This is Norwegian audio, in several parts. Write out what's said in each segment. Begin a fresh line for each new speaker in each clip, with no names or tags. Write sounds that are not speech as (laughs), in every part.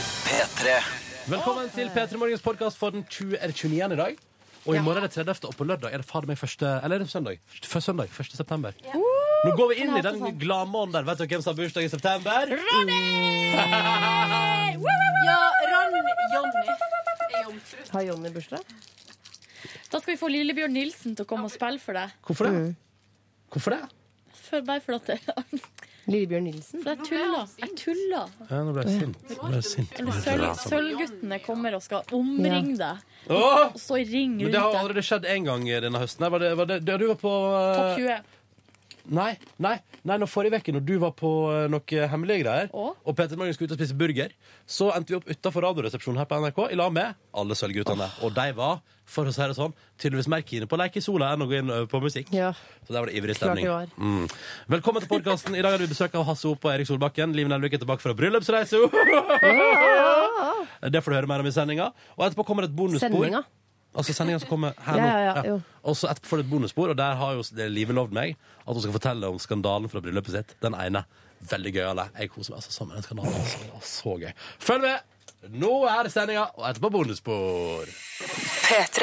P3.
Velkommen til P3 Morgens podkast for den 20, er det 29. i dag. Og i
Ja.
morgen er det 30. og på lørdag er det fader meg første Eller er det søndag? Første søndag, 1. september. Nå går vi inn i den gladmåneden der. Vet dere hvem som har bursdag i september?
Ja, Ron, Jonny er jomfru.
Har Jonny bursdag?
Da skal vi få Lillebjørn Nilsen til å komme og spille for deg.
Hvorfor det? Hvorfor det?
For, bare for at det For
Lillebjørn Nilsen?
jeg tuller. Jeg tuller.
Ja, nå ble jeg sint. Nå ble jeg sint.
Eller sølv- Sølvguttene kommer og skal omringe deg,
Åh!
og så i ring
Men
rundt
det har
deg.
allerede skjedd én gang denne høsten. Nei, Var det, var det, da du var på eh,
Topp 20.
Nei, nei, nei, nå forrige veke når du var på eh, noe hemmelige greier,
Å?
og Peter Magnus skulle ut og spise burger, så endte vi opp utenfor radioresepsjonen her på NRK i lag med alle sølvguttene. Og de var, for å si det sånn, tydeligvis mer kine på å leke i sola enn å gå inn ø, på musikk.
Ja.
Så der var det ivrig
Klart
stemning.
det var.
Mm. Velkommen til podkasten. I dag har vi besøk av Hasse Opp og Erik Solbakken. Liv Nelvik er tilbake fra bryllupsreise.
(laughs)
det får du høre mer om i sendinga. Og etterpå kommer et bonusspor.
Sendinga.
Altså sendinga som kommer her nå.
Ja, ja, ja, jo.
Og så etterpå får du et bonusspor, og der har jo det Live lovd meg at hun skal fortelle om skandalen fra bryllupet sitt. Den ene. Veldig gøy, alle. Jeg koser meg altså sånn med den skandalen. Altså. Det var så gøy. Følg med! Nå er det sendinga, og etterpå bonusspor.
P3.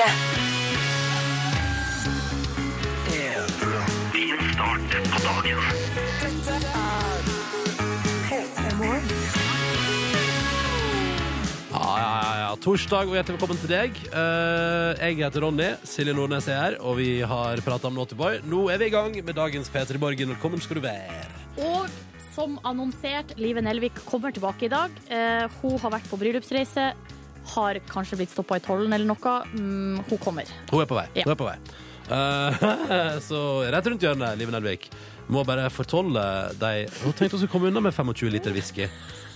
Ja, ja, ja, ja. Torsdag, og hjertelig velkommen til deg. Eh, jeg heter Ronny, Silje Nordnes er her, og vi har prata om Naughty Boy. Nå er vi i gang med dagens P3 Borgen. Velkommen skal du være.
Og som annonsert, Live Nelvik kommer tilbake i dag. Eh, hun har vært på bryllupsreise. Har kanskje blitt stoppa i tollen eller noe. Mm, hun kommer.
Hun er på vei.
Ja.
Hun er på vei. Eh, (laughs) så rett rundt hjørnet, Live Nelvik. Må bare fortolle deg Hun tenkte hun skulle komme unna med 25 liter whisky.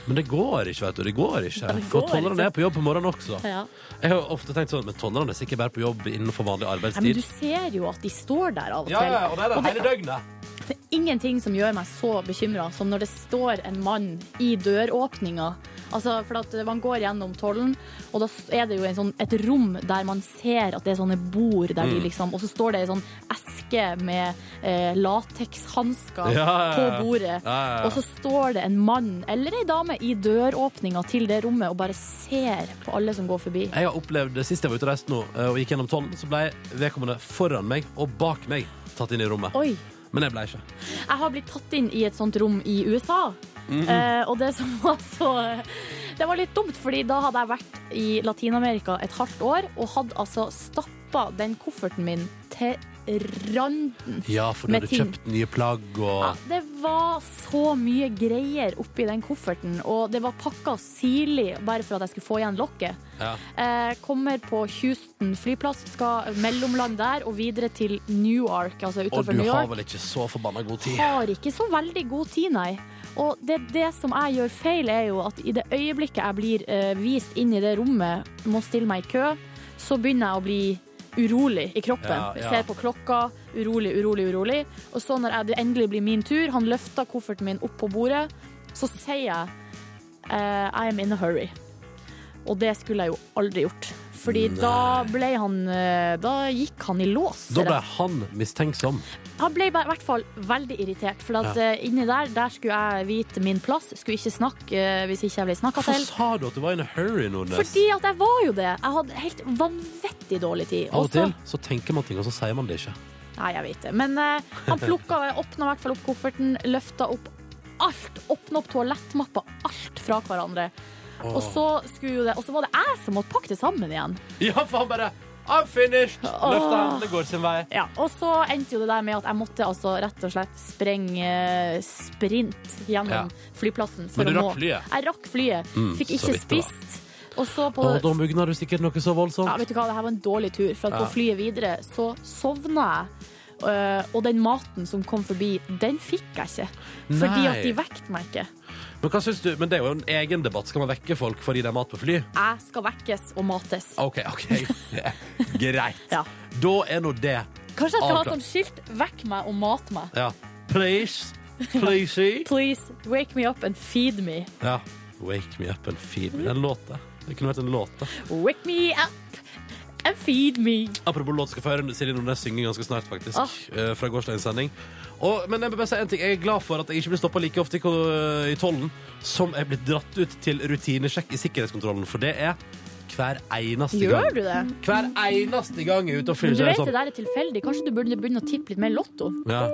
Men det går ikke, vet du. Det går ikke.
Det
For
går
tollerne
ikke.
er på jobb på morgenen også.
Ja.
Jeg har jo ofte tenkt sånn, men tollerne er sikkert bare på jobb innenfor vanlig
Nei, men
arbeidstid.
du ser jo at de står der av og til.
Ja, ja, og det er det hele døgnet.
Det er ingenting som gjør meg så bekymra som når det står en mann i døråpninga. Altså, for at man går gjennom tollen, og da er det jo en sånn, et rom der man ser at det er sånne bord der
Mm.
de liksom Og så står det ei sånn eske med eh, latekshansker
Ja, ja, ja.
på bordet.
Ja, ja, ja.
Og så står det en mann eller ei dame i døråpninga til det rommet og bare ser på alle som går forbi.
Jeg har opplevd det sist jeg var ute og reiste nå, eh, og gikk gjennom tollen, så ble vedkommende foran meg og bak meg tatt inn i rommet.
Oi!
Men jeg ble ikke.
Jeg har blitt tatt inn i et sånt rom i USA.
Mhm.
eh, og det som (laughs) var så Det var litt dumt, fordi da hadde jeg vært i Latin-Amerika et halvt år og hadde altså stappa den kofferten min til randen.
Ja, for du
Med
hadde
ting.
kjøpt nye plagg og
Ja, det var så mye greier oppi den kofferten, og det var pakka sirlig bare for at jeg skulle få igjen lokket.
Ja.
Eh, kommer på Houston flyplass, skal mellomland der og videre til Newark, altså
Og
utenfor
du
New York.
har vel ikke så forbanna god tid?
har ikke så veldig god tid, nei. Og det, det som jeg gjør feil, er jo at i det øyeblikket jeg blir eh, vist inn i det rommet, må stille meg i kø, så begynner jeg å bli urolig i kroppen.
Ja, ja.
Ser på klokka, urolig, urolig, urolig. Og så når jeg, det endelig blir min tur, han løfter kofferten min opp på bordet, så sier jeg eh, I am in a hurry. Og det skulle jeg jo aldri gjort. Fordi da ble han eh, Da gikk han i lås.
Da
rett
ble han mistenksom.
han ble i hvert fall veldig irritert, for at eh, inni der, der skulle jeg vite min plass. Skulle ikke snakke eh, hvis ikke jeg ble snakka
Hvorfor
til.
sa du at du var i en hurry, Nordnes?
Fordi at jeg var jo det. Jeg hadde helt vanvittig dårlig tid.
Av og
så-
til så tenker man ting, og så sier man det ikke.
Nei, jeg vet det. Men eh, han plukka, åpna i hvert fall opp kofferten, løfta opp alt. Åpna opp toalettmappa, alt fra hverandre. Og så, skulle jo det, og så var det jeg som måtte pakke det sammen igjen.
(laughs) Ja, for han bare I'm finished! Løfta hendene, går sin vei.
Ja, og så endte jo det der med at jeg måtte altså rett og slett sprenge eh, sprint gjennom flyplassen. for
Men du
å
rakk
nå-
flyet?
Jeg rakk flyet.
Mm,
fikk
så
ikke
vidt det var.
spist. Og så på
Og da mugna du sikkert noe så
ja,
voldsomt.
Vet du hva, det her var en dårlig tur, for at
Ja.
på flyet videre så sovna jeg. Eh, og den maten som kom forbi, den fikk jeg ikke. Fordi
Nei.
at de vekte meg ikke.
Men, hva syns du? Men det er jo en egen debatt. Skal man vekke folk fordi det er mat på fly?
Jeg skal vekkes og mates.
OK,
(laughs)
OK. Greit.
Ja.
Da er nå det.
Kanskje jeg skal
Avklart.
ha sånn skilt 'vekk meg og mat meg'.
Ja. Please.
(laughs)
Please.
Please, wake me up and feed me.
Ja. Wake me up and feed me. Det er en låt, det. Det kunne vært en låt, det.
Wake me up
And feed me.
Apropos låt skal få høre Silje Nordnes synge ganske snart, faktisk.
Ah.
eh, Fra gårsdagens sending. Og, men jeg, må bare si en ting. jeg er glad for at jeg ikke blir stoppa like ofte i, ko- i tollen som jeg blir dratt ut til rutinesjekk i sikkerhetskontrollen, for det er hver eneste
Gjør
gang.
du det?
Hver eneste gang jeg er ute og
Men
fyller,
du
så er
vet
det
det
sånn.
der er tilfeldig. Kanskje du burde begynne å tippe litt mer lotto?
Ja.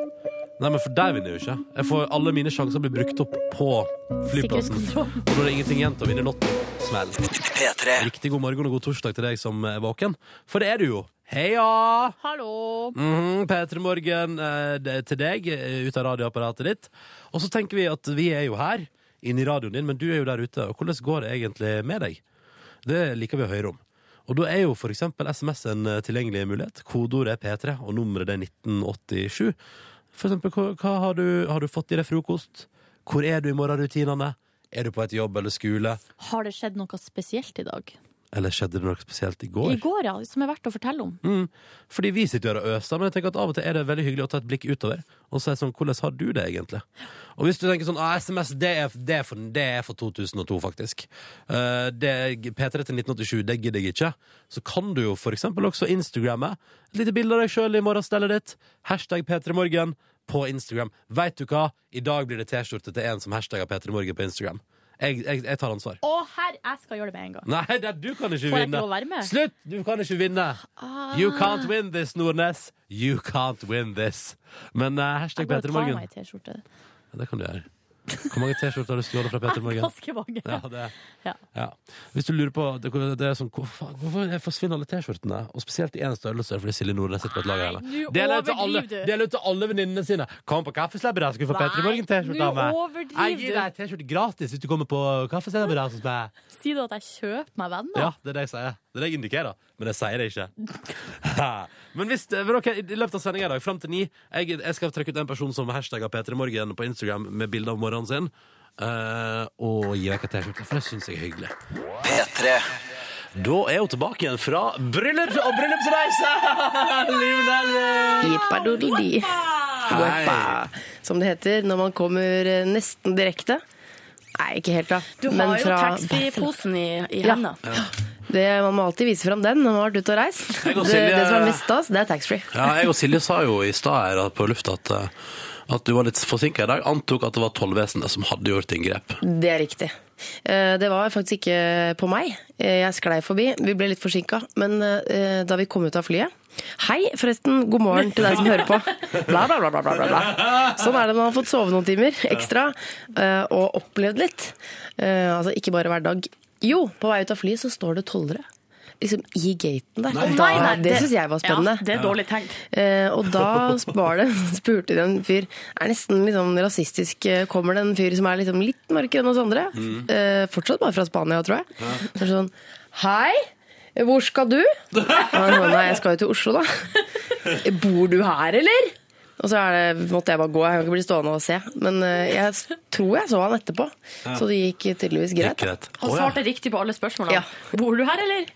Nei, men for der vinner jeg jo ikke. Jeg får alle mine sjanser blir brukt opp på flyplassen.
Sikkerhetskontroll. (laughs)
Og når det er ingenting igjen til å vinne Lotto, smell. Riktig god morgen og god torsdag til deg som er våken, for det er du jo. Heia!
Hallo.
Mhm, P3 Morgen eh, det er til deg eh, ut av radioapparatet ditt. Og så tenker vi at vi er jo her, inne i radioen din, men du er jo der ute. Og hvordan går det egentlig med deg? Det liker vi å høre om. Og da er jo for eksempel SMS en eh, tilgjengelig mulighet. Kodeordet er P3, og nummeret det er 1987. For eksempel, hva, hva har, du, har du fått i deg frokost? Hvor er du i morgenrutinene? Er du på et jobb eller skole?
Har det skjedd noe spesielt i dag?
Eller skjedde det noe spesielt i går?
I går, ja. Som er verdt å fortelle om.
Mm. Fordi vi sitter jo her og øser, men jeg tenker at av og til er det veldig hyggelig å ta et blikk utover og si sånn, hvordan har du det egentlig? Og hvis du tenker sånn, ah, SMS, det er, det, er for, det er for 2002 faktisk. Eh, det, P3 til 1987, det gidder jeg ikke. Så kan du jo for eksempel også Instagramme. Et lite bilde av deg selv i morgenstellet ditt. Hashtag P3morgen på Instagram. Vet du hva? I dag blir det t-skjorte til en som hashtagger P3morgen på Instagram. Jeg, jeg, jeg tar ansvar.
Å, herre, jeg skal gjøre det med en gang.
Nei, det, du kan ikke
Får jeg ikke
vinne.
lov å være med? Ah.
Slutt! Du kan ikke vinne. You can't win this, Nordnes. You can't win this. Men eh, hashtag
Jeg går og
Peter
tar
Morgen.
meg en T-skjorte.
Ja, det kan du gjøre. Hvor mange T-skjorter har du stjålet fra Peter
(laughs)
Morgen?
Ganske mange.
Ja, det,
Ja.
ja. Hvis du lurer på det, det er sånn, hvor faen- Hvorfor forsvinner alle T-skjortene? Og spesielt i én størrelse, fordi Silje Nordnes sitter på et lag av
Nei,
henne.
nå
Del ut til alle,
overdriver du.
del ut til alle venninnene sine. Kom på kaffeslabberas, skal du få
Nei,
Peter Morgen-T-skjorte
nå
av meg.
overdriver
Jeg gir deg T-skjorte gratis hvis du kommer på kaffeslabberas hos meg.
Si du at jeg kjøper meg venner?
Ja, det er det jeg sier. Det er det jeg indikerer. Men jeg sier det ikke. (laughs) men hvis eh, men ok, I løpet av sendinga i dag, fram til ni jeg, jeg skal trekke ut en person som hashtagger P3morgen på Instagram med bilde av morgenen sin. eh, og gi vekk en T-skjorte, for det syns jeg er hyggelig. Da er hun tilbake igjen fra bryllup og (laughs) bryllupsreise! Liv Nelvik!
Jippadoodledee. Weppa, Som det heter når man kommer eh, nesten direkte. Nei, ikke helt, da.
Du har jo taxfree-posen i, i henda.
Det, man må alltid vise fram den når man har vært ute og reist. Det,
Jeg og Silje-
det som er eh, mest stas, det er taxfree.
Ja, jeg og Silje sa jo i stad her at- på lufta at, eh, at du var litt forsinka i dag. Antok at det var tollvesenet som hadde gjort inngrep.
Det er riktig. Eh, Det var faktisk ikke på meg. Eh, Jeg sklei forbi. Vi ble litt forsinka. Men eh, da vi kom ut av flyet Hei, forresten. God morgen til deg som hører på. Bla, bla, bla, bla, bla, bla, bla. Sånn er det når man har fått sove noen timer ekstra eh, og opplevd litt. Eh, Altså ikke bare hver dag. Jo, på vei ut av flyet så står det tollere. Liksom i gaten der.
Å,
Da,
nei, nei,
det syns jeg var spennende.
Ja, det er dårlig tenkt.
Eh, og da var det, (laughs) spurte de en fyr Er nesten litt sånn rasistisk eh, Kommer det en fyr som er liksom litt mørkere enn oss andre eh, Fortsatt bare fra Spania, tror jeg Så er det sånn, hei Hvor skal (laughs) du? Og han sånn, Nei, jeg skal jo til Oslo da (laughs) Bor du her, eller? Og så er det, måtte jeg bare gå, jeg kan ikke bli stående og se Men eh, jeg s- tror jeg så han etterpå Så det gikk tydeligvis greit da.
Greit.
Han
Å, ja.
svarte riktig på alle spørsmålene.
Ja.
Bor du her, eller?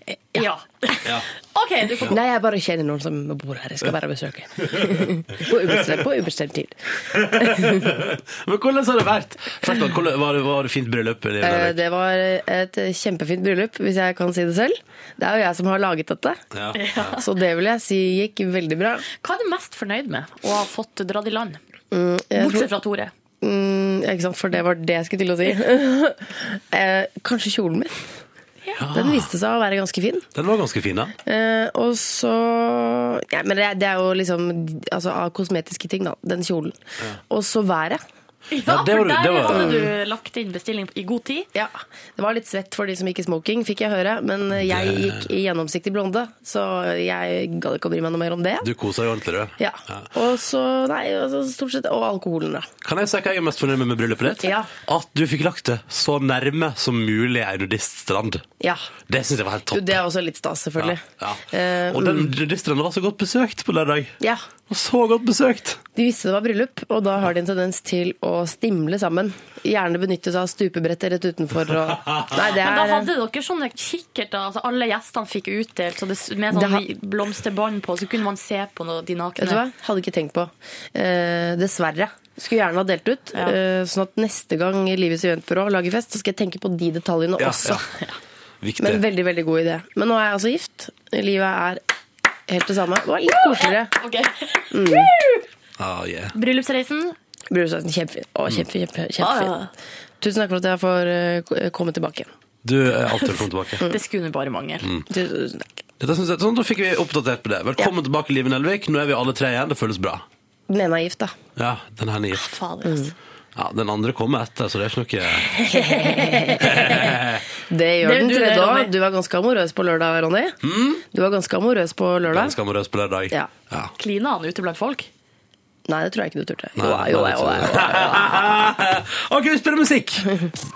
Ja. (laughs) OK, du får gå.
Nei, jeg bare kjenner noen som bor her Jeg skal bare (laughs) besøke På ubestemt, på ubestemt tid
Men hvordan har det vært? Først, da, hvordan, var, det, var det fint bryllup? Liv
Eh,
Nelvik?
Det var et kjempefint bryllup, hvis jeg kan si det selv. Det er jo jeg som har laget dette,
Ja.
så det vil jeg si gikk veldig bra.
Hva er du mest fornøyd med å ha fått dratt i land?
Jeg tror-
Bortsett fra Tore.
Mm, ikke sant, for det var det jeg skulle til å si. Eh, Kanskje kjolen min. Den viste seg å være ganske fin.
Den var ganske fin, da.
Eh, og så ja, Men det det er jo liksom altså, av kosmetiske ting, da. Den kjolen. Og så været.
Ja,
det var
for
du-
der
det var-
hadde du lagt inn bestilling i god tid.
Ja, Det var litt svett for de som gikk i smoking, fikk jeg høre. Men jeg gikk i gjennomsiktig blonde, så jeg gadd ikke å bry meg noe mer om det.
Du koser deg ordentlig, du.
Ja. Og så, nei, altså, stort sett, og alkoholen, da.
Kan jeg si hva jeg er mest fornøyd med med bryllupet ditt?
Ja.
At du fikk lagt det så nærme som mulig ei nudiststrand.
Ja.
Det syns jeg var helt
Jo,
topp.
det er også litt stas,
ja.
selvfølgelig.
Ja.
Eh,
Og den nudiststranda var så godt besøkt på lørdag.
ja.
Og Så godt besøkt!
De visste det var bryllup, og da har de en tendens til å stimle sammen. Gjerne benytte seg av stupebrettet rett utenfor
(laughs)
og Nei,
Men
det
da
er
hadde dere sånne kikkerter. Altså alle gjestene fikk utdelt så det, med
Det
sånn
ha-
blomsterbånd på, så kunne man se på noe, de nakne.
Vet du hva? Hadde ikke tenkt på. Eh, dessverre. Skulle gjerne ha delt ut.
Ja.
eh, sånn at neste gang Livets eventbyrå lager fest, så skal jeg tenke på de detaljene
Ja,
også.
ja. Viktig.
Men veldig, veldig god idé. Men nå er jeg altså gift, Livet er helt det samme. Det var litt koseligere.
Ah, yeah.
(laughs) Bryllupsreisen.
Bryllupsreisen. Kjempefin. Å, kjempe, kjempe,
Ah,
kjempefin.
ja.
Tusen takk for at jeg får eh, ko- komme tilbake.
Du eh, er alltid velkommen
(laughs)
tilbake.
Mm.
Det skulle bare mangle.
Mm.
Tusen takk.
Dette synes jeg, sånn, da fikk vi oppdatert på det. Velkommen tilbake, Live Nelvik. Nå er vi alle tre igjen. Det føles bra.
Den ene er gift, da.
Ja, den her er gift.
Fader,
Mm.
altså.
Ja, den andre kommer etter, så det er ikke noe
Det gjør
Det er
den
du, det,
tredje
Ronny. Mm.
òg. Du var ganske amorøs på lørdag, Ronny. Du var ganske amorøs på lørdag.
ganske amorøs på lørdag.
Ja.
Ja.
Klina han ute blant folk?
Nei, det tror jeg ikke du turte.
Nei,
Jo, jo,
nei,
jo, jo,
(laughs)
jo.
OK, vi spiller musikk.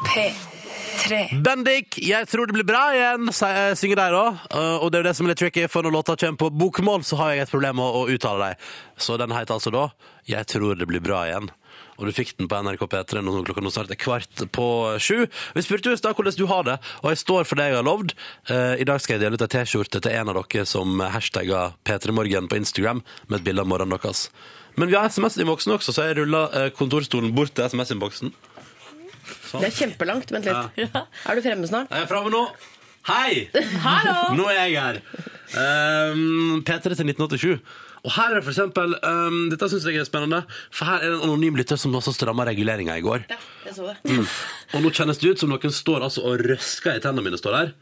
P3.
Bendik, jeg tror det blir bra igjen, sier- eh, synger de da. Eh, Og det er jo det som er litt tricky, for når låta kommer på bokmål, så har jeg et problem med å å uttale dem. Så den heter altså da Jeg tror det blir bra igjen. Og du fikk den på NRK P3 nå klokka nå snart er kvart på sju. Vi spurte jo i stad hvordan du har det, og jeg står for det jeg har lovd. Eh, I dag skal jeg dele ut ei T-skjorte til en av dere som hashtagger P3morgen på Instagram med et bilde av morgenen deres. Men vi har SMS-innboksen også, så jeg ruller eh, kontorstolen bort til SMS-innboksen.
Det er kjempelangt. Vent litt. (laughs) Er du fremme snart?
Jeg er framme nå. Hei! Hallo! Nå er jeg her. Um, P3 til 1987. Og her er det for eksempel um, Dette syns jeg er spennende, for her er det en anonym lytter som også stramma reguleringa i går.
Ja, jeg så det.
Mm.
Og nå kjennes det ut som noen står altså og røsker i tennene mine. står der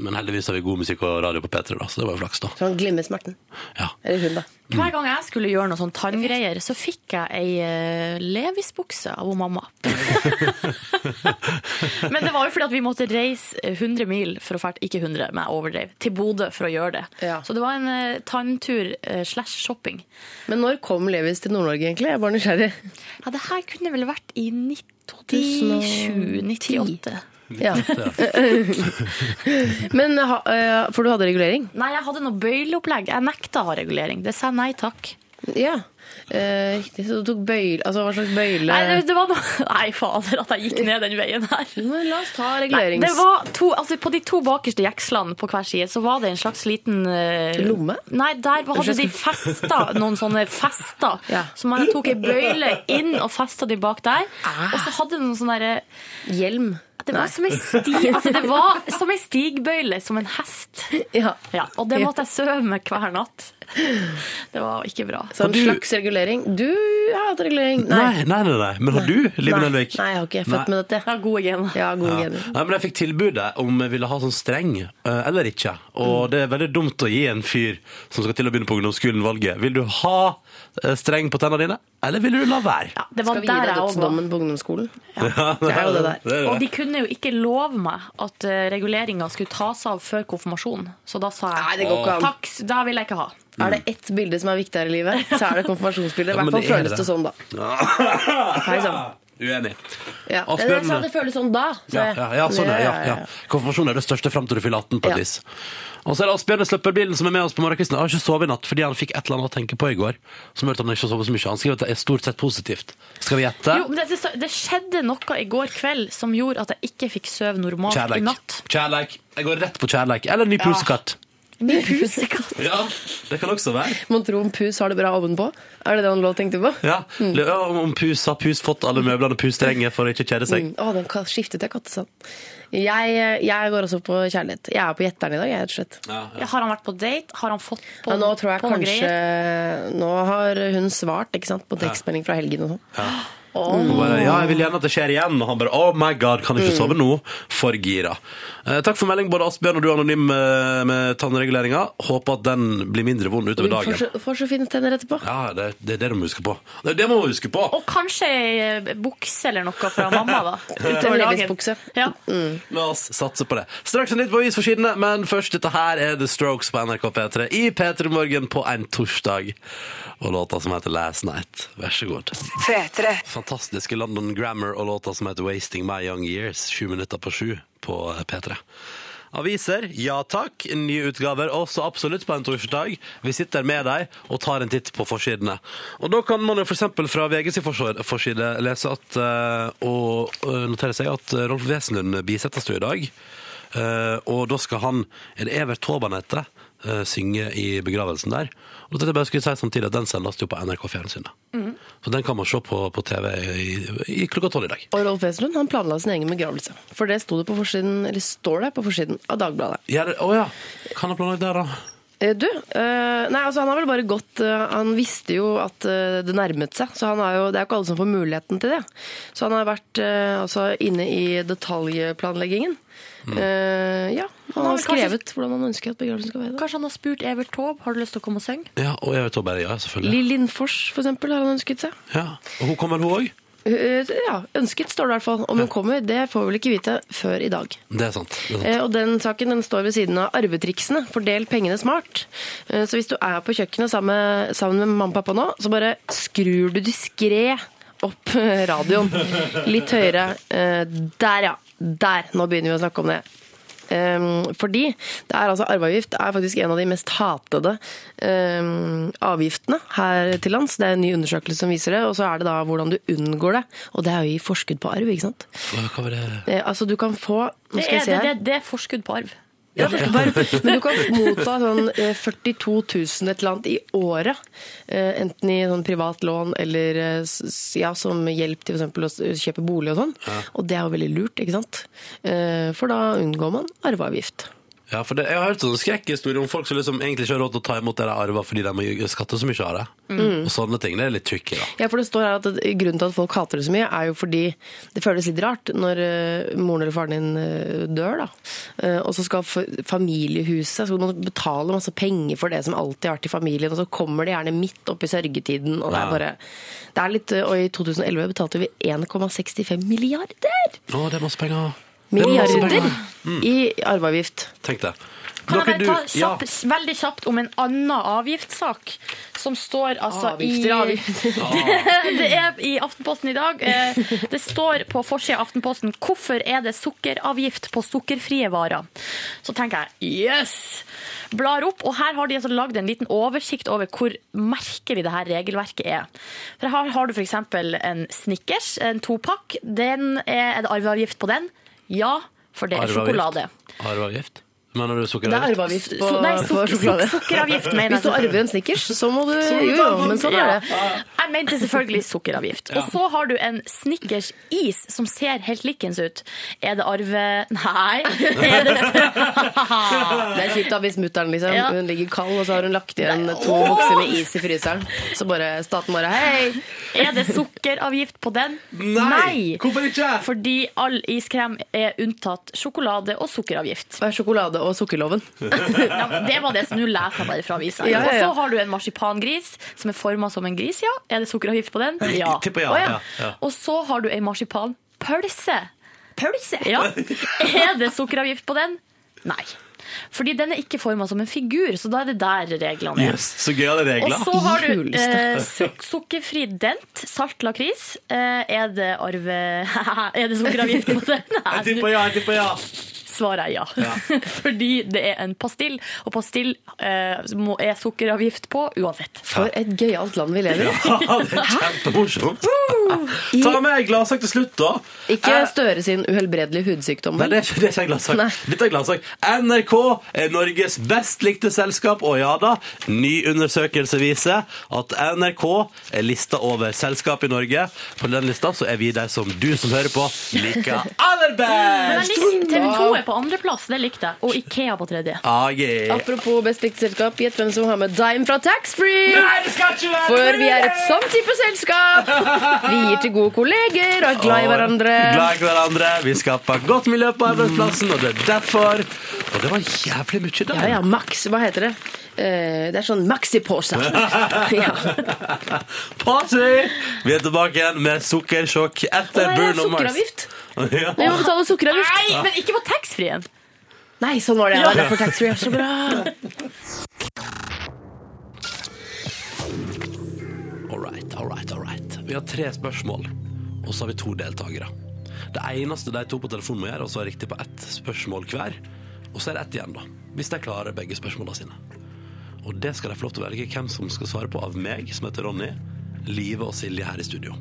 Men heldigvis har vi god musikk og radio på P3, da, så det var jo flaks, da.
Så han glimmer smerten.
Ja.
Eller hun, da.
Hver gang jeg skulle gjøre noe sånn tarmgreier, så fikk jeg ei eh, Levis-bukse av hun mamma. (laughs) Men det var jo fordi at vi måtte reise 100 mil for å fære, ikke 100, men jeg overdrev, til Bodø for å gjøre det.
Ja.
Så det var en eh, tanntur eh, slash shopping.
Men når kom Levis til Nord-Norge, egentlig? Jeg er bare nysgjerrig.
Ja, det her kunne vel vært i 97-98.
Ja. (laughs) Men, ha, eh, for du hadde regulering?
Nei, jeg hadde noe bøyleopplegg. Jeg nekta å ha regulering. Det sa jeg nei takk.
Ja. Eh, riktig, så du tok bøyle Altså hva slags bøyle
Nei, det, det var noe (laughs) Nei, fader, at jeg gikk ned den veien her.
Men La oss ta
Nei,
regulerings...
det var to, altså på de to bakerste jekslene på hver side så var det en slags liten eh,
Lomme?
Nei, der var- hadde de festa, noen sånne fester.
(laughs) Ja.
Så man tok ei bøyle inn og festa de bak der.
Ah.
Og så hadde de noen sånne derre
Hjelm.
Det var som ei sti, altså det var som ei stigbøyle, som en hest.
Ja.
Ja, og det måtte jeg søve med hver natt. Det var ikke bra.
Så en
Og du-
slags regulering. Du har hatt regulering. Nei.
Nei, nei, nei, nei. Men har du, Live
Nei.
Nelvik?
Nei, jeg har ikke. Jeg er født
Nei.
med dette.
Ja, gode gener.
Ja, gode
Ja.
gener.
Nei, men jeg fikk tilbudet om jeg ville ha sånn streng eh, eller ikke. Og
Mm.
det er veldig dumt å gi en fyr som skal til å begynne på ungdomsskolen, valget. Vil du ha eh, streng på tennene dine, eller vil du la være?
Ja, det var
Skal vi gi
der
deg
jeg også var.
dødsdommen på ungdomsskolen?
(laughs)
Det er jo det der.
er
Og de kunne jo ikke love meg at reguleringa skulle tas av før konfirmasjon. Så da sa jeg
Nei, det går ikke an.
takk, da vil jeg ikke ha.
Er det ett bilde som er viktigere i livet, så (laughs) er det konfirmasjonsbildet. I
men
hvert
det
fall
er
føles
det.
det sånn da.
(laughs)
Hei sann.
Uenig.
Ja.
Å,
Det er det jeg sa,
spennende.
det føles sånn da. sa
Ja,
jeg.
ja, ja, sånn er, ja, ja. Konfirmasjon er det største frem til du fyller 18 på et
Ja.
vis. Og så er det Asbjørn Sløpperbilen som er med oss på morgenkvisten. Jeg har ikke sovet i natt fordi han fikk et eller annet å tenke på i går. Som hørte han ikke sove så mye. Han skriver at det er stort sett positivt. Skal vi gjette?
Jo, men det, det, det skjedde noe i går kveld som gjorde at jeg ikke fikk sove normalt i
Kjærleik.
natt.
Kjærleik. Jeg går rett på kjærleik. Eller ny pusekatt.
Min pusekatt.
Ja, det kan også være.
Mon tro om pus har det bra ovenpå? Er det det han lå og tenkte på?
Ja, Lø- Om om pus har pus fått alle møblene og pusterrenget for å ikke kjede seg.
Å, den ka- skiftet jeg kattesand. Jeg, jeg går også på kjærlighet. Jeg er på gjetteren i dag, jeg, rett og slett.
Ja, Har han vært på date? Har han fått på,
Ja, nå tror jeg
på noen
kanskje
greier?
Nå har hun svart ikke sant, på tekstmelding fra helgen og sånn.
Hun bare, ja, jeg vil gjerne at det skjer igjen. Og han bare oh my god, kan
Mm.
ikke sove nå. For gira. Eh, takk for melding, både Asbjørn og du anonym eh, med tannreguleringa. Håper at den blir mindre vond utover
Vi får,
dagen.
så- får så fine tenner etterpå.
Ja, det, det er det du må huske på. Det er det man må huske på!
Og kanskje ei eh, bukse eller noe fra mamma,
(laughs)
da.
En
Utover dagen.
Levis-bukse.
Ja.
Mm.
La oss satse på det. Straks en nytt på avisforsidene, men først dette her er The Strokes på NRK P3 i P3 Morgen på en torsdag. Og låta som heter Last Night. Vær så god.
P3.
Fantastiske London Grammar og låta som heter Wasting My Young Years. Sju minutter på sju på P3. Aviser, ja takk. Nye utgaver også absolutt på en torsdag. Vi sitter med deg og tar en titt på forsidene. Og da kan man jo f.eks. fra VG sin forsor- forside eh, lese at, eh, og eh, notere seg at Rolf Wesenlund bisettes jo i dag. Eh, og da skal han, er det Evert Taaban heter, eh, synge i begravelsen der. Og da tenkte jeg bare jeg skulle si samtidig at den sendes jo på NRK Fjernsynet.
Mhm.
Så den kan man se på, på TV i, i klokka tolv i dag.
Og Rolf Wesenlund han planla sin egen begravelse. For det sto det på forsiden, eller står det på forsiden av Dagbladet.
Ja, det- Å ja! Kan han planlegge det, da?
Eh, Du, eh, nei, altså han har vel bare gått eh, Han visste jo at eh, det nærmet seg, så han har jo, det er jo ikke alle som får muligheten til det. Så han har vært eh, altså, inne i detaljplanleggingen. Eh, ja, han
har
har
vel kanskje-
skrevet hvordan han ønsker at begravelsen skal være.
Kanskje han har spurt Evert Taube har du lyst til å komme og synge.
Ja, og Evert Taaban, ja, selvfølgelig.
Lill Lindfors, for eksempel, har han ønsket seg.
Ja. Og hun kommer vel, hun òg?
Eh, Ja, ønsket står det i hvert fall. Om hun kommer, det får vi vel ikke vite før i dag.
Det er sant. Det er sant.
Eh, Og den saken den står ved siden av arvetriksene. Fordel pengene smart. Eh, Så hvis du er på kjøkkenet sammen med, sammen med mamma og pappa nå, så bare skrur du diskré opp eh, radioen. Litt høyere. Eh, Der, ja. Der. Nå begynner vi å snakke om det. Ehm, fordi det er altså arveavgift er faktisk en av de mest hatede ehm, avgiftene her til lands. Det er en ny undersøkelse som viser det, og så er det da hvordan du unngår det. Og det er jo i forskudd på arv, ikke sant.
Hva hva var det?
Eh, altså du kan få nå
Det
skal jeg
er,
se
det,
her.
det, det er forskudd på arv.
Ja, bare, men du kan motta sånn eh, 42 000 et eller annet i året. eh, Enten i sånn privat lån eller eh, s- s- ja, som hjelp til for eksempel å s- kjøpe bolig og sånn. Og det er jo veldig lurt, ikke sant? Eh, For da unngår man arveavgift.
Ja, for det, jeg har hørt sånne skrekkhistorier om folk som liksom egentlig ikke har råd til å ta imot det de arver fordi de må ju- skatte så mye av det.
Mm.
Og sånne ting. Det er litt tricky, da.
Ja, for det står her at det- Grunnen til at folk hater det så mye, er jo fordi det føles litt rart når eh, moren eller faren din eh, dør. da. Eh, Og så skal f- familiehuset så må du betale masse penger for det som alltid har vært i familien, og så kommer det gjerne midt oppi sørgetiden. og
Ja.
det er bare... Det er litt, eh, og I 2011 betalte vi 1,65 milliarder!
Å, det er masse penger. Det er masse
Milliarder
penger.
i arveavgift.
Tenk det. Dere,
Kan jeg bare ta
du- ja.
kjapt, veldig kjapt om en annen avgiftssak som står altså
Avgifter,
i (laughs)
avgifter.
Ah.
Det er i Aftenposten i dag. Eh, Det står på forsida av Aftenposten 'Hvorfor er det sukkeravgift på sukkerfrie varer?' Så tenker jeg yes! Blar opp, og her har de altså lagd en liten oversikt over hvor merkelig det her regelverket er. For Her har du f.eks. en Snickers, en topakk. Den er, er det arveavgift på den? Ja, for det er
Arveavgift.
sjokolade.
Arveavgift? Mener du
Det er
sukkeravgift?
arveavgift på,
Så- nei,
på
suk-
sjokolade.
suk-
(laughs)
sukkeravgift, mener jeg.
Hvis du arver en snickers, så må du Jo, jo, men sånn er det.
Ja. Jeg mente selvfølgelig sukkeravgift. Og så har du en Snickers-is som ser helt likens ut. Er det arve... Nei. Er det...
(laughs) Det er kjipt da hvis mutter'n liksom,
Ja.
hun ligger kald, og så har hun lagt igjen to bokser med is i fryseren. Så bare staten bare hei!
er det sukkeravgift på den?
Hvorfor ikke?
Fordi all iskrem er unntatt sjokolade og sukkeravgift.
Det er sjokolade- og sukkerloven.
Ja, det var det som nå leser jeg bare fra avisa.
Ja, ja, ja.
Og så har du en marsipangris som er forma som en gris, ja. Er det sukkeravgift på den? Ja.
Tipper ja.
Å,
ja.
(laughs) ja.
ja.
Og så har du ei marsipanpølse. Pølse?
(laughs)
Ja. Er det sukkeravgift på den? Nei. Fordi den er ikke forma som en figur, så da er det der reglene er.
Yes, så gøyale
Og
regler.
så har du
Juleste.
eh, suk- sukkerfri dent, salt lakris. Eh, er det arve... (laughs) er det sukkeravgift på den? Nei,
ja, jeg tipper ja.
(laughs)
svarer jeg ja. (laughs) Fordi det er en pastill, og pastill eh, må- er sukkeravgift på uansett.
For et gøyalt land vi lever i.
det er kjempemorsomt. Ta med ei gladsak til slutt, da.
Ikke
Eh,
Støre sin uhelbredelige hudsykdom.
Nei,
vel?
det er ikke, det er ikke en gladsak.
Nei.
Dette er en gladsak. NRK er Norges best likte selskap, og ja da, ny undersøkelse viser at NRK er lista over selskap i Norge. På den lista så er vi de som du som hører på, liker aller
Men
(laughs)
best!
jeg likte TV 2 er på andreplass, det likte jeg. Og Ikea på tredje.
Ah, yeah.
Apropos Best likt selskap, gjett hvem som har med Dime fra Taxfree! For vi er et sånn type selskap! Vi gir til gode kolleger og er glad i hverandre.
Glad i hverandre. Vi skaper godt miljø på arbeidsplassen, og det er derfor. Og det var jævlig mye der.
Ja, ja, Max, hva heter det? Eh, Det er sånn
(laughs)
maxipose. Ja.
Party! Vi er tilbake igjen med sukkersjokk etter
Å, nei, det er
Bruno Mars.
sukkeravgift.
(laughs) Ja.
Vi må betale sukkeravgift.
Nei, men ikke på taxfree-en.
Nei, sånn var det. Det var derfor (laughs) taxfree er så bra.
All right, all right, all right. Vi har tre spørsmål, og så har vi to deltakere. Det eneste de to på telefonen må gjøre, er å svare riktig på ett spørsmål hver. Og så er det ett igjen, da. Hvis de klarer begge spørsmålene sine. Og det skal de få lov til å velge hvem som skal svare på av meg, som heter Ronny, Live og Silje her i studio.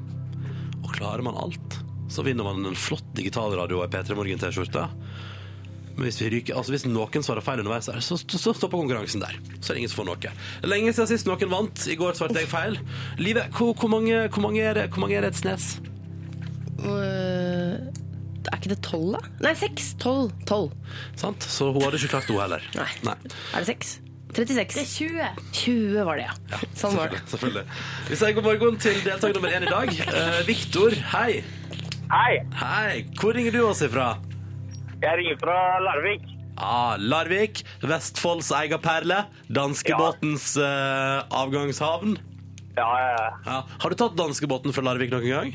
Og klarer man alt, så vinner man en flott digitalradio og ei P3 Morgen-T-skjorte. Men hvis, vi ryker, altså hvis noen svarer feil underveis, så, er det- så, så stopper konkurransen der. Så er det ingen som får noe. Lenge siden sist noen vant. I går svarte jeg feil. Live, hvor, hvor, mange, hvor, mange er det, hvor mange er det et snes?
Øh, er ikke det tolv, da? Nei, seks. Tolv. Tolv.
Sant? Så hun hadde ikke klart det, hun heller.
Nei. Er det seks? 36.
20.
20 var det, ja. sånn var det.
Selvfølgelig, selvfølgelig. Vi sier god morgen til deltaker nummer én i dag. Eh, Viktor, hei.
Hei,
Hei. Hvor ringer du oss ifra?
jeg ringer fra Larvik.
Ah, Larvik, Vestfolds egen perle, danskebåtens eh, avgangshavn.
Ja, ja, ja.
Ja. Har du tatt danskebåten fra Larvik noen gang?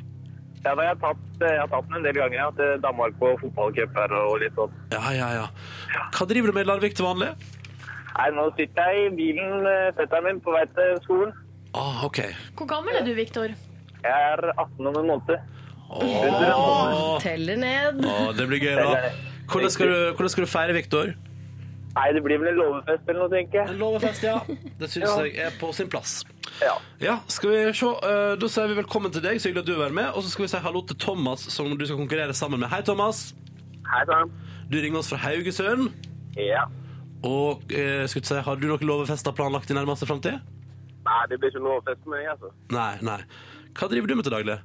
ja da, jeg, har tatt, eh, jeg har tatt den en del ganger. Jeg har hatt Danmark på fotballcuper og litt sånn.
Ja, ja, ja. Hva driver du med i Larvik til vanlig?
Nei, nå sitter jeg i bilen, eh, fetteren min, på vei til skolen.
Ah, ok.
Hvor gammel er du, Viktor?
Jeg er 18 om en måned.
Åh,
Teller ned.
Åh, Ah, det blir gøy, da. Hvordan skal du, hvordan skal du feire, Viktor?
Nei, det blir vel en låvefest eller noe, tenker jeg.
Lovefest, ja. Det syns jeg er på sin plass.
Ja.
Ja, skal vi se. Eh, Da sier vi velkommen til deg, så hyggelig at du vil være med. Og så skal vi si hallo til Thomas, som du skal konkurrere sammen med. Hei, Thomas.
Hei sann.
Du ringer oss fra Haugesund.
Ja.
Og eh, skal vi si, har du noen lovefester planlagt i nærmeste framtid?
Nei, det blir ikke låvefest med meg, altså.
Nei, nei. Hva driver du med til daglig?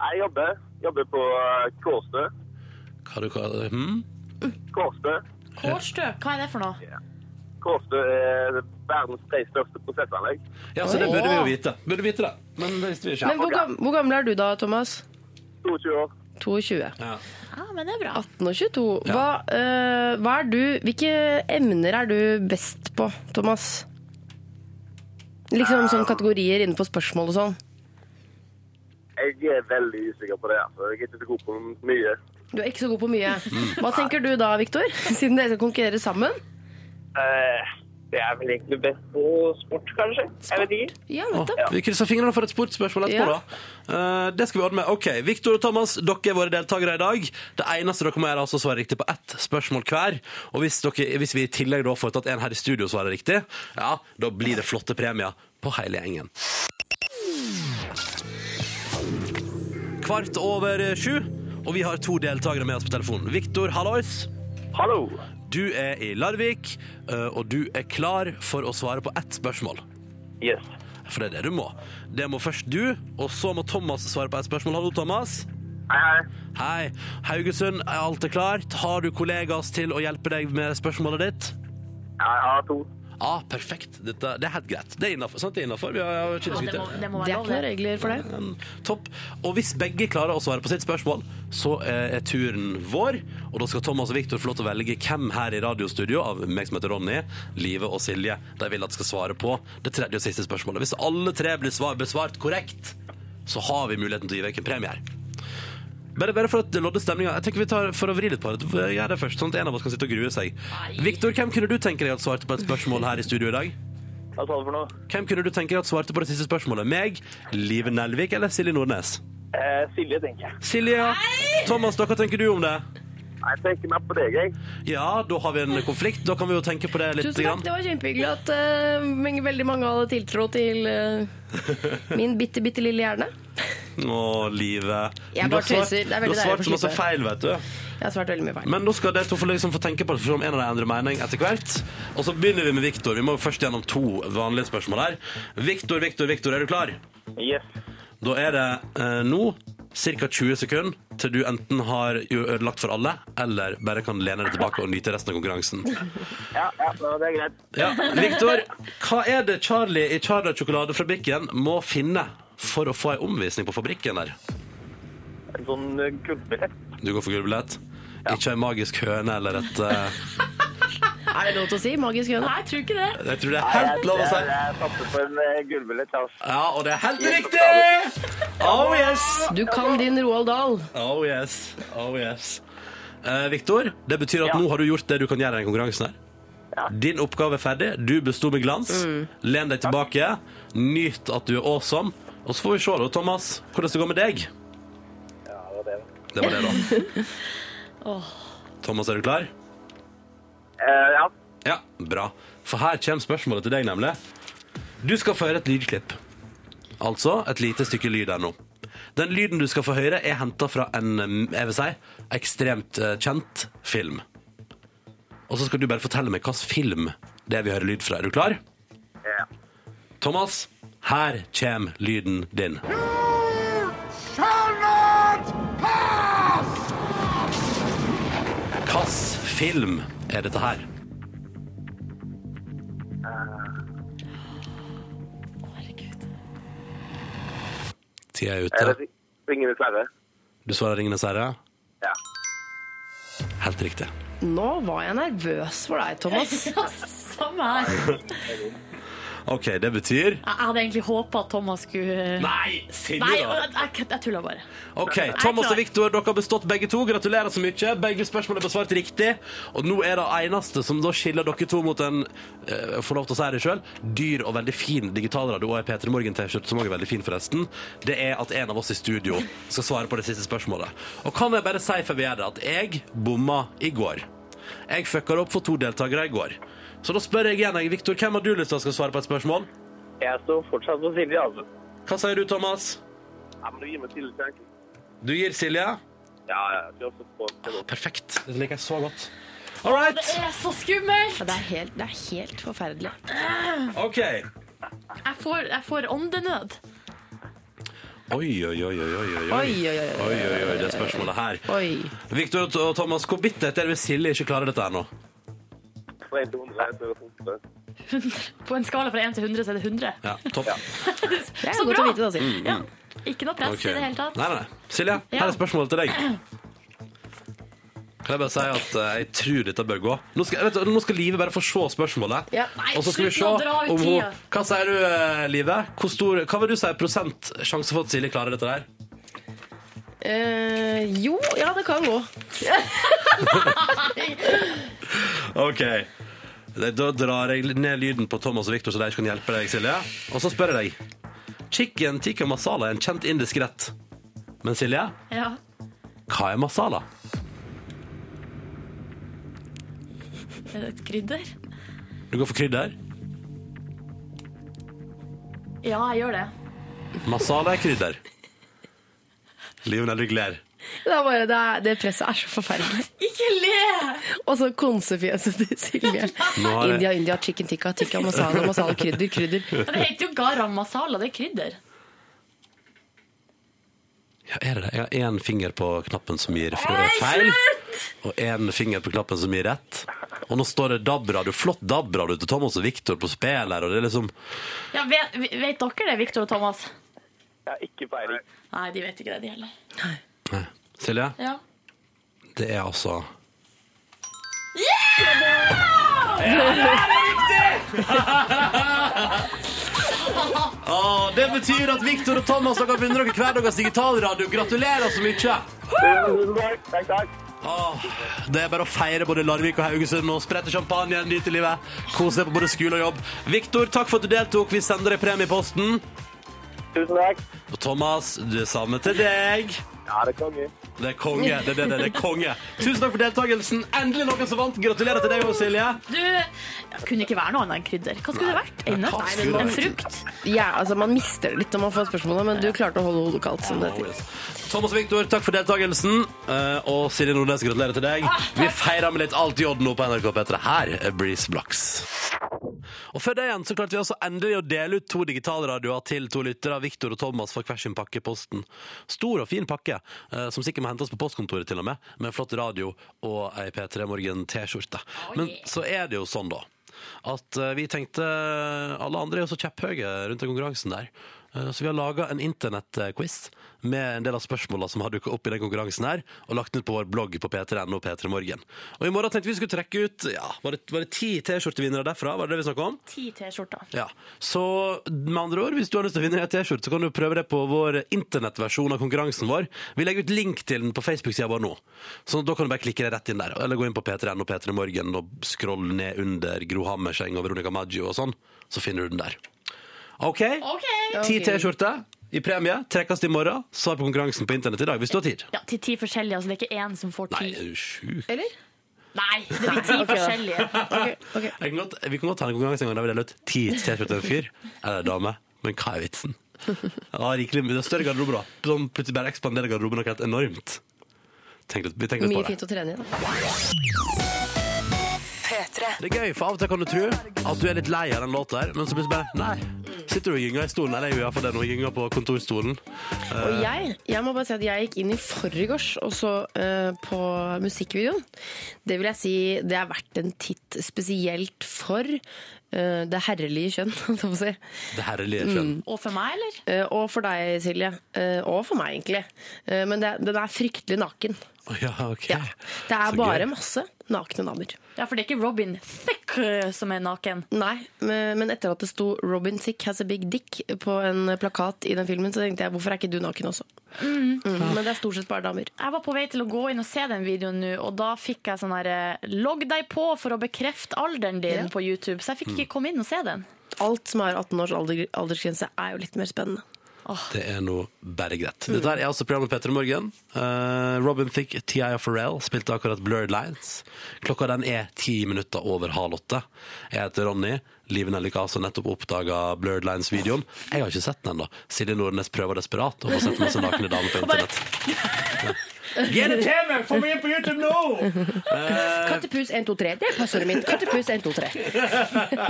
Jeg jobber. Jobber på eh, Kårstø.
Hva du, hva, hm?
Kårstø.
Kårstø, hva er det for noe?
Kårstø er verdens tre største prosessanlegg.
Ja, så det burde vi jo vite. Burde vite det. Men det visste vi ikke.
Men hvor, gam hvor gammel er du da, Thomas?
22 år.
22.
Ja.
Ja,
Ah,
men det er bra.
18 og 22. Hva, øh, hva er du, hvilke emner er du best på, Thomas? Liksom sånn kategorier innenfor spørsmål og sånn.
Jeg er veldig usikker på det, altså. Jeg er ikke så god på mye.
Du er ikke så god på mye. Hva tenker du da, Viktor? (laughs) Siden dere skal konkurrere sammen?
Eh, det er vel egentlig best på sport, kanskje. Jeg vet ikke.
Ja,
Å,
nettopp.
Vi krysser fingrene for et sportsspørsmål etterpå,
Ja.
da. Eh, det skal vi ordne med. Ok, Victor og Thomas, dere er våre deltakere i dag. Det eneste dere må gjøre, er altså å svare riktig på ett spørsmål hver. Og hvis, dere, hvis vi i tillegg da får tatt en her i studio og svarer riktig, ja, da blir det flotte premier på hele gjengen. Kvart over sju, og vi har to deltakere med oss på telefonen. Victor, hallois.
Hallo!
Du er i Larvik, eh, og du er klar for å svare på ett spørsmål.
Yes.
For det er det du må. Det må først du, og så må Thomas svare på et spørsmål. Hallo, Thomas.
Hei, hei.
Hei. Haugesund, er alt er klart? Har du kollegas til å hjelpe deg med spørsmålet ditt?
Jeg har to.
Ja, ah, perfekt. Dette, det er helt greit. Det er innafor. Sant? Det er innafor. Vi har, har
Det
ikke
må,
diskutert.
det må
Det er
være
ikke noen
lov, det.
(laughs)
regler for det.
Men, Topp. Og hvis begge klarer å svare på sitt spørsmål, så eh, er turen vår. Og da skal Thomas og Victor få lov til å velge hvem her i radiostudio av meg som heter Ronny, Live og Silje de vil at skal svare på det tredje og siste spørsmålet. Hvis alle tre blir svar besvart korrekt, så har vi muligheten til å gi vekk en premie her. Bare, bare for at lodde stemninga. Jeg tenker vi tar for å vri litt på det. Gjør det først, sånn at en av oss kan sitte og grue seg. Victor, hvem kunne du tenke deg at svarte på et spørsmål her i studio i dag?
Hva sa du for noe?
Hvem kunne du tenke deg at svarte på det siste spørsmålet? Meg, Live Nelvik eller Silje Nordnes?
Eh, Silje, tenker jeg.
Silje, Thomas, da, hva tenker du om det?
Jeg tenker meg på deg, jeg.
Ja, da har vi en konflikt. Da kan vi jo tenke på det litt.
Tusen takk,
grann.
det var kjempehyggelig at eh, mange- veldig mange hadde tiltro til eh, min bitte, bitte lille hjerne.
Å, livet.
Jeg
Du har
bare
svart-
tøyser. Det er veldig
Du har svart
deilig å få
så masse
slippe.
feil, vet du.
Jeg har svart veldig mye feil.
Men da skal de to få, liksom, få tenke på det, for om en av dem endrer mening etter hvert. Og så begynner vi med Viktor. Vi må jo først gjennom to vanlige spørsmål her. Viktor, Viktor, Viktor, er du klar?
Yes.
Da er det eh, nå ca. 20 sekunder til du enten har jo ødelagt for alle, eller bare kan lene deg tilbake og nyte resten av konkurransen.
Ja, ja, ja, det er greit.
Ja, (laughs) Victor, hva er det Charlie i Charlie-sjokoladefabrikken må finne for å få ei omvisning på fabrikken der?
En sånn eh, gullbillett.
Du går for gullbillett? Ikke ei magisk høne eller et eh,
Er det lov til å si? Magisk høne?
Nei, jeg tror ikke det.
(laughs) Jeg tror det er helt lov å si.
Jeg, jeg, jeg satser på en eh, gullbillett, altså.
Ja, og det er helt riktig! Oh yes!
Du kan din Roald Dahl.
Oh yes. Oh yes. Eh, Victor, det betyr at nå har du gjort det du kan gjøre i denne konkurransen her. Din oppgave er ferdig. Du besto med glans. Len deg tilbake. Nyt at du er awesome. Og så får vi se, da, Thomas, hvordan det går med deg.
Ja, det var det.
Det var det, da. Thomas, er du klar?
Eh, ja.
Ja, bra. For her kommer spørsmålet til deg, nemlig. Du skal få høre et lydklipp. Altså et lite stykke lyd her nå. Den lyden du skal få høre, er henta fra en jeg vil si, ekstremt eh, kjent film. Og så skal du bare fortelle meg hvilken film det er vi hører lyd fra. Er du klar?
Ja.
Thomas, her kommer lyden din. Hvilken film er dette her? Tida er
Er
ute.
det Ringenes herre?
Du svarer 'Ringenes herre'.
Ja.
Helt riktig.
Nå var jeg nervøs for deg, Thomas.
Samme her.
OK, det betyr
Jeg hadde egentlig håpa at Thomas skulle
Nei! Silje,
Nei,
da!
jeg, jeg, jeg tulla bare.
OK, Thomas
klar.
og Victor, dere har bestått begge to. Gratulerer så mye. Begge spørsmål er besvart riktig. Og nå er det eneste som da skiller dere to mot en eh, får lov til å si det sjøl, dyr og veldig fin digitalradio og ei P3 Morgen-T-skjorte, som også er veldig fin, forresten, det er at en av oss i studio skal svare på det siste spørsmålet. Og kan jeg bare si før vi gjør det, at jeg bomma i går. Jeg fucka det opp for to deltakere i går. Så da spør jeg igjen, jeg, Victor, hvem har du lyst til å skal svare på et spørsmål?
Jeg står fortsatt på Silje, altså.
Hva sier du, Thomas?
Ja, men du gir meg Silje sjansen.
Du gir Silje?
Ja, ja. Vi har også fått til nå.
Perfekt. Det liker jeg så godt. All right.
Det er så skummelt!
Det er helt, det er helt forferdelig.
OK.
Jeg får, jeg får åndenød.
Oi, oi, oi, oi, oi, oi.
Oi, oi, oi.
Oi, oi, oi, det spørsmålet her.
Oi.
Victor og Thomas, hvor bittert er det hvis Silje ikke klarer dette her nå?
Fra en til hundre, så er det hundre.
På en skala fra 1 til 100 så er det 100.
Ja, topp.
Det er
Så
godt
bra!
å vite, da, Siv.
Ja. Ikke noe press
Mm-hmm. Ok.
i det hele tatt.
Nei, nei, nei. Silje, her er spørsmålet til deg. Kan jeg bare si at eh, jeg tror dette bør gå. Nå skal, vet du, nå skal Live bare få se spørsmålet.
Ja.
Nei,
og så skal vi
slutt
se
nå, dra ut
om hun
tida.
Hva sier du, eh, Live? Hvor stor, hva vil du si er prosent sjanse for at Silje klarer dette der?
Eh, jo, ja, det kan gå.
Ok Da drar jeg ned lyden på Thomas og Victor Så de ikke kan hjelpe deg, Silje Og så spør jeg deg Chicken tikka masala er en kjent indisk rett Men Silje,
Ja.
hva er masala?
Er det et krydder?
Du går for krydder
Ja, jeg gjør det.
Masala er krydder Lionel Rygler
Det, er bare, det, er, det presset er så forferdelig.
(laughs) Ikke le!
Og så konsefjeset til Silje.
Nå har jeg-
India, India, chicken tikka, tikka masala, masala, krydder, krydder.
Men Det heter jo garam masala, det er krydder.
ja, er det det? Jeg har en finger på knappen som gir flere feil Og en finger på knappen som gir rett Og nå står det dabra, du flott dabra du til Thomas og Victor på spil her Og det er liksom
Ja, vet, vet dere det, Victor og Thomas?
Jeg har ikke peiling.
Nei, de vet ikke det, de heller.
Nei. Silje,
Ja.
det er altså Å, det betyr at Victor og Thomas dere vinner dere hverdagens digitalradio. Gratulerer så mye!
Tusen takk. Takk, takk.
Åh, det er bare å feire både Larvik og Haugesund og sprette champagne, nyte livet, kose deg på både skole og jobb. Victor, takk for at du deltok. Vi sender deg premie i posten.
Tusen takk.
Og Thomas, det samme til deg.
Ja, det er konge.
Det er konge. det er det, det er konge. Tusen takk for deltakelsen. Endelig noen som vant. Gratulerer til deg òg, Silje.
Du, det kunne ikke være noe annet enn krydder. Hva skulle det vært? En
hva
nøtt?
skulle det
En
vært?
frukt?
Ja, altså, man mister det litt når man får spørsmålet, men du klarte å holde hodet kaldt. Som det
Oh,
heter.
yes. Thomas og Victor, takk for deltakelsen. Eh, Og Silje Nordnes, gratulerer til deg. Vi feirer med litt alt i odd nå på NRK P3. Her er Breeze Blocks. Og før det igjen så klarte vi også endelig å dele ut to digitalradioer til to lyttere. Victor og Thomas får hver sin pakke i posten. Stor og fin pakke, eh, som sikkert må hentes på postkontoret til og med, med flott radio og ei P3 Morgen T-skjorte. Men så er det jo sånn, da, at eh, vi tenkte eh, Alle andre er jo så kjepphøye rundt den konkurransen der. Eh, Så vi har laga en internettquiz med en del av spørsmåla som har dukka opp i den konkurransen her, og lagt den ut på vår blogg på p3.no og p3morgen. Og i morgen tenkte vi skulle trekke ut ja, var, det, var det ti T-skjortevinnere derfra? Var det det vi snakka om?
Ti T-skjorter.
Ja, Så med andre ord, hvis du har lyst til å vinne en T-skjorte, så kan du prøve det på vår internettversjon av konkurransen vår. Vi legger ut link til den på Facebook-sida vår nå. Så da kan du bare klikke deg rett inn der. Eller gå inn på P3N og P3 Morgen og scroll ned under Gro Hammerseng og Veronica Maggio og sånn. Så finner du den der. OK?
OK!
Ti T-skjorter i premie. Trekkes i morgen. Svar på konkurransen på internett i dag hvis du har tid.
Ja, til ti forskjellige, altså det er ikke én som får
Nei,
ti.
er du sjuk?
Eller?
Nei, det blir
(laughs)
ti forskjellige.
Ok, ok.
Jeg kan godt, vi kan godt ha en konkurranse en gang der vi deler ut ti T-skjorter til en fyr eller en dame. Men hva er vitsen? Ja, rikelig, det er større garderober, da. Som plutselig bare ekspanderer garderoben noe helt enormt. Tenk litt, vi tenker litt
Mye
på det.
fint å trene i. da.
Det er gøy, for av og til kan du tro at du er litt lei av den låta her, men så plutselig bare Nei. Sitter du og gynger i stolen? Eller jeg gjør iallfall det når jeg gynger på kontorstolen. Eh.
Og jeg, jeg må bare si at jeg gikk inn i forgårs og så eh, på musikkvideoen. Det vil jeg si det er verdt en titt spesielt for eh, det herrelige kjønn, (laughs) holdt jeg på å si.
Det herlige kjønn.
Og for meg, eller?
Eh, og for deg, Silje. Eh, og for meg, egentlig. Eh, men det, den er fryktelig naken.
Å, Ja, ok.
Ja. Det er
Så
bare
gøy.
masse nakne damer.
Ja, for det er ikke Robin Thicke som er naken.
Nei, men men etter at det sto 'Robin Sick has a big dick' på en plakat i den filmen, så tenkte jeg hvorfor er ikke du naken også? Mm, men det er stort sett bare damer.
Jeg var på vei til å gå inn og se den videoen nå, og da fikk jeg sånn her eh, Logg deg på for å bekrefte alderen din
Ja.
på YouTube, så jeg fikk ikke komme inn og se den.
Alt som har 18 års alder, aldersgrense, er jo litt mer spennende.
Det er nå bare greit. Dette her er altså programmet Petter i morgen. Eh, Robin Thicke, T.I. og Pharrell spilte akkurat Blurred Lines. Klokka den er ti minutter over halv åtte. Jeg heter Ronny. Liv Nelly Kaas har nettopp oppdaga Blurred Lines-videoen. Jeg har ikke sett den ennå. Silje Nordnes prøver desperat å få sett masse nakne damer
(laughs)
på internett. Get it, Hammer! Få meg inn på YouTube nå!
Eh. Kattepus 1, 2, 3. Det er passordet mitt. Kattepus 1, 2, 3.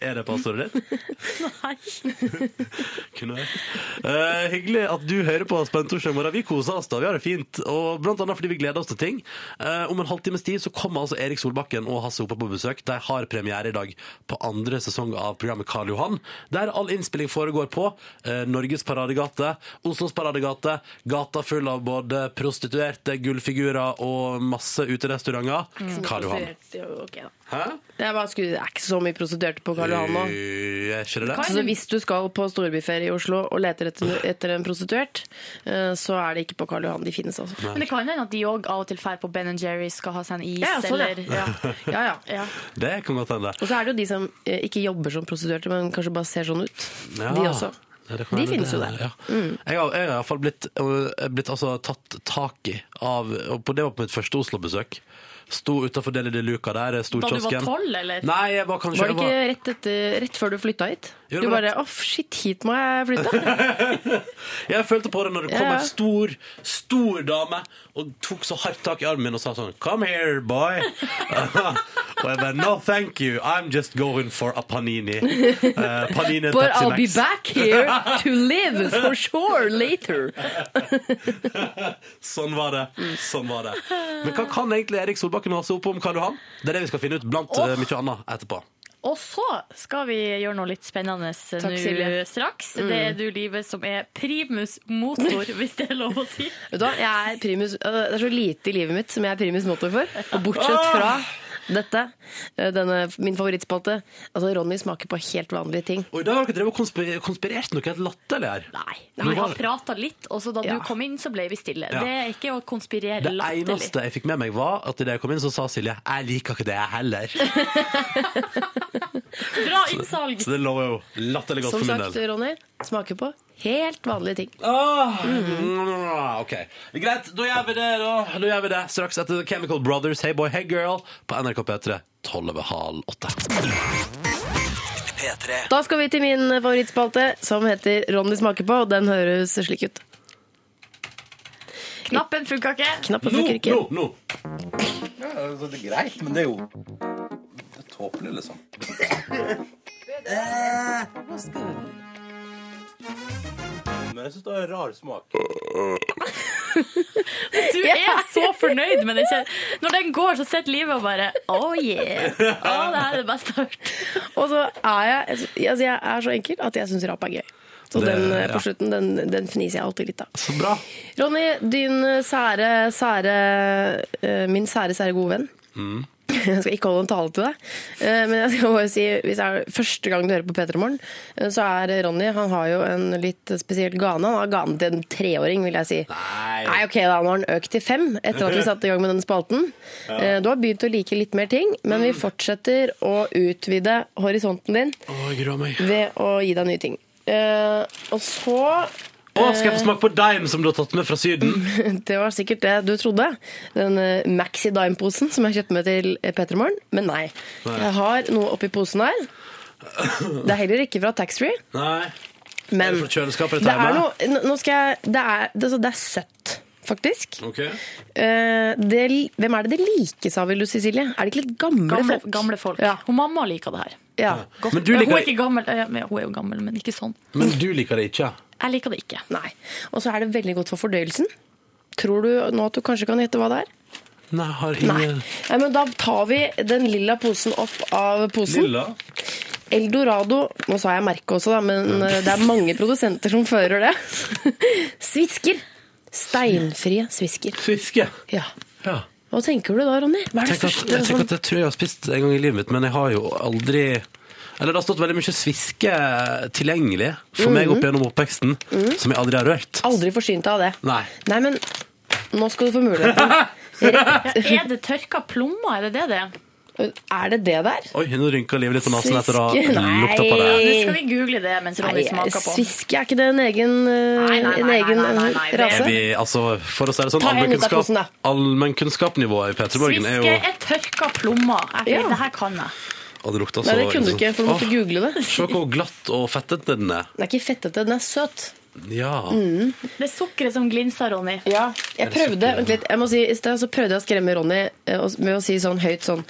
Er det passordet ditt?
Nei.
Kunne vært. Eh, hyggelig at du hører på oss på en torsdag morgen. Vi koser oss da, vi har det fint. Og blant annet fordi vi gleder oss til ting. Eh, om en halvtimes tid så kommer altså Erik Solbakken og Hasse Hope på besøk. De har premiere i dag på andre sesong av programmet Karl Johan, der all innspilling foregår på eh, Norges paradegate, Oslos paradegate, gata full av både prostituerte, gullfigurer og masse uterestauranter.
Mm.
Karl Johan.
Ok, da.
Hæ?
Det er, bare, sku- det er ikke så mye prostituerte på Karl Johan nå.
Eh, Er ikke det det?
Så Altså, hvis du skal på storbyferie i Oslo og leter etter, etter en prostituert, eh, så er det ikke på Karl Johan de finnes, altså.
Men det kan hende at de òg av og til drar på Ben Jerry, skal ha seg en is,
Ja, sånn, ja.
eller ja.
Ja, ja.
(laughs)
Ja.
Det kan godt hende.
Og så er det jo de som eh, ikke jobber som prostituerte, men kanskje bare ser sånn ut.
Ja.
De også.
Ja, det kan
De
være
finnes jo
det,
der. Mm.
Ja. Jeg har jeg har i hvert fall blitt, øh, blitt altså, tatt tak i av og på, Det var på mitt første Oslo-besøk. Sto utafor Deli de Luca der,
Da du
storkiosken.
var tolv, eller?
Nei, jeg var kanskje
Var det
jeg
ikke rett, etter, rett før du flytta hit?
Jo, det
Du
var
bare 'Å, shit, hit må jeg flytte'.
(laughs) var, jeg følte på det når det kom
Ja, ja.
ei stor, stor dame og tok så hardt tak i armen min og sa sånn Come here, boy. (laughs) og jeg bare No, thank you. I'm just going for a panini. Eh, panini and
But
Pepsi
I'll be
Max.
back here to live,
(laughs)
for sure, later.
Sånn var det. sånn var det Men hva kan egentlig Erik Solbakken ha seg opp om Karl Johan? Det er det vi skal finne ut blant eh, mye annet etterpå.
Og så skal vi gjøre noe litt spennende nå
Silje.
straks. Det er du, Live, som er primus (laughs) motor, hvis det er lov å si.
Vet du hva, jeg er primus, øh, det er så lite i livet mitt som jeg er primus motor for. Og bortsett fra dette, øh, denne, min favorittspalte. Altså, Ronny smaker på helt vanlige ting.
Og i dag har dere drevet og konspi- konspirert noe helt latterlig her.
Nei.
Nå
Vi
var
har
det-
prata litt, og så da
Ja.
du kom inn, så ble vi stille.
Ja.
Det er ikke å konspirere
Det
latterlig.
eneste jeg fikk med meg, var at idet jeg kom inn, så sa Silje 'Jeg liker ikke det, jeg heller'.
Bra innsalg!
Så det lover jo latterlig godt
Som
for min
sagt, eh,
del.
Ronny smaker på helt vanlige ting.
Åh, Ah, mm, Ok, Greit, da gjør vi det, da. Da gjør vi det straks etter The Chemical Brothers, Hey Boy, Hey Girl, på NRK P3 12 over halv åtte.
Da skal vi til min favorittspalte, som heter Ronny smaker på, og den høres slik ut.
Knappen funka ikke.
Knappen funker ikke.
nå!
Altså, det er greit, men det er jo det er tåpelig, liksom. Men jeg syns det har rar smak.
Du er så fornøyd med den. kjen- Når den går, så sitter livet og bare Oh yeah! Å, det her er det beste jeg har hørt.
Og så er jeg, altså jeg er så enkel at jeg syns rap er gøy. Så
Det-
den eh,
ja.
på slutten, den, den fniser jeg alltid litt av.
Så bra.
Ronny, din sære, sære eh, Min sære, sære gode venn.
Mm.
(laughs) Jeg skal ikke holde en tale til deg, eh, men jeg skal bare si hvis det er første gang du hører på P3 Morgen, eh, så er Ronny Han har jo en litt spesiell gane. Han har gane til en treåring, vil jeg si.
Nei.
Nei, ok, da nå har den økt til fem etter at vi satte i gang med den spalten. Eh, Du har begynt å like litt mer ting, men vi fortsetter å utvide horisonten din
Å, jeg gruer meg.
ved å gi deg nye ting. Eh, og så (laughs)
Å, skal jeg få smake på deim som du har tatt med fra Syden?
Det var sikkert det du trodde. Den eh, Maxi Dime-posen som jeg kjøpte med til Petremorgen. Men nei. Jeg har noe oppi posen her. Det er heller ikke fra taxfree.
Nei.
Men
Er det fra kjøleskapet ditt
det er
hjemme?
noe nå skal jeg, det, er, det, altså, det er søtt. faktisk.
Ok.
Eh, det, hvem er det det likes av, vil du si, Silje? Er det ikke litt gamle,
Gamle,
folk?
gamle folk.
Ja.
Hun mamma liker det her.
Ja.
Godt.
Men du
Hun
liker-
er ikke gammel, eh, men hun er jo gammel, men ikke sånn.
Men du liker det ikke?
Jeg liker det ikke.
Nei. Og så er det veldig godt for fordøyelsen. Tror du nå at du kanskje kan gjette hva det er?
Nei, har
Nei.
ingen
Nei, men da tar vi den lilla posen opp av posen.
Lilla?
Eldorado Nå sa jeg merket også, da, men eh, det er mange produsenter som fører det. (laughs) Svisker. Steinfrie svisker.
Sviske.
Ja.
Ja.
Hva tenker du da, Ronny? Hva er det
Tenk at,
første sånn?
jeg tenker
som
at jeg tror jeg har spist en gang i livet mitt, men jeg har jo aldri Eller det har stått veldig mye sviske tilgjengelig
Mm.
for meg opp gjennom oppveksten, som jeg aldri har rørt.
Aldri forsynt deg av det.
Nei.
Nei, men nå skal du få muligheten.
(laughs)
Er det tørka plommer? Er det det det? er?
Er det det der?
Oi, nå rynker livet litt på nesen etter å ha
Sviske? Nei.
lukta på det.
Nå skal vi google det mens Ronny
Nei,
smaker på.
Sviske er ikke det en egen, eh,
Nei, nei, nei,
en egen eh,
nei, nei, nei, det-
Er
rase?
vi, altså, for å si det sånn,
Ta en ut av
allmennkunnskap-
posen, da.
allmennkunnskapnivået i P3 Morgen er
Sviske
jo
er tørka plommer. Jeg,
Ja.
Det her kan jeg.
Å, det lukta så
Nei, det kunne du ikke, for du måtte
Åh,
google
(laughs)
det.
Se hvor glatt og fettete den er.
Den er ikke fettete, den er søt.
Ja.
Mm.
Det er sukkeret som glinser, Ronny.
Ja, jeg prøvde vent litt, jeg må si, I sted så prøvde jeg å skremme Ronny eh, og- med å si sånn høyt sånn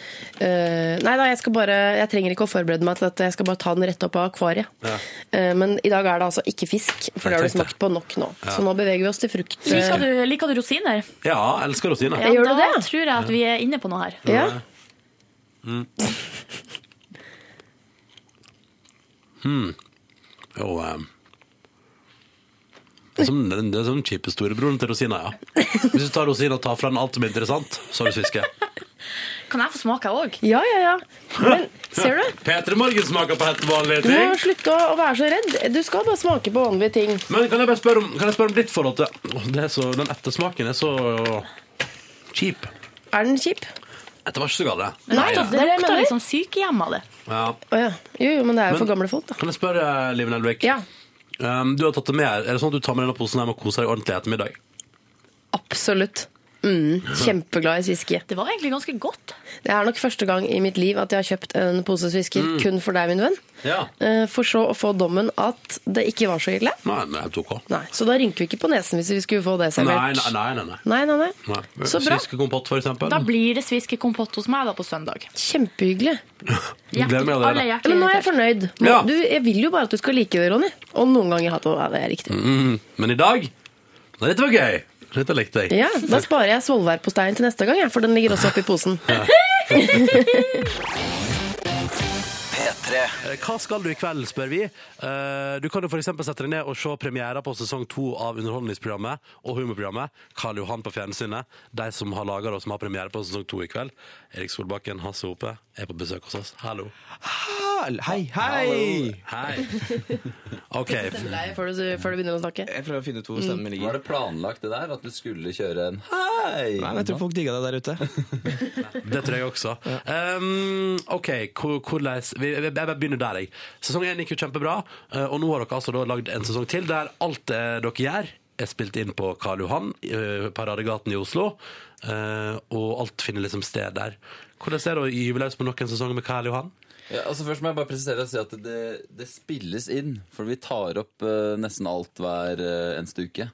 eh, Nei da, jeg skal bare Jeg trenger ikke å forberede meg til dette, jeg skal bare ta den rett opp av akvariet. Eh, men i dag er det altså ikke fisk, for det har du
tenkte det.
smakt på nok nå. Så nå beveger vi oss til frukt. eh,
Liker du, liker du rosiner?
ja, elsker rosiner.
Ja. Gjør du
da
det?
tror jeg at vi er inne på noe her.
ja.
Og, eh, det er som den, det er som den kjipe storebroren til rosina, ja. Hvis du tar rosina og tar fra den alt som er interessant, så har du sviske.
Kan jeg få smake òg?
ja, ja, ja. Men
(laughs)
ser du?
P3 Morgen smaker på helt vanlige
Du må
ting.
slutte å å være så redd. Du skal bare smake på vanlige ting.
Men kan jeg bare spørre om, kan jeg spørre om ditt forhold til Åh, det er så, Den ettersmaken er så kjip.
Er den kjip?
Dette var ikke så galt, det.
Nei,
Det
jeg
lukter
mener.
litt sånn sykehjem av det.
Ja.
Å ja. Jo, jo, men det er jo
Men-
for gamle folk, da.
Kan jeg spørre, eh, Liv Nelvik?
Ja,
Um, du har tatt det med her. Er det sånn at du tar med denne posen hjem og koser deg ordentlig i ettermiddag?
absolutt. Mm, kjempeglad i sviske.
Det var egentlig ganske godt.
Det er nok første gang i mitt liv at jeg har kjøpt en pose svisker kun for deg, min venn.
Mm. Ja.
Eh, For så å få dommen at det ikke var så ille.
Nei, men det er helt ok.
Nei, Så da rynker vi ikke på nesen hvis vi skulle få det
Nei,
servert.
nei, nei. nei, nei.
nei, nei, nei.
nei.
Så bra.
Sviskekompott, for eksempel.
Da blir det sviskekompott hos meg da på søndag.
Kjempehyggelig.
Jeg gleder meg allerede.
Alle er
Ja,
hjertelig
men nå er jeg
invitert.
fornøyd. Må-
Ja.
Du, jeg vil jo bare at du skal like det, Ronny. Og noen ganger hatt Ja, det er riktig.
Mm. Men i dag Nei, dette var gøy. Dette likte jeg.
Ja, Da sparer jeg svolværposteien til neste gang, jeg, for den ligger også oppi posen.
P3.
Eh, Hva skal du i kveld, spør vi. Eh, Du kan jo for eksempel sette deg ned og se premiere på sesong to av underholdningsprogrammet og humorprogrammet Karl Johan på fjernsynet. De som har laget det og som har premiere på sesong to i kveld. Erik Solbakken, Hasse Hope, er på besøk hos oss. Hallo.
Hei, hei!
Hei. OK.
Nei, før du, før du begynner å snakke.
Jeg prøver å finne ut hvor stemmen ligger.
Var det planlagt det der, at du skulle kjøre en
Mm. Nei,
hei?
men jeg tror folk digga det der ute.
Det tror jeg også. Um, OK, hvor- hvordan vi- Jeg bare begynner der, jeg. Sesong én gikk jo kjempebra, eh, og nå har dere altså da lagd en sesong til der alt det dere gjør, er spilt inn på Karl Johan, eh, Paradegaten i Oslo, eh, og alt finner liksom sted der. Hvordan er det å gyve løs på nok en sesong med Karl Johan?
Ja, altså Først må jeg bare presisere og si at det, det spilles inn. For vi tar opp eh, nesten alt hver eh, eneste uke.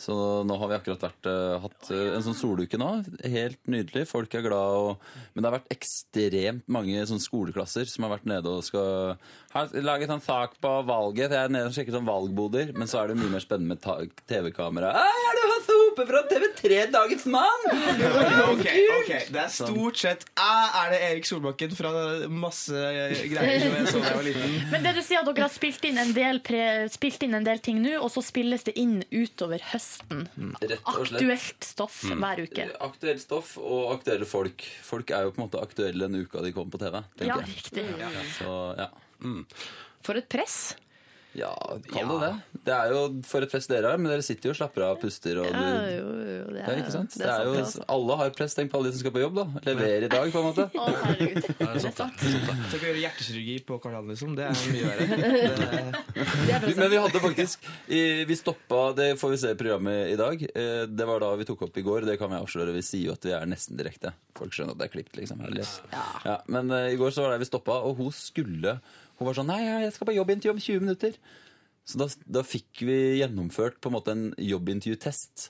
Så nå har vi akkurat vært, eh, hatt eh, en sånn soluke nå. Helt nydelig. Folk er glad. Og, men det har vært ekstremt mange sånn skoleklasser som har vært nede og skal har laget en sak på valget. Jeg er nede og sjekker sånn valgboder, men så er det mye mer spennende med ta- TV-kamera. Ah, «Hei, Er du Hasse Hope fra TV3 Dagens Mann?
(laughs) Ok, ok, Det er stort sett ah, Er det Erik Solbakken fra masse greier som jeg så da jeg var liten?
Men det du sier at dere har spilt inn en del, pre, spilt inn en del ting nå, og så spilles det inn utover høsten.
Rett og slett.
Aktuelt stoff hver uke.
Aktuelt stoff og aktuelle folk. Folk er jo på en måte aktuelle den uka de kommer på TV.
Ja,
tenker jeg.
riktig.
Så ja.
For et press.
Ja, kall det det. Det er jo for et press dere har, men dere sitter jo og slapper av og puster. Og du,
jo, jo, det altså.
ja, ikke sant? Det er altså. jo, alle har press. Tenk på alle de som skal på jobb, da. Levere i dag, på en måte.
Å, herregud. Det er sant.
Tenk å gjøre hjertekirurgi på Karl Johan, liksom. Det er mye verre.
(laughs) Vi- Men vi hadde faktisk eh, Vi stoppa Det får vi se i programmet i dag. Eh, Det var da vi tok opp i går. Det kan vi avsløre. Vi sier jo at vi er nesten direkte. Folk skjønner at det er klippet, liksom. Eller, ja, men eh, i går så var det vi stoppa, og hun skulle Hun var sånn Nei, ja, jeg skal på jobbintervju om 20 minutter. Så da, da fikk vi gjennomført på en måte en jobbintervjutest.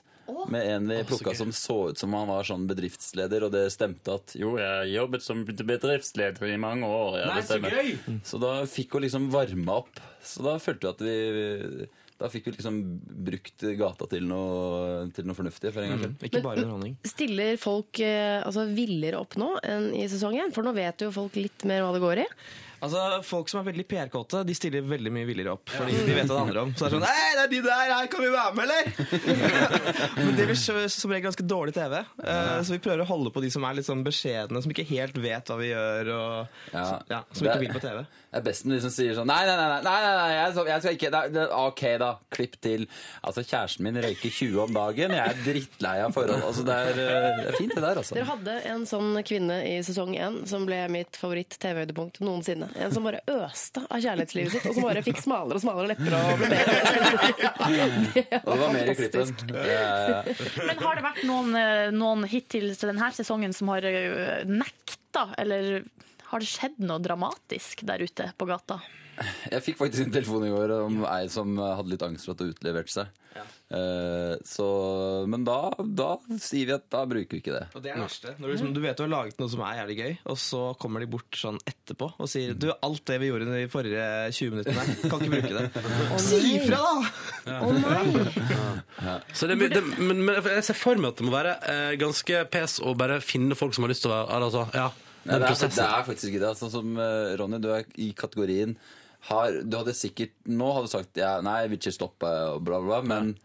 Med en vi plukka som så ut som han var sånn bedriftsleder, og det stemte at Jo, jeg har jobbet som bedriftsleder i mange år. Ja,
Nei,
det
så
stemmer.
gøy!
Så da fikk hun liksom varma opp. Så da følte vi at vi Da fikk vi liksom brukt gata til noe, til noe fornuftig for en gangs skyld.
Ikke bare underholdning.
Stiller folk eh, altså, villere opp nå enn i sesongen? For nå vet jo folk litt mer hva det går i.
Altså, Folk som er veldig PR-kåte, de stiller veldig mye villere opp. Fordi de vet hva det handler om. Så det er sånn Hei, det er de der! Her kan vi være med, eller?
(laughs)
Men det blir så- som regel ganske dårlig TV. Eh, Så vi prøver å holde på de som er litt sånn beskjedne, som ikke helt vet hva vi gjør, og
Ja.
ja, som ikke vil på TV.
Det er best når de som sier sånn Nei, nei, nei, nei, nei, nei, nei jeg, skal- jeg skal ikke nei, det, Ok, da. Klipp til. Altså, kjæresten min røyker 20 om dagen. Jeg er drittlei av forhold. Altså, det er, eh, det er fint, det der, altså.
Dere hadde en sånn kvinne i sesong én som ble mitt favoritt-TV-høydepunkt noensinne. En som bare øste av kjærlighetslivet sitt, og som bare fikk smalere og smalere lepper. og ble bedre.
Og det var mer i klippen. Ja, ja, ja.
Men har det vært noen, eh, noen hittil til denne sesongen som har eh, nekta, eller har det skjedd noe dramatisk der ute på gata?
Jeg fikk faktisk en telefon i går om ei som hadde litt angst for at hun utleverte seg. Eh, så, men da, da sier vi at da bruker vi ikke det.
Og det er det verste. Når du, liksom, du vet du har laget noe som er jævlig gøy, og så kommer de bort sånn etterpå og sier Du, alt det vi gjorde de forrige 20 minuttene, kan ikke bruke (laughs) det. Si ifra, da!
Så det, er mye- det, men, men jeg ser for meg at det må være eh, ganske pes å bare finne folk som har lyst til å være altså, Ja, den
Nei, det, er, det
prosessen.
er faktisk ikke det. Sånn som eh, Ronny, du er i kategorien har, Du hadde sikkert Nå hadde du sagt ja, nei, jeg vil ikke stoppe, og bla, bla, bla, men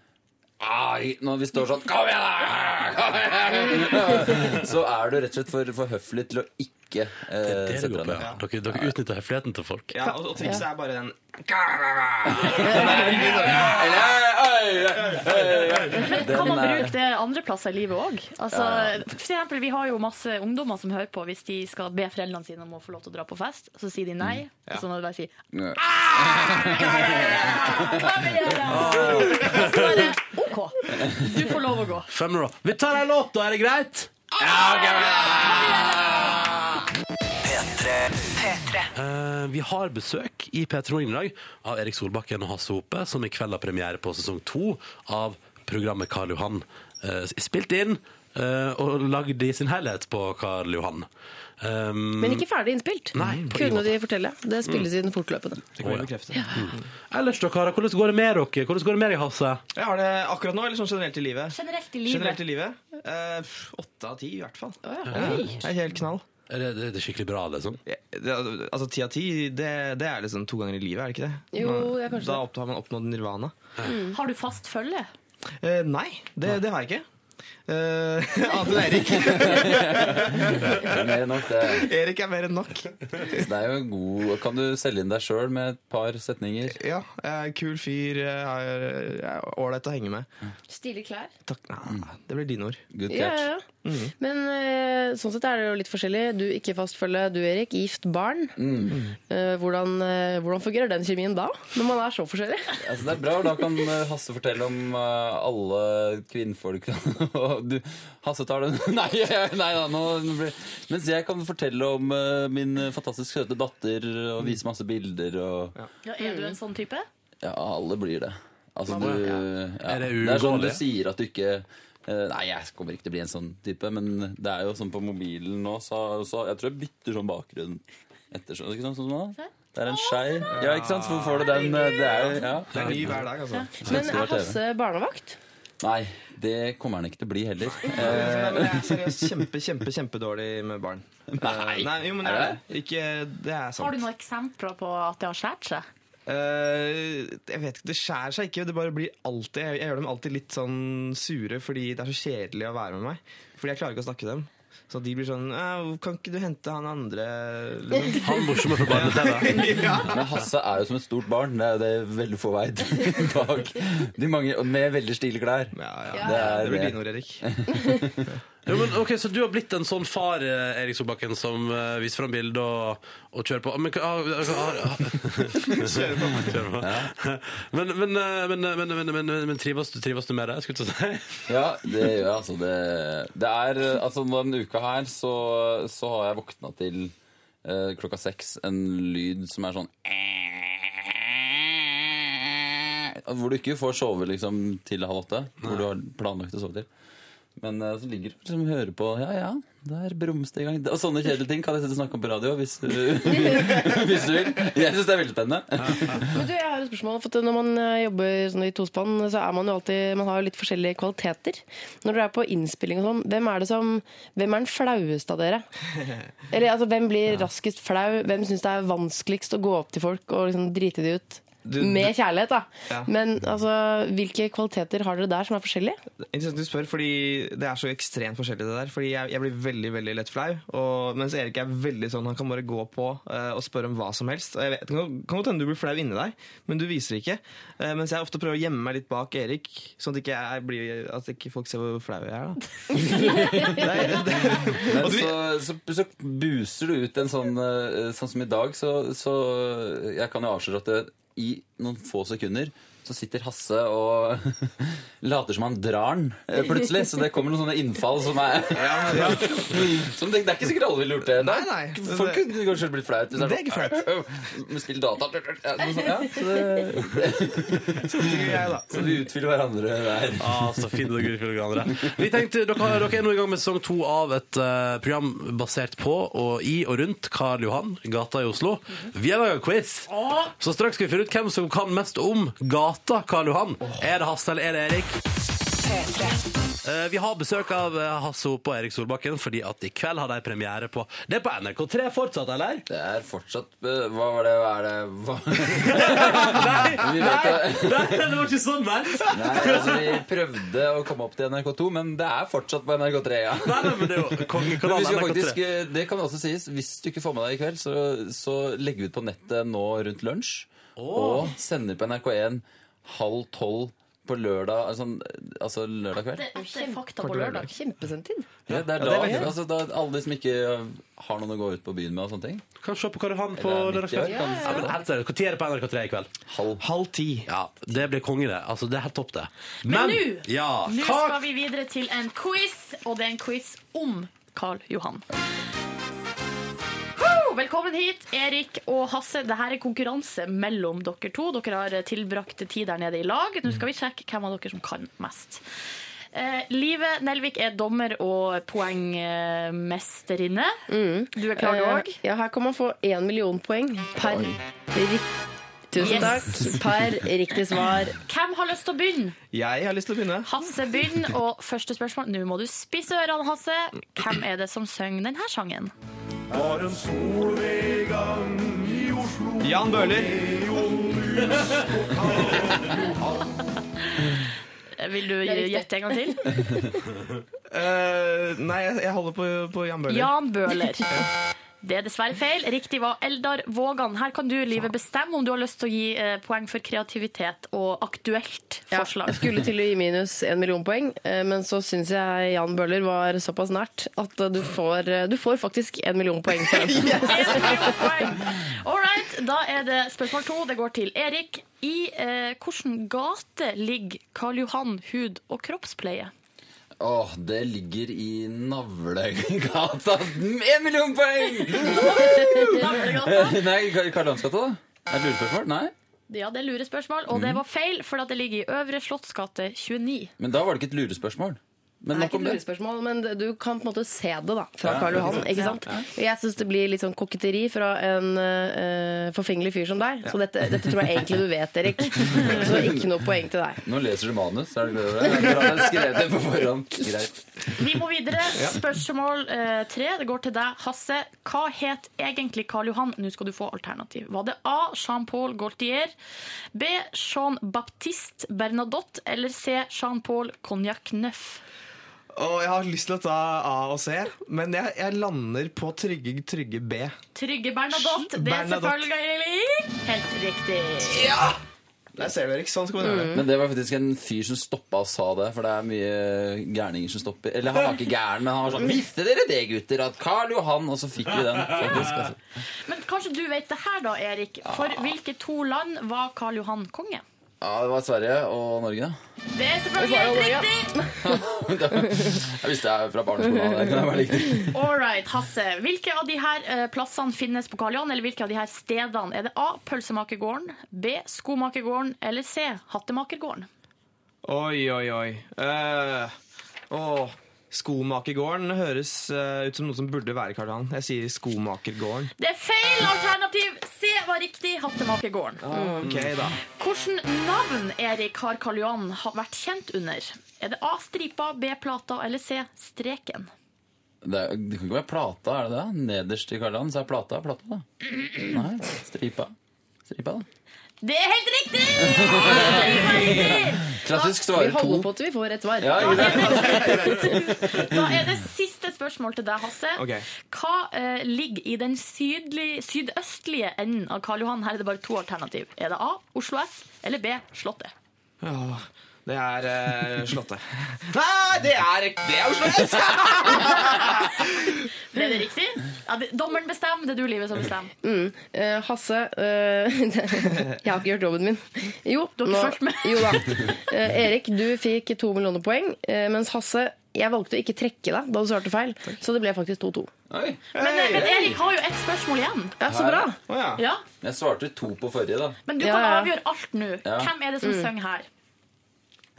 Ai, når vi står sånn Kom igjen, da! Kom igjen! Så er du rett og slett for, for høflig til å ikke eh,
Det
sette
du går på,
deg ned.
ja. Dere, dere utnytter høfligheten til folk.
Ja, og, og trikset er bare den
Eller, ei, ei, ei, ei.
Kan man
Den er-
bruke det andre plasser i livet òg? Altså, for eksempel, vi har jo masse ungdommer som hører på hvis de skal be foreldrene sine om å få lov til å dra på fest. Så sier de nei, og så må de bare si
Mm,
«Ah,
Ja. Ah.
Og så er det OK, du får lov å gå.
Femmer, da. Vi tar ei låt, da. Er det greit? Eh, vi har besøk i P3 Morgen i dag av Erik Solbakken og Hasse Hope, som i kveld har premiere på sesong to av programmet Karl Johan. Eh, spilt inn eh, og lagd i sin helhet på Karl Johan. Um,
Men ikke ferdig innspilt,
Nei, på ingen
kunne
måte.
de fortelle. Det spilles inn fortløpende.
Det kan vi bekrefte.
Ellers da, karer, hvordan går det med dere? Hvordan går det med deg, Hasse?
Jeg har det akkurat nå, eller sånn generelt i livet?
Generelt i livet.
Generelt i livet? Eh, pff, Åtte av ti, i hvert fall. Det
Oi.
er helt knall.
Er det, det, det er skikkelig bra, liksom?
Ja, det- Altså, Ti av ti, det, det er liksom to ganger i livet, er det ikke det?
Jo, det er kanskje
Da opp- har man oppnådd nirvana.
Har du fast følge?
Eh, nei, det, det har jeg ikke. (laughs) Eh, Annet enn Erik.
Det er mer enn nok, det.
Erik er mer enn nok.
Så det er jo en god Kan du selge inn deg sjøl med et par setninger?
Ja, eh, Kul fyr. eh, er- er Ålreit å henge med.
Stilige klær.
Takk. Nei, det blir dine ord.
Good
Ja,
catch.
ja, ja. Men eh, sånn sett er det jo litt forskjellig. Du ikke fast følge, du Erik. Gift barn. Eh, hvordan, eh, hvordan fungerer den kjemien da, når man er så forskjellig?
Altså, det er bra, og da kan eh, Hasse fortelle om eh, alle kvinnfolk. (laughs) Og du, Hasse tar den. (laughs) Nei, nei da, nå blir Mens jeg kan fortelle om eh, min fantastisk søte datter og vise masse bilder og
Ja, er du en sånn type?
Ja, alle blir det. Altså, du, ja.
Er det
det er sånn du
uunngåelig?
sier at du ikke eh, Nei, jeg kommer ikke til å bli en sånn type, men det er jo sånn på mobilen nå, så, så jeg tror jeg bytter sånn bakgrunn etter sånn. Ikke sant, sånn nå? Det er en skei. Ja, ikke sant? Så får du den eh, Det er jo ja.
Det er ny hver dag, altså.
Men
det var
er Hasse barnevakt?
Nei, det kommer han ikke til å bli heller.
Eh, Men Jeg er seriøst kjempe, kjempe, kjempedårlig med barn.
Nei.
Eh, nei jo, men det er det. Ikke, det er sant.
Har du noen eksempler på at det har skåret seg?
Eh, jeg vet ikke, Det skjærer seg ikke. Det bare blir alltid, jeg, jeg gjør dem alltid litt sånn sure fordi det er så kjedelig å være med meg. Fordi jeg klarer ikke å snakke dem. Så de blir sånn «Æ, Kan ikke du hente han andre liksom?»
Han morsomme fra barne-TV.
Men Hasse er jo som et stort barn. Det er jo det veldig få veit (laughs) i dag. De mange, og med veldig stilige klær.
Ja, ja.
Det
Det
er
blir
det.
dine ord, Erik.
Jo, men, ok, så du har blitt en sånn far, eh, Erik Solbakken, som eh, viser fram bilde og, og kjører på. Ah, Men, hva- har- har- har- ah. Kjører på. men, men, eh, men, men, men, men, men, men trives, du, trives du med det? Skulle jeg til å si.
Ja, det gjør jeg. Altså, det, det er Altså, denne uka her så, så har jeg våkna til eh, klokka seks en lyd som er sånn Hvor du ikke får sove liksom, til halv åtte. Hvor du har planlagt å sove til. Men eh, så ligger du liksom og hører på Ja, ja, der brumste i gang. Og sånne kjedelige ting kan jeg sitte og snakke om på radio hvis, du- (laughs) hvis du vil. Jeg syns det er veldig spennende.
Men du, jeg har et spørsmål. For at når man eh, jobber sånn i tospann, så er man jo alltid Man har jo litt forskjellige kvaliteter. Når dere er på innspilling og sånn, hvem er det som Hvem er den flaueste av
(laughs)
dere? Eller altså, hvem blir raskest flau? Hvem syns det er vanskeligst å gå opp til folk og liksom drite de ut?
Du-
Med kjærlighet, da.
Ja.
Men altså, hvilke kvaliteter har dere der som er forskjellige?
Interessant du spør, fordi det er så ekstremt forskjellig det der. Fordi jeg, jeg blir veldig veldig lett flau. Og, mens Erik er veldig sånn, han kan bare gå på eh, og spørre om hva som helst. Og jeg vet, det kan kan godt hende du blir flau inni deg, men du viser det ikke. Eh, mens jeg ofte prøver å gjemme meg litt bak Erik, sånn at ikke, jeg blir, at ikke folk ser hvor flau jeg er. da.
Men så, så, så buser du ut en sånn eh, Sånn som i dag, så, så Jeg kan jo avsløre at det, i noen få sekunder så sitter Hasse og (laughs) later som han drar den eh, plutselig. Så det kommer noen sånne innfall som er
(laughs)
(laughs) som det, det er ikke sikkert alle ville gjort det.
Nei, nei.
Folk kunne kanskje blitt flaut. hvis sånn,
Det er ikke
(laughs) flaut. Spill data ja, noe sånt, ja, så, det, så
(laughs)
vi utfyller hverandre der.
Ah, så fint og gud, fint og hverandre. Vi tenkte, dere, har- dere er nå i gang med sesong to av et eh, program basert på og i og rundt Karl Johan, gata i Oslo. Vi har laga quiz, så straks skal vi finne ut hvem som kan mest om gata Karl Johan. Er det Hasse eller er det Erik? Eh, Vi har besøk av eh, Hasse Hope og Erik Solbakken, fordi at i kveld har de premiere på Det er på NRK3 fortsatt,
(laughs)
eller?
Det er fortsatt eh, Hva var det? Hva er det? Hva?
Nei,
(laughs)
nei,
Vi vet det.
nei, det var ikke sånn ment!
Nei, altså Vi prøvde å komme opp til NRK2, men det er fortsatt på NRK3. ja
Nei, nei, men det er jo
men vi
kongekanalen
skal
NRK3.
faktisk, eh, det kan også sies, Hvis du ikke får med deg i kveld, så, så legger vi ut på nettet nå rundt lunsj. Og sender på NRK1 halv tolv på lørdag. Altså, altså lørdag kveld.
Det er etter fakta på
Kort
lørdag.
lørdag.
Kjempesendtid.
Ja, det er
det
da,
er veldig-
altså, da Alle de som ikke har noen å gå ut på byen med og sånne ting.
Kan se på Karl Johan på
Eller midt i år,
lørdagskvelden.
kan du
Ja, men helt seriøst, Når er det på NRK3 i kveld?
Halv.
Halv ti.
Ja, Det blir konge, det. Altså, det er helt topp, det.
Men nå-
ja,
Nå
hva-
skal vi videre til en quiz, og det er en quiz om Karl Johan. Ho! Velkommen hit, Erik og Hasse. Dette er konkurranse mellom dere to. Dere har tilbrakt tid der nede i lag. Nå skal vi sjekke hvem av dere som kan mest. Eh, Live Nelvik er dommer og poengmesterinne. Du er klar, du òg?
Eh, Ja, her kan man få én million poeng per rik- Tusen
Yes.
takk. Per riktig svar.
Hvem har lyst til å begynne?
Jeg har lyst til å begynne.
Hasse begynner, og første spørsmål. Nå må du spisse ørene, Hasse. Hvem er det som synger denne sangen?
Jan Bøhler.
Vil du
Det er riktig.
gjette en gang
(laughs)
til?
Eh, nei, jeg, jeg holder på, på Jan Bøhler.
Jan
(laughs)
Bøhler. Det er dessverre feil. Riktig var Eldar Vågan. Her kan du, Live, bestemme om du har lyst til å gi eh, poeng for kreativitet og aktuelt
Ja, jeg
forslag. (laughs)
skulle til å gi minus én million poeng, eh, men så syns jeg Jan Bøhler var såpass nært at eh, du får, eh, du får faktisk én million poeng
(laughs)
for den.
En million poeng. All right, da er det spørsmål to. Det går til Erik. I eh, hvilken gate ligger Karl Johan hud- og
(laughs)
kroppspleie?
Åh, det ligger i Navlegata. (laughs) Én million poeng!
Navlegata?
Nei, Kar- Karl Johans gate, da? Er det lurespørsmål? Nei?
Ja, det er lure spørsmål, og det
Mm.
var feil, for at det ligger i Øvre Slottsgate 29.
Men da var det ikke et lurespørsmål. Men
Det er
nok
ikke
om
et
det.
lurespørsmål, men du kan på en måte se det da fra
Ja,
Karl
ikke
Johan.
sant?
ikke sant? Jeg syns det blir litt sånn koketteri fra en eh, forfengelig fyr som deg, så dette, dette tror jeg egentlig du vet,
(laughs)
Erik. Så ikke noe poeng til deg.
Nå leser du manus. Er det (laughs) det? Er bra jeg skrev det på forhånd. Greit.
Vi må videre. Spørsmål eh, tre. Det går til deg, Hasse. Hva het egentlig Karl Johan? Nå skal du få alternativ. Var det A. Jean-Paul Gaultier, B. Jean-Baptiste Bernadotte eller C. Jean-Paul Cognac Neuf?
Og jeg har lyst til å ta A og C, men jeg, jeg lander på trygge, trygge B.
Trygge Bernadotte. Det er
Bernadotte.
selvfølgelig helt riktig.
Der ser du, Erik. Sånn skal man gjøre det.
Men det var faktisk en fyr som stoppa og sa det, for det er mye gærninger som stopper. Eller han var ikke gæren, men han var sånn Visste dere det, gutter? At Karl Johan Og så fikk vi den. Faktisk, altså.
Ah. Men kanskje du vet det her, da, Erik. For hvilke to land var Karl Johan konge?
Altså, Ja, det var Sverige og (laughs) Norge.
Det er selvfølgelig helt riktig!
Jeg visste jeg fra barneskolen. Det kan jeg være riktig.
All right, Hasse. Hvilke av de her eh, plassene finnes på Karl Johan, eller hvilke av de her stedene? Er det A. Pølsemakergården, B. Skomakergården eller C. Hattemakergården?
Oi, oi, oi. Eh, åh, skomakergården høres eh, ut som noe som burde være Karl Johan. Jeg sier skomakergården.
Det er feil alternativ! C var riktig. Hattemakergården.
Ok, da.
Hvilket navn Erik har Karl Johan ha- vært kjent under? Er det A. Stripa, B. Plata eller C. Streken?
Det, er- det kan ikke være plata, er det det? Nederst i Karl Johan så er plata plata, da. Nei, stripa. Stripa, da.
Det er helt riktig!
Klassisk
Vi
svarer
holder
to.
på til vi får et svar.
Ja, ikke sant?
Da er det siste spørsmål til deg, Hasse.
Ok.
Hva eh, ligger i den sydlig, sydøstlige enden av Karl Johan? Her er det bare to alternativ. Er det A. Oslo S eller B. Slottet?
Åh, det er eh, Slottet. Nei, det er, det er Oslo S!
Er det riktig? Ja, det, dommeren bestemmer, det er du, Livet, som bestemmer.
Eh, Hasse eh, (laughs) Jeg har ikke gjort jobben min. Jo,
Du har ikke fulgt med.
jo da. (laughs) Eh, Erik, du fikk to millioner poeng, eh, mens Hasse jeg valgte å ikke trekke deg da du svarte feil, så det ble faktisk 2-2.
Oi.
Men, eh, men Erik har jo ett spørsmål igjen.
Ja, så bra!
Å ja.
Ja,
Jeg svarte to på forrige, da.
Men du
Ja,
kan
ja.
avgjøre alt nå.
Ja.
Hvem er det som synger her?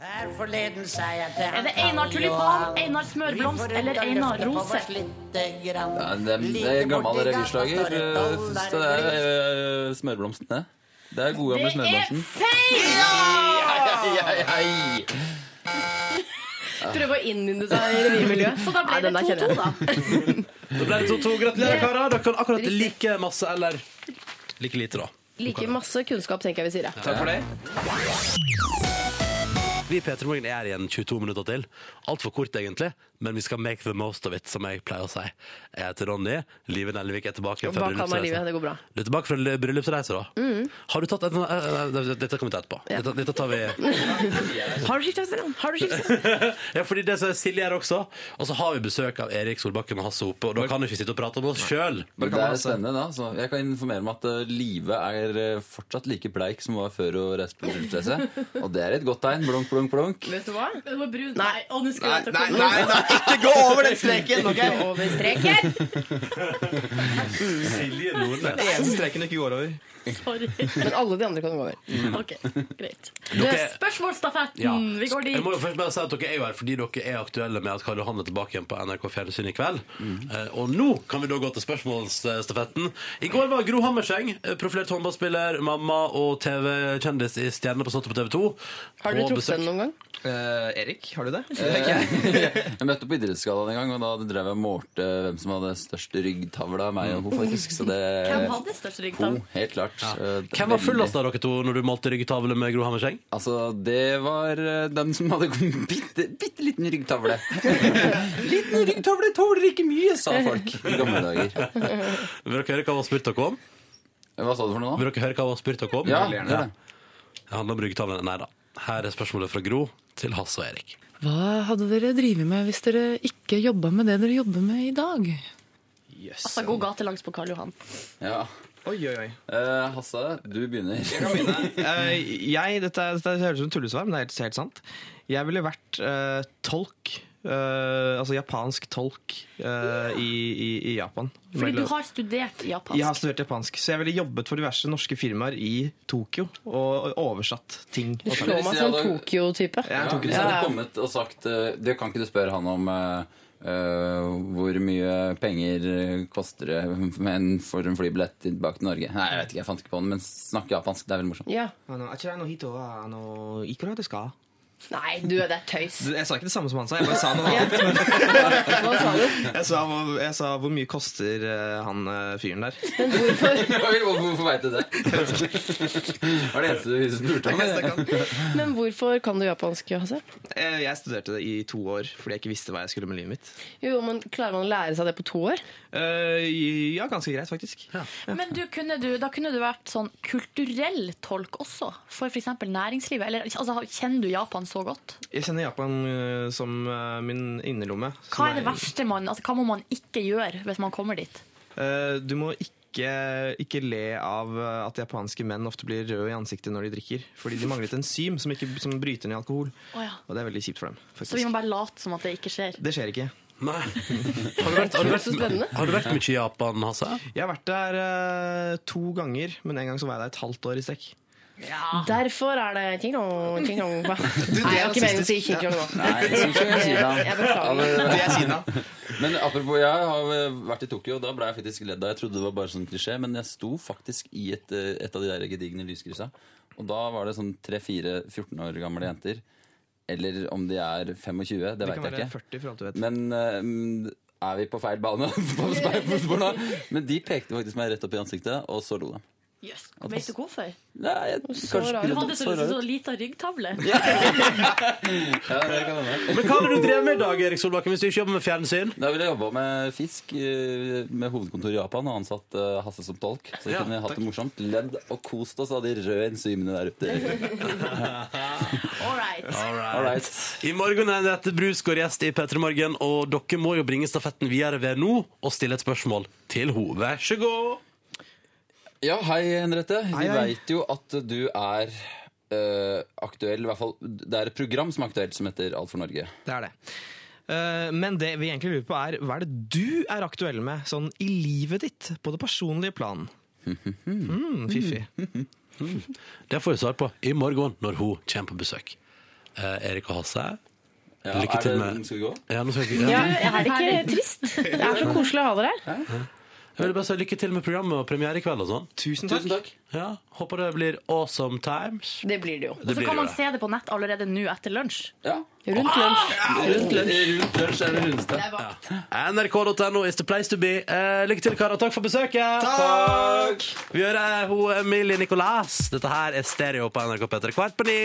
Her forleden sa jeg til
Er det Einar Tulipan, Einar Smørblomst eller Einar Rose?
eh,
Ja, det, er- det er gammel revyslager. eh, Så det er eh, smørblomsten, det. Det er gode
Det
gamle
er
(laughs) smørblomsten.
feil!
Ei, ei, ei.
Prøve å innynde seg i revymiljøet.
Så da ble
Nei,
det
den der
2-2,
kjenner jeg.
da.
Da ble det 2-2. Gratulerer, karer. Dere kan akkurat like masse eller like lite, da.
Like masse kunnskap, tenker jeg vi sier. Ja.
Takk for det.
Vi i P3 Morgen er igjen 22 minutter til. Altfor kort, egentlig, men vi skal make the most of it, som jeg pleier å si. Jeg heter Ronny. Live Nelvik er tilbake fra
Hva kan man i livet?
bryllupsreise.
Det går bra.
Du er tilbake fra l- bryllupsreise, da. Har du tatt en eh, eh, Dette kan vi ta etterpå. Dette, dette tar (laughs) vi
Har du skifta stilling? Har du skiftet stilling?
Ja, fordi det som er Silje her også. Og så har vi besøk av Erik Solbakken og Hasse Hope, og da kan du ikke sitte og prate om oss sjøl.
Men det er spennende, da. Så jeg kan informere om at eh, Live er eh, fortsatt like bleik som hun var før hun reiste på bryllupsreise. Og det er et godt tegn. Blunk, blunk, blunk.
Vet du hva?
Det var brun. Nei, og nå skulle jeg til å
Nei,
komme.
nei, nei, ikke gå over den streken! ok?
Over streken!
Silje Nordnes.
Den eneste streken du ikke går over.
Sorry.
Men alle de andre kan gå over.
(laughs) Ok, greit. Du, spørsmålstafetten.
Ja.
Vi
(laughs)
går
Jeg
dit.
må jo først bare si at dere er jo her fordi dere er aktuelle med at Karl Johan er tilbake igjen på NRK Fjernsyn i kveld.
Mm.
Eh, og nå kan vi da gå til spørsmålsstafetten. I går var Gro Hammerseng, eh, profilert håndballspiller, mamma og TV-kjendis i Stjerne på Slottet på TV 2.
Har du truffet henne noen gang?
Eh, Erik, har du det? Eh,
Jeg møtte på Idrettsgallaen en gang, og da drev jeg og målte eh, hvem som hadde størst ryggtavle av meg og hun, faktisk. Så det
Hvem hadde størst
Hun,
ryggtavl?
helt klart.
Hvem
Eh,
var
veldig-
fullest av dere to når du malte ryggetavle med Gro Hammerseng?
Altså, det var eh, den som hadde (laughs) en bitte, bitte liten ryggtavle. liten ryggtavle tåler ikke mye, sa folk i gamle dager.
Vil dere høre hva hun har spurt dere om?
Hva sa du for noe nå?
Vil dere høre hva hun har spurt dere om?
Ja, gjør det.
Det handler om ryggetavle. Nei da. Her er spørsmålet fra Gro til Hasse og Erik.
Hva hadde dere drevet med hvis dere ikke jobba med det dere jobber med i dag?
Yes.
Altså, god gatelangs på Karl Johan.
Ja.
Oi, oi, oi.
Eh, Hasse, du begynner.
Eh, jeg, dette, er- dette høres ut som tullesvar, men det er helt, helt sant. Jeg ville vært eh, tolk. eh, altså japansk tolk eh, i, i, i Japan.
Fordi du har studert japansk.
Jeg har studert japansk, så jeg ville jobbet for diverse norske firmaer i Tokyo og oversatt
(laughs)
ting. Og sånn.
Slå meg som en Tokyo-type.
Jeg
(laughs) Ja,
tok
hvis
det.
jeg hadde kommet og sagt eh, Du kan ikke du spørre han om eh, eh, hvor mye penger eh, koster det med en- for en flybillett tilbake til Norge? Nei, jeg vet ikke, jeg fant ikke på den, men snakk japansk. Det er veldig morsomt.
Ja.
Ah, no, achira no hito wa, ah, no, ikura desu ka?
Nei, du, det er tøys.
Jeg sa ikke det samme som han sa, jeg bare sa noe annet.
Hva sa du?
Jeg sa, hvor- jeg sa hvor mye koster eh, han eh,
(laughs)
fyren der.
Oi, Hvorfor, (laughs) hvorfor veit du (laughs) det? var det eneste du spurte om? eller?
Men hvorfor kan du japansk, Hasse?
Eh, Jeg studerte det i to år fordi jeg ikke visste hva jeg skulle med livet mitt.
Jo, men Klarer man å lære seg det på to år?
Eh, ja, ganske greit, faktisk.
Men du kunne du, da kunne du vært sånn kulturell tolk også, for f.eks. næringslivet. Eller, altså, kjenner du Japan så godt?
Jeg kjenner Japan eh, som eh, min innerlomme.
Hva
som
er det verste man altså, Hva må man ikke gjøre hvis man kommer dit?
Eh, du må ikke ikke, ikke le av eh, at japanske menn ofte blir røde i ansiktet når de drikker. Fordi de mangler et enzym som, ikke, som bryter ned alkohol.
Å ja.
Og det er veldig kjipt for dem. faktisk.
Så vi må bare late som at det ikke skjer.
Det skjer ikke.
Nei. (laughs) Har du vært, har du vært, har du vært mye i Japan, Hasse?
Jeg har vært der eh, to ganger, men en gang så var jeg der et halvt år i strekk.
Derfor er det ting-dong, ting-dong. Nei,
det
jeg
er
har ikke meningen å si
rasistisk.
ting-dong nå.
Nei, jeg
Jeg beklager.
er Kina. Men apropos, jeg har eh, vært i Tokyo, og da ble jeg faktisk ledd av. Jeg trodde det var bare sånn klisjé, men jeg sto faktisk i et, eh, et av de der gedigne lyskryssa. Og da var det sånn tre-fire 14 år gamle jenter. Eller om de er 25, det,
Det
vet
kan
jeg
være
ikke.
40 for alt du vet.
Men eh, mm, er vi på feil bane? (laughs) På feil spor nå? Men de pekte faktisk meg rett opp i ansiktet, og så lo de.
Yes. Vet du hvorfor?
Nei, jeg,
Så
kanskje
rar. Du
skulle-
hadde så,
så rar
så
ut.
lita ryggtavle.
Ja, det kan hende.
Men hva har du drevet med i dag, Erik Solbakken, hvis du ikke jobber med fjernsyn?
Da ville jeg jobba med fisk eh, med hovedkontor i Japan og ansatt eh, Hasse som tolk. Så vi
Ja,
kunne hatt det morsomt, ledd og kost oss av de røde enzymene der ute.
All
Alright.
right.
All right.
I morgen er Henriette Brus går gjest i P3 Morgen, og dere må jo bringe stafetten videre ved nå og stille et spørsmål til henne. Vær så god.
Ja, hei, Henriette. Vi
hei.
veit jo at du er eh, aktuell, i hvert fall Det er et program som er aktuelt, som heter Alt for Norge.
Det er det. Eh, Men det vi egentlig lurer på er, hva er det du er aktuell med sånn i livet ditt, på det personlige plan?
(laughs)
Mm, fiffig.
Det får vi svar på i morgen når hun kommer på besøk. Eh, Erik og Hasse,
Ja,
lykke
er
til
det-
med
Skal vi gå?
ja, nå skal vi...
Ja,
ja.
er det ikke trist? Det er så koselig å ha dere her.
Jeg vil bare si lykke til med programmet og premiere i kveld og sånn.
Tusen
Tusen takk.
Ja, håper det blir awesome times.
Det blir det jo.
Det
Og så
blir
kan
jo
man
det.
se det på nett allerede nå etter lunsj.
Ja.
Rundt lunsj.
Rundt lunsj. Rundt lunsj er det rundeste.
NRK.no is the place to be. Eh, lykke til, karer. Takk for besøket.
Takk!
Vi hører eh, hun Emilie Nicolas. Dette her er stereo på NRK P3 kvart på ni.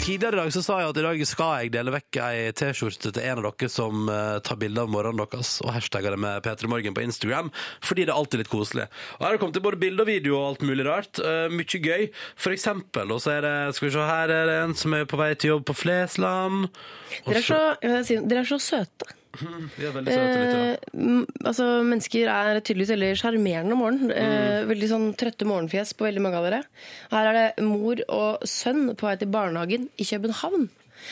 Tidligere i dag så sa jeg at i dag skal jeg dele vekk ei T-skjorte til en av dere som eh, tar bilde av morgenen deres og hashtagger det med P3 Morgen på Instagram, fordi det er alltid litt koselig. Og Her har det kommet til både bilde og video og alt mulig rart. eh, mye gøy. For eksempel, og så er det, skal vi se, her er det en som er på vei til jobb på Flesland. Og
Dere er så, jeg vil si, dere er så søte.
Vi er veldig søte lyttere.
Eh, m- altså, mennesker er tydeligvis veldig sjarmerende om morgenen.
Mm.
Eh, veldig sånn trøtte morgenfjes på veldig mange av dere. Her er det mor og sønn på vei til barnehagen i København.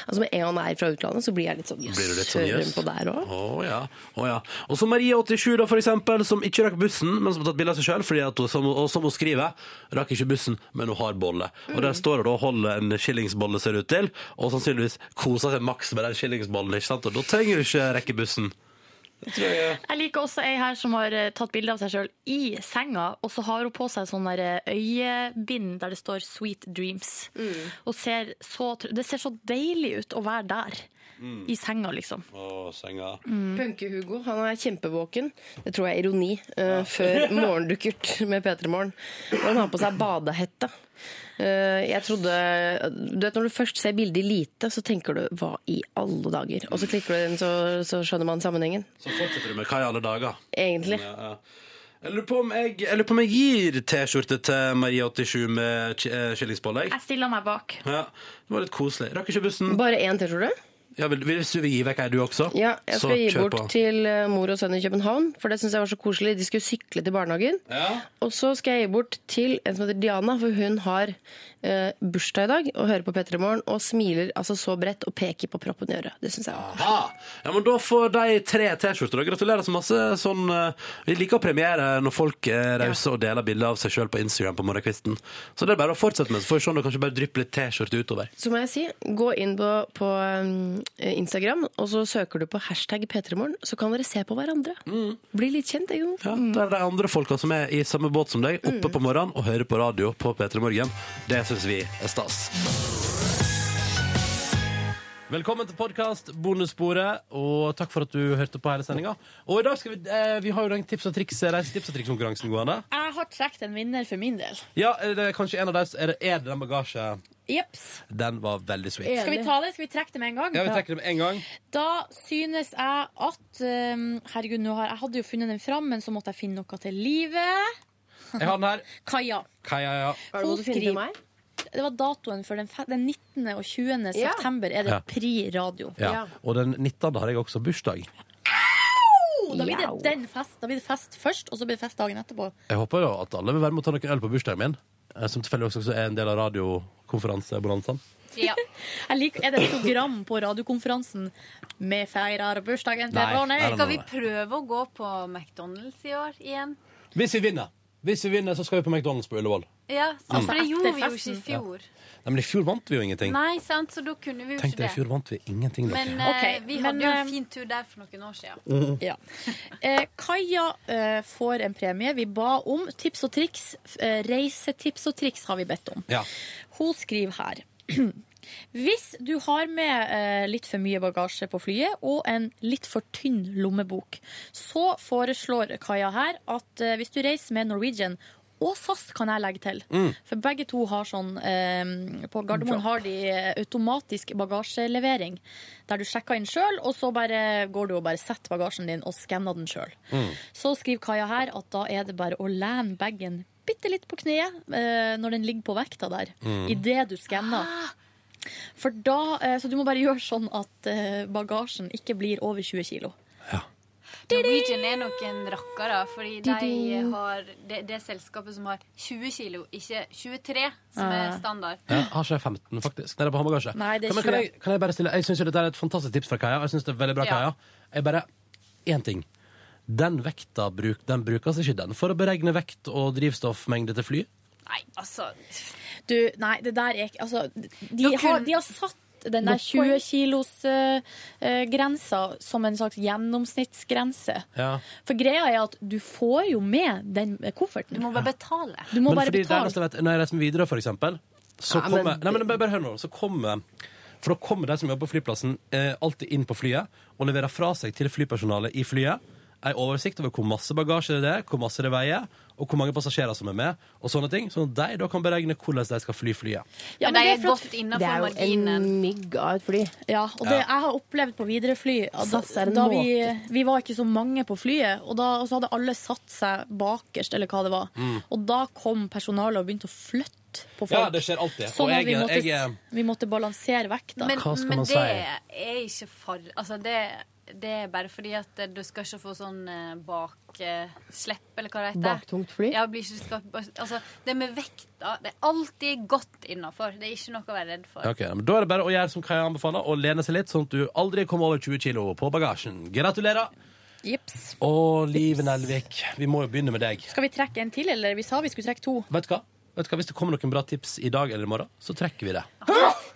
Altså Med en gang han er fra utlandet, så blir jeg litt sånn jøss.
Blir du litt sånn,
hører
jøss?
hun på der også?
Å ja. å ja. Og så Marie87, da, for eksempel, som ikke rakk bussen, men som har tatt bilde av seg sjøl, fordi at hun, som, og som hun skriver, rakk ikke bussen, men hun har bolle. Og
Mm.
der står hun da og holder en skillingsbolle, ser det ut til, og sannsynligvis koser seg maks med den skillingsbollen, ikke sant? Og da trenger du ikke rekke bussen.
Jeg liker også ei her som har eh, tatt bilde av seg sjøl i senga, og så har hun på seg sånn der eh, øyebind der det står 'Sweet Dreams'.
Mm.
Og ser så, tr- det ser så deilig ut å være der. I senga, liksom.
Å, senga.
Punke-Hugo han er kjempevåken. Det tror jeg er ironi.
(laughs)
eh, før morgendukkert med P3 Morgen. Og han har på seg badehette. Eh, jeg trodde Du vet Når du først ser bildet i lite, så tenker du 'hva i alle dager'? Og så klikker du inn, så, så skjønner man sammenhengen.
Så fortsetter du med hva i alle dager?
Egentlig.
Ja, ja. Jeg lurer på om jeg, jeg, lurer på om jeg gir T-skjorte til Marie87 med ki- eh, skillingsbolle. jeg.
Jeg stiller meg bak.
Ja, det var litt koselig. Rakk ikke bussen.
Bare én T-skjorte?
Ja, vil, hvis du vil gi vekk ei, du også,
Ja, jeg skal gi
kjør
bort til eh, mor og sønn i København, for det syns jeg var så koselig. De skulle sykle til barnehagen.
Ja.
Og så skal jeg gi bort til en som heter Diana, for hun har eh, bursdag i dag og hører på P3 Morgen og smiler altså så bredt og peker på proppen i øret. Det syns jeg var koselig.
Aha! Ja, men da får de tre T-skjorter. da. Gratulerer så masse. Sånn, eh, vi liker å premiere når folk er rause og deler bilder av seg sjøl på Instagram på morgenkvisten. Så det er bare å fortsette med, så får vi se om det kanskje bare drypper litt T-skjorte utover.
Så må jeg si, gå inn på, på um, Instagram, og så søker du på hashtag P3morgen, så kan dere se på hverandre.
Mm.
Bli litt kjent, ikke sant?
Ja, det er de andre folka som er i samme båt som deg, oppe på morgenen og hører på radio på P3 Morgen. Det syns vi er stas. Velkommen til podkast Bondesporet, og takk for at du hørte på hele sendinga. Og i dag skal vi, eh, vi har jo den tips og triks, reisetips og triks-konkurransen gående.
Jeg har trukket en vinner for min del.
Ja, er det kanskje en av dem Er det, er det den bagasje?
Jeps.
Den var veldig sweet.
Skal vi ta det? Skal vi trekke det med en gang?
Ja, vi trekker det med en gang.
Da synes jeg at
ehm,
um, Herregud, nå har, jeg hadde jo funnet den fram, men så måtte jeg finne noe til livet.
Jeg har den her.
Kaja.
Kaja, ja.
Har du
Hun
noe du finner til
skriver-
meg?
Det var datoen for den, fe- den 19. og 20.
Ja.
september er det
Ja.
Pri radio.
ja. Og den 19. har jeg også bursdag.
Oh, Da blir det den fest. Da blir det fest først, og så blir det fest dagen etterpå.
Jeg håper jo at alle vil være med og ta noe øl på bursdagen min, eh, som tilfeldigvis også er en del av radiokonferansebonanzaen.
Jeg liker, er det et program på radiokonferansen med feirer bursdagen til
Nei,
Ronny?
nei, nei, nei.
Skal vi
Prøv å gå på McDonald's i år igjen.
Hvis vi vinner, Hvis vi vinner, så skal vi på McDonald's på Ullevål.
Ja, sant,
Mm.
for det gjorde vi jo ikke i
Etterfesten.
fjor.
Nei, men i fjor vant vi jo ingenting.
Nei, sant, så da kunne vi jo
Tenk
ikke
deg, i fjor
det.
vant vi ingenting. dere.
Men eh,
Ok,
vi
men,
hadde jo
eh,
en fin tur der for noen år siden.
Mhm.
Ja. Eh, Kaja eh, får en premie vi ba om. Tips og triks. Eh, reisetips og triks har vi bedt om.
Ja.
Hun skriver her. Hvis du har med eh, litt for mye bagasje på flyet og en litt for tynn lommebok, så foreslår Kaja her at eh, hvis du reiser med Norwegian og SAS kan jeg legge til.
Mm.
For begge to har sånn eh, På Gardermoen
Drop.
har de eh, automatisk bagasjelevering. Der du sjekker inn sjøl, og så bare går du og bare setter bagasjen din og skanner den sjøl.
Mm.
Så skriver Kaja her at da er det bare å lene bagen bitte litt på kneet eh, når den ligger på vekta der,
Mm.
idet du skanner. For da, eh, så du må bare (laughs) gjøre sånn at eh, bagasjen ikke blir over 20 kilo.
Norwegian er noen rakkere, fordi de
Didi.
har det, det selskapet som har 20 kilo, ikke 23, som er
Ah.
standard.
Ja, har ikke jeg 15, faktisk? Nei, det er på håndbagasje.
Nei, det er
Kan- men kan,
20.
jeg, kan jeg bare stille Jeg syns dette er et fantastisk tips fra Kaja. og Jeg synes det er veldig bra,
Ja.
Kaja. Jeg bare Én ting. Den vekta bruk, den brukes ikke den for å beregne vekt og drivstoffmengde til fly?
Nei, altså
Du, nei, det der er ikke Altså, de,
Nå kun-
har, de har satt den der 20 kilos-grensa eh, som en slags gjennomsnittsgrense.
Ja.
For greia er at du får jo med den kofferten. Du
må bare betale.
Du må
men
bare
fordi det er
betale.
nesten, vet, når jeg reiser med Widerøe, for eksempel, så
Nei, men-
kommer Nei, men bare, bare hør nå. Så kommer For da kommer de som jobber på flyplassen, eh, alltid inn på flyet og leverer fra seg til flypersonalet i flyet ei oversikt over hvor masse bagasje det er, hvor masse det veier, og hvor mange passasjerer som er med, og sånne ting. Sånn at de da kan beregne hvordan de skal fly flyet.
Ja, men
Men de
det
er
for at-
godt innenfor marginen.
En mygg av et fly.
Ja, og det,
Ja.
jeg har opplevd på Widerøe-fly at
SAS er en
da vi, vi var ikke så mange på flyet, og, da, og så hadde alle satt seg bakerst, eller hva det var.
Mm.
Og da kom personalet og begynte å flytte på folk.
Ja, det skjer alltid.
Sånn
Og
at vi
jeg-
måtte,
jeg er-
vi måtte balansere vekta.
Men, men det er ikke for Altså, det, det er bare fordi at eh, du skal ikke få sånn eh, bakslepp, eller hva det heter.
Baktungt fly?
Ja, blir ikke skapt, altså, det med vekta Det er alltid godt innafor. Det er ikke noe å være redd for.
Ok, men Da er det bare å gjøre som Kaja anbefaler, og lene seg litt, sånn at du aldri kommer over 20 kilo på bagasjen. Gratulerer.
Jips.
Og Liv Nelvik, vi må jo begynne med deg.
Skal vi trekke en til, eller? Vi sa vi skulle trekke to.
Vet du hva? Vet du hva? Hvis det kommer noen bra tips i dag eller i morgen, så trekker vi det.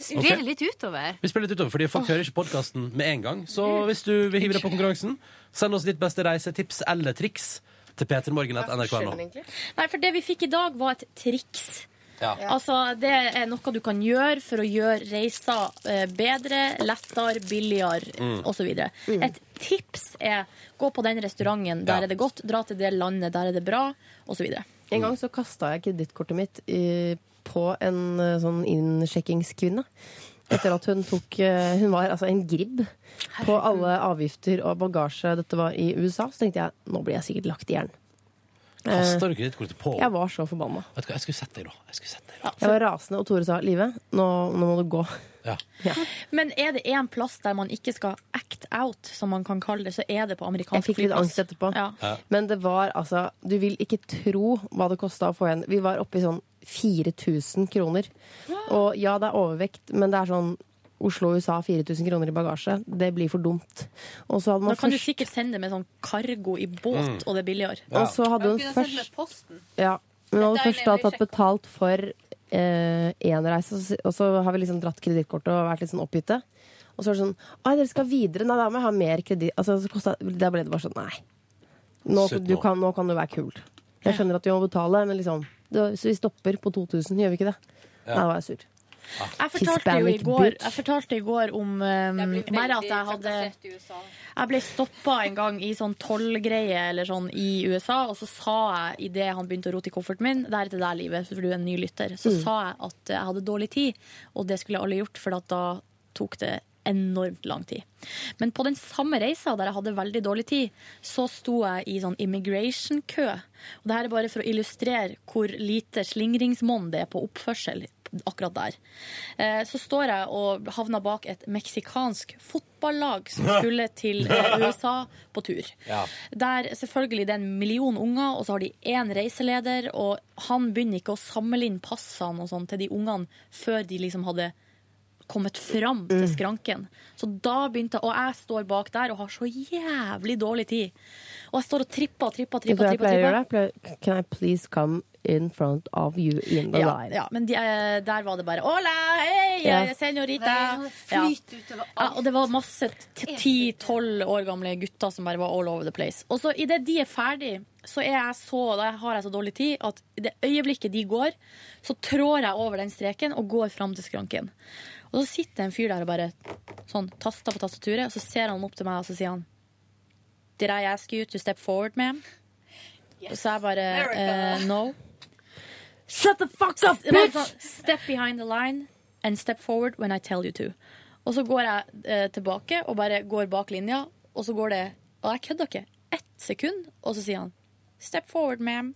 Spiller det litt utover.
Vi spiller litt utover, fordi Folk hører ikke podkasten med en gang. Så
Mm.
hvis du vil hive deg på konkurransen, send oss ditt beste reisetips eller triks til p3morgen.nrk.no.
Nei, for det vi fikk i dag, var et triks.
Ja.
Altså, Det er noe du kan gjøre for å gjøre reiser eh, bedre, lettere, billigere
Mm.
osv. Et tips er gå på den restauranten, der
Ja.
er det godt, dra til det landet, der er det bra, osv.
En gang så kasta jeg kredittkortet mitt eh, på en eh, sånn innsjekkingskvinne. Etter at hun tok eh, Hun var altså en gribb på alle avgifter og bagasje. Dette var i USA. Så tenkte jeg nå blir jeg sikkert lagt i jern.
Kaster
Eh,
du kredittkortet på?
Jeg var så forbanna.
Vet du hva, jeg skulle sett deg, da. Jeg skulle sett deg.
Jeg var rasende, og Tore sa Live, nå, nå må du gå.
Ja.
Men er det en plass der man ikke skal act out, som man kan kalle det, så er det på
Jeg
amerikansk
fikk litt angst
flyplass.
etterpå.
Ja.
Men det var altså Du vil ikke tro hva det kosta å få igjen. Vi var oppe i sånn 4000 kroner. Og ja, det er overvekt, men det er sånn Oslo-USA 4000 kroner i bagasje. Det blir for dumt. Og så hadde
Da
man
kan du
først
sikkert sende det med sånn cargo i båt,
Mm.
og det er billigere.
Og så hadde hun først Mm. Ja. Men hun hadde
Dette er
først da
nemlig
tatt betalt for én reise, og så- og så har vi liksom dratt kredittkortet og vært litt sånn oppgitte. Og så er det sånn Ai, dere skal videre. Nei, da må jeg ha mer kreditt. Altså, så kostet- der ble det bare sånn Nei. Nå,
Slutt
du
nå.
kan, nå kan du være kul. Jeg skjønner at du må betale, men liksom det- Så vi stopper på 2000, gjør vi ikke det?
Ja.
Nei, da var jeg sur.
Jeg fortalte jo i
Hispanic
går,
bitch.
jeg fortalte i går om um, bare at jeg hadde Jeg ble stoppa en gang i sånn tollgreie eller sånn i USA, og så sa jeg idet han begynte å rote i kofferten min Det er til deg, livet, for du er en ny lytter. Så
Mm.
sa jeg at jeg hadde dårlig tid, og det skulle alle gjort, for at da tok det enormt lang tid. Men på den samme reisa der jeg hadde veldig dårlig tid, så sto jeg i sånn immigration-kø. Og det her er bare for å illustrere hvor lite slingringsmonn det er på oppførsel akkurat der. Eh, Så står jeg og havner bak et meksikansk fotballlag fotballag som skulle til eh, USA på tur. Der selvfølgelig det er en million unger, og så har de én reiseleder, og han begynner ikke å samle inn passene og sånn til de ungene før de liksom hadde kommet fram til
Mm.
skranken. Så da begynte jeg, og jeg står bak der og har så jævlig dårlig tid. Og jeg står og tripper og tripper. og
Vet du
tripper,
hva jeg
tripper, tripper.
pleier å gjøre? Jeg pleier- Can I please come in front of you in the
Ja,
line?
ja, men de, eh, der var det bare Hola, hei,
Ja.
eh, senorita. Ja.
Flyt utover
Ja, og det var masse t- ti-tolv år gamle gutter som bare var all over the place. Og så idet de er ferdig, så er jeg så, da har jeg så dårlig tid at i det øyeblikket de går, så trår jeg over den streken og går fram til skranken. Og så sitter en fyr der og bare sånn taster på tastaturet, og så ser han opp til meg og så sier han Did I ask you to step forward, ma'am? Og så er jeg bare
America.
eh, No. Shut the fuck up, bitch! sånn Step behind the line and step forward when I tell you to. Og så går jeg eh, tilbake og bare går bak linja, og så går det Og jeg kødder ikke. Ett sekund, og så sier han Step forward, ma'am.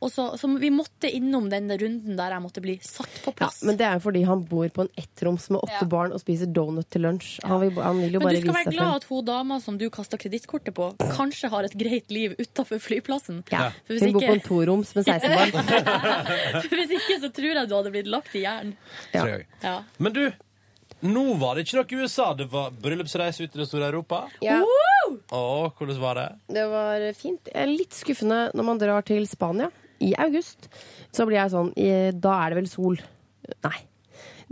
Og så, så vi måtte innom den runden der jeg måtte bli satt på
Ja,
plass.
men det er jo fordi han bor på en ettroms med
Ja.
åtte barn og spiser donut til lunsj. Han vil, han vil jo
Men
bare
du skal
vise
være
seg
glad
frem.
at hun dama som du kasta kredittkortet på, kanskje har et greit liv utafor flyplassen.
Ja.
For hvis
Hun bor på en
ikke,
toroms med 16
(laughs)
barn.
for hvis ikke så tror jeg du hadde blitt lagt i jern.
Tror jeg.
Ja.
Men du, nå var det ikke noe USA. Det var bryllupsreise ut i det store Europa.
Ja.
Å, hvordan var det?
Det var fint. Jeg er litt skuffende når man drar til Spania i august. Så blir jeg sånn eh, Da er det vel sol? Nei.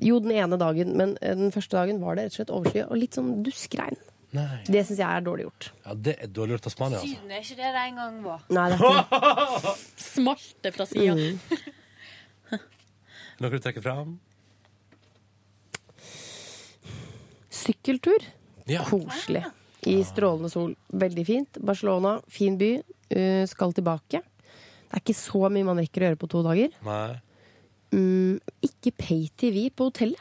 Jo, den ene dagen, men eh, den første dagen var det rett og slett overskyet og litt sånn duskregn.
Nei.
Det syns jeg er dårlig gjort.
Ja, det er dårlig gjort av Spania, altså.
Syden er ikke det det en gang var.
Nei,
(laughs)
det er ikke
Smalt det fra sida.
Mm.
Noe du trekker fram?
Sykkeltur.
Ja.
Koselig. I strålende sol. Veldig fint. Barcelona, fin by. Eh, skal tilbake. Det er ikke så mye man rekker å gjøre på to dager.
Nei.
Mm, ikke pay-TV på hotellet.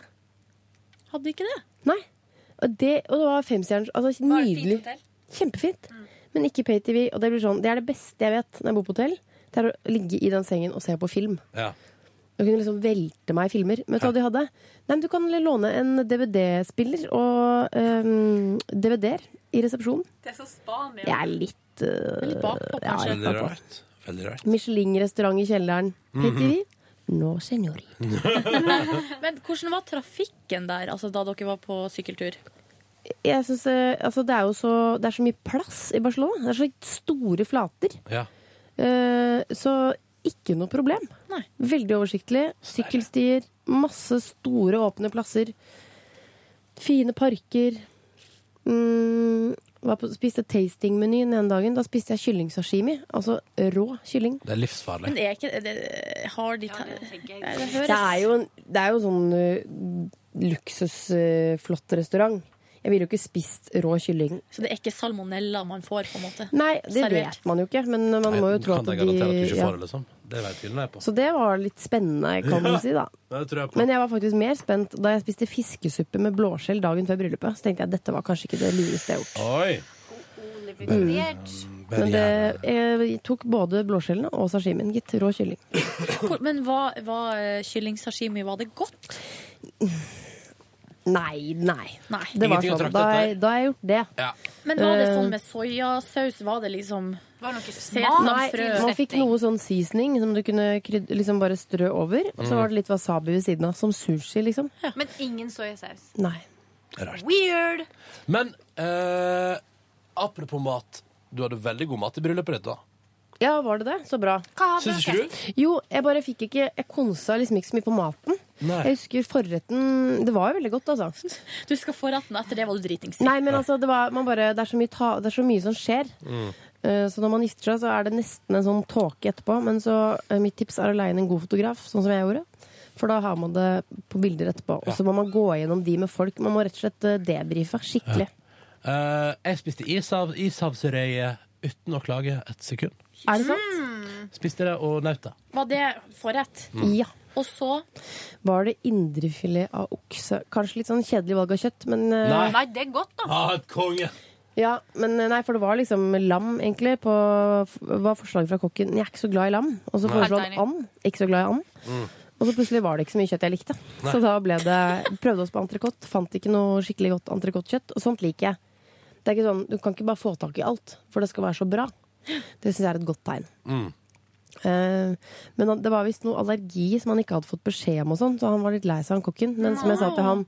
Hadde ikke det?
Nei. Og det, og det var femstjerners altså,
Var det fint
Nydelig.
hotell? Mm.
Kjempefint. Men ikke pay-TV. Og det, blir sånn, det er det beste jeg vet når jeg bor på hotell. Det er å ligge i den sengen og se på film.
Ja.
Og kunne liksom velte meg i filmer. Men vet du hva de hadde? Nei, men du kan låne en DVD-spiller og ehm, øhm, DVD-er i resepsjonen.
Det er så Spania.
Jeg er litt, øh,
Litt bakpå,
ja,
kanskje.
litt
Veldig
bakpå.
rart. Veldig rart.
Michelin-restaurant i kjelleren. Pay-TV. No, senor.
Men hvordan var trafikken der altså, da dere var på sykkeltur?
Jeg synes, eh, altså, det er jo så, det er så mye plass i Barcelona. Det er så store flater.
Ja.
Eh, så ikke noe problem.
Nei.
Veldig oversiktlig. Sykkelstier, masse store åpne plasser. Fine parker. Mm, var på, spiste tastingmeny den ene dagen. Da spiste jeg kyllingsashimi. Altså rå kylling.
Det er livsfarlig.
Men er ikke det, Har de ta- Nei, det høres
Det er jo, en, det er jo sånn uh, luksusflott restaurant. Jeg ville jo ikke spist rå kylling.
Så det er ikke salmonella man får, på en måte?
Nei, det
Servert.
vet man jo ikke, men man må jo tro
kan
at
jeg
de
garantere at du ikke
ja.
får det, liksom? Det vet tydelig jeg på.
Så det var litt spennende, kan man si, da.
Det tror jeg på.
Men jeg var faktisk mer spent da jeg spiste fiskesuppe med blåskjell dagen før bryllupet. Så tenkte jeg dette var kanskje ikke det lureste jeg har gjort.
Oi!
Men det, eh, jeg tok både blåskjellene og sashimien, gitt. Rå kylling.
Hvor- Men hva, hva eh, kyllingsashimi, var det godt?
Nei, nei.
Nei.
Det var
Ingenting å
sånn.
trakte
Da har
etter.
jeg- da har jeg gjort det.
Ja.
Men var det sånn med soyasaus? Var det liksom
Var det noe
Nei,
sesamfrø?
man fikk noe sånn seasoning som du kunne kryd, liksom bare strø over. Og så var det litt wasabi ved siden av. Som sushi, liksom.
Men ingen soyasaus.
Nei.
Weird!
Men eh, apropos mat. Du hadde veldig god mat i bryllupet ditt, da.
Ja, var det det? Så bra.
Hva har
Syns ikke du?
Jo, jeg bare fikk ikke Jeg konsa liksom ikke så mye på maten.
Nei.
Jeg husker forretten Det var jo veldig godt, altså.
Du skal få retten, og etter det var du dritings.
Nei, men altså, det, var, man bare, det, er så mye ta, det er så mye som skjer. Eh, Så når man gifter seg, så er det nesten en sånn tåke etterpå. Men så eh, mitt tips er å leie inn en god fotograf, sånn som jeg gjorde. For da har man det på bilder etterpå. Og så må man gå gjennom de med folk. Man må rett og slett eh, debrife skikkelig.
Eh, jeg spiste ishav, ishavsrøye uten å klage et sekund.
Er det sant?
Spiste det og nøt det.
Var det forrett?
Ja.
Og så
Var det indrefilet av okse? Kanskje litt sånn kjedelig valg av kjøtt, men eh,
Nei.
Nei, det er godt, da.
Ah, et konge!
Ja, men nei, for det var liksom lam, egentlig. På, var forslaget fra kokken. Jeg er ikke så glad i lam. Og så foreslo han
Helt enig.
and. Ikke så glad i and. Og så plutselig var det ikke så mye kjøtt jeg likte.
Mm. Nei.
Så da ble det Prøvde oss på entrecôte, fant ikke noe skikkelig godt entrecôtekjøtt. Og sånt liker jeg. Det er ikke sånn, Du kan ikke bare få tak i alt, for det skal være så bra. Det syns jeg er et godt tegn.
Mm.
Eh, men han- det var visst noe allergi som han ikke hadde fått beskjed om, og sånn, så han var litt lei seg, han kokken. Men som jeg sa til han,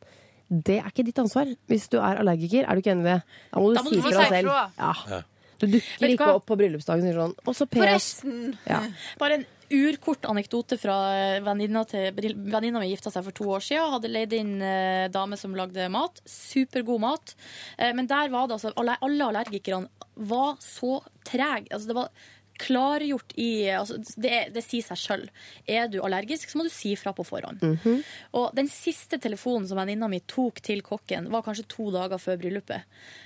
det er ikke ditt ansvar. Hvis du er allergiker, er du ikke enig i det? Da må du,
Da må
si
du få
fra
si
selv.
ifra.
Ja. Du
Vet
dukker
du
ikke
hva?
opp på bryllupsdagen og sier sånn Og så PS.
Forresten.
Ja.
Bare en urkort anekdote fra eh, venninna til Venninna mi gifta seg for to år siden. Hadde leid inn eh, dame som lagde mat. Supergod mat. Eh, men der var det altså alle, alle allergikerne var så trege. Altså, det var klargjort i altså, det, det sier seg sjøl. Er du allergisk, så må du si fra på forhånd.
Mhm.
Og den siste telefonen som venninna mi tok til kokken, var kanskje to dager før bryllupet.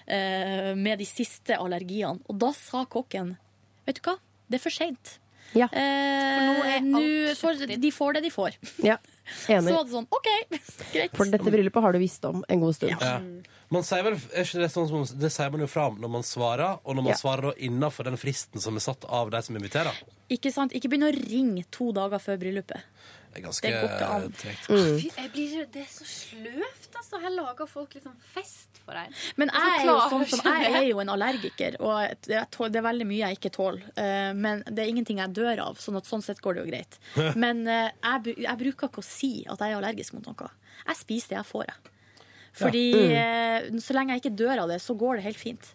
eh, med de siste allergiene. Og da sa kokken Vet du hva, det er for seint.
Ja.
Eh, nå får, de får det de får.
Ja.
Så
Enig.
var det sånn, OK, (laughs) greit.
For dette bryllupet har du visst om en god stund.
Ja. Man sier vel, er ikke det, sånn som, det sier man jo fra om når man svarer, og når man
Ja.
svarer da innenfor den fristen som er satt av de som inviterer.
Ikke sant? Ikke begynn å ringe to dager før bryllupet.
Det er ganske
Det går ikke an. Mm.
tregt.
Fy, jeg blir, det er så sløvt, altså. Her lager folk liksom fest for deg.
Men
Altså,
jeg er jo sånn som jeg er jo en allergiker, og jeg tål, det er veldig mye jeg ikke tåler. Eh, Men det er ingenting jeg dør av, sånn at sånn sett går det jo
(laughs)
greit. Men eh, jeg, bru- jeg bruker ikke å si at jeg er allergisk mot noe. Jeg spiser det jeg får, jeg. Fordi
Mm.
eh, så lenge jeg ikke dør av det, så går det helt fint.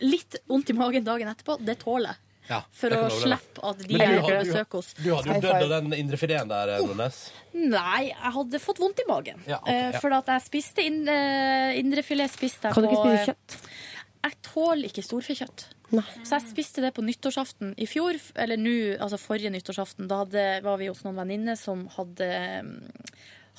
Litt vondt i magen dagen etterpå, det tåler jeg.
Ja,
For
det kan
å
jeg love deg.
slippe at de
Men du
er på
hadde jo-
besøk hos
Du hadde jo
High
dødd
five.
av den indrefileten der, eh, Nordnes.
Nei, jeg hadde fått vondt i magen.
Ja, ok,
Eh,
ja.
For at jeg spiste inn, eh, indrefilet spiste jeg
Kan du
på
ikke spise kjøtt?
Jeg tåler ikke storfekjøtt. Så jeg spiste det på nyttårsaften i fjor, f- eller nå, altså forrige nyttårsaften. Da hadde, var vi hos noen venninner som hadde mm,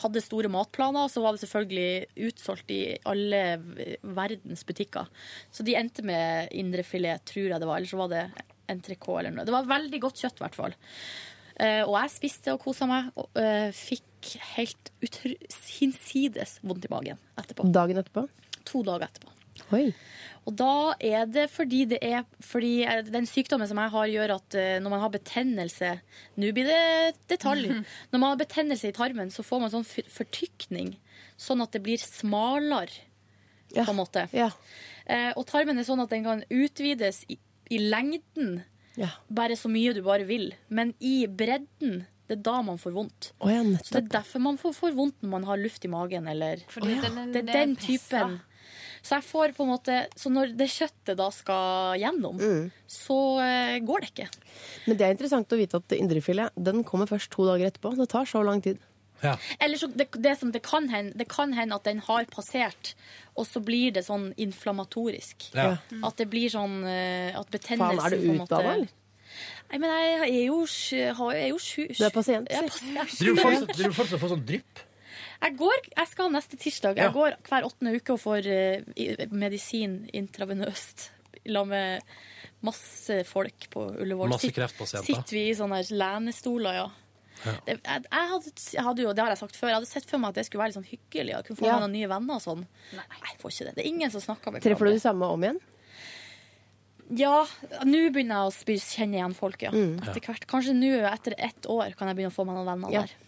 hadde store matplaner, og så var det selvfølgelig utsolgt i alle v- verdens butikker. Så de endte med indrefilet, tror jeg det var, eller så var det entrecôte eller noe. Det var veldig godt kjøtt, i hvert fall. Eh, og jeg spiste og kosa meg, og eh, fikk helt utr hinsides vondt i magen etterpå.
Dagen etterpå.
To dager etterpå.
Oi.
Og da er det fordi det er Fordi eh, den sykdommen som jeg har, gjør at eh, når man har betennelse Nå blir det detalj. Når man har betennelse i tarmen, så får man sånn fyr- fortykning. Sånn at det blir smalere, på en måte. Eh, og tarmen er sånn at den kan utvides i, i lengden bare så mye du bare vil. Men i bredden, det er da man får vondt.
Å ja,
Så det
nettopp.
er derfor man får, får vondt når man har luft i magen, eller
Fordi Å ja. den-
Det er den typen. Så jeg får på en måte Så når det kjøttet da skal gjennom,
Mm.
så eh, går det ikke.
Men det er interessant å vite at indrefilet den kommer først to dager etterpå. Det tar så lang tid.
Eller så det, det som det kan hende, det kan hende at den har passert, og så blir det sånn inflammatorisk.
Ja.
At det blir sånn eh, At betennelsen
Faen, er du
på en måte-
utdanna, eller?
Nei, men jeg er jo, sj- har- jeg er jo sju...
Du er pasient,
Jeg, er
sier.
pasient.
Driver du fortsatt- driver du fortsatt og får sånn drypp?
Jeg, går, jeg skal neste tirsdag. Jeg
Ja.
går hver åttende uke og får eh, i- medisin intravenøst. La med masse folk på Ullevål.
Masse
Sitt-
kreftpasienter.
Sitter vi i sånne her lenestoler, ja.
Ja.
Det, jeg, jeg, hadde, jeg hadde jo, det har jeg sagt før, jeg hadde sett for meg at det skulle være litt sånn hyggelig. Jeg kunne få
Ja.
meg noen nye venner og sånn. Nei, jeg får ikke det. Det er ingen som snakker med
Treffer du det samme om igjen?
Ja, nå begynner jeg å spy, kjenne igjen folk, ja.
Mm.
Etter hvert. Kanskje nå, etter ett år, kan jeg begynne å få meg noen venner
Ja.
der.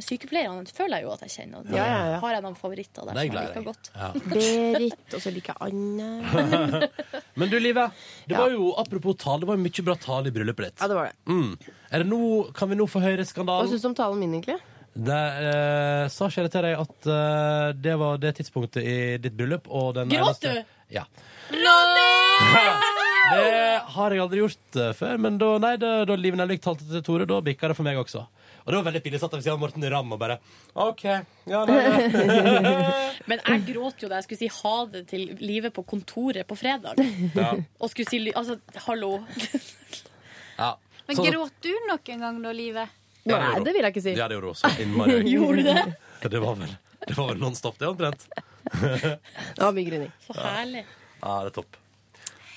Sykepleierne føler jeg jo at jeg kjenner. og
Ja, ja, ja.
Har jeg noen favoritter der
Det
som jeg
gleder
liker
jeg.
godt?
Ja.
Berit, og så liker jeg Anne.
Men du, Live, det var jo, apropos tale, det var jo mye bra tale i bryllupet ditt.
Ja, det var det.
Mm. Er det nå, kan vi nå få høre
Hva
skandalen?
syns du om talen min, egentlig?
Der, eh, sa ikke jeg det til deg at eh, det var det tidspunktet i ditt bryllup og den
Gråt
eneste-
du?
Ja.
Ronny!
(laughs) Det har jeg aldri gjort eh, før, men da, nei, da, da Liv Nelvik talte til Tore, da bikka det for meg også. Og det var veldig pinlig satt jeg ved siden av Morten Ramm og bare OK. Ja, nei,
(laughs)
nei.
Men jeg gråt jo da jeg skulle si ha det til livet på kontoret på fredag.
Ja.
Og skulle si ly- altså, hallo. (laughs)
ja.
Men
Sånn-
gråt du noen gang da, Livet?
Ja, gjorde hun.
Nei, det vil jeg ikke si.
Ja, det gjorde hun også. Innmari.
(laughs) Gjorde du det?
Det var vel, det var vel nonstop, det, omtrent.
Det var mye grining.
Så herlig.
Ja, det er topp.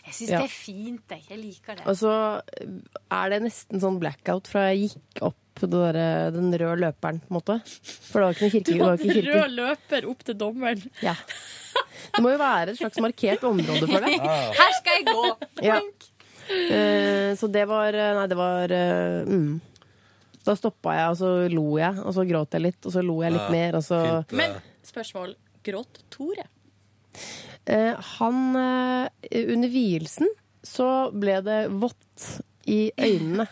Jeg syns
Ja.
det er fint, jeg. Jeg liker det.
Og så eh, er det nesten sånn blackout fra jeg gikk opp det derre- den røde løperen, på en måte. For det var ikke noe kirke.
Du
det var
hadde (laughs)
ikke kirke.
rød løper opp til dommeren.
Ja. Det må jo være et slags markert område for det.
Her skal jeg gå!
Ja. Eh, så det var eh, Nei, det var eh, mm. Da stoppa jeg, og så lo jeg, og så gråt jeg litt, og så lo jeg litt
Ja,
mer, og så
Men spørsmål. Gråt Tore?
Eh, han eh, Under vielsen så ble det vått i øynene.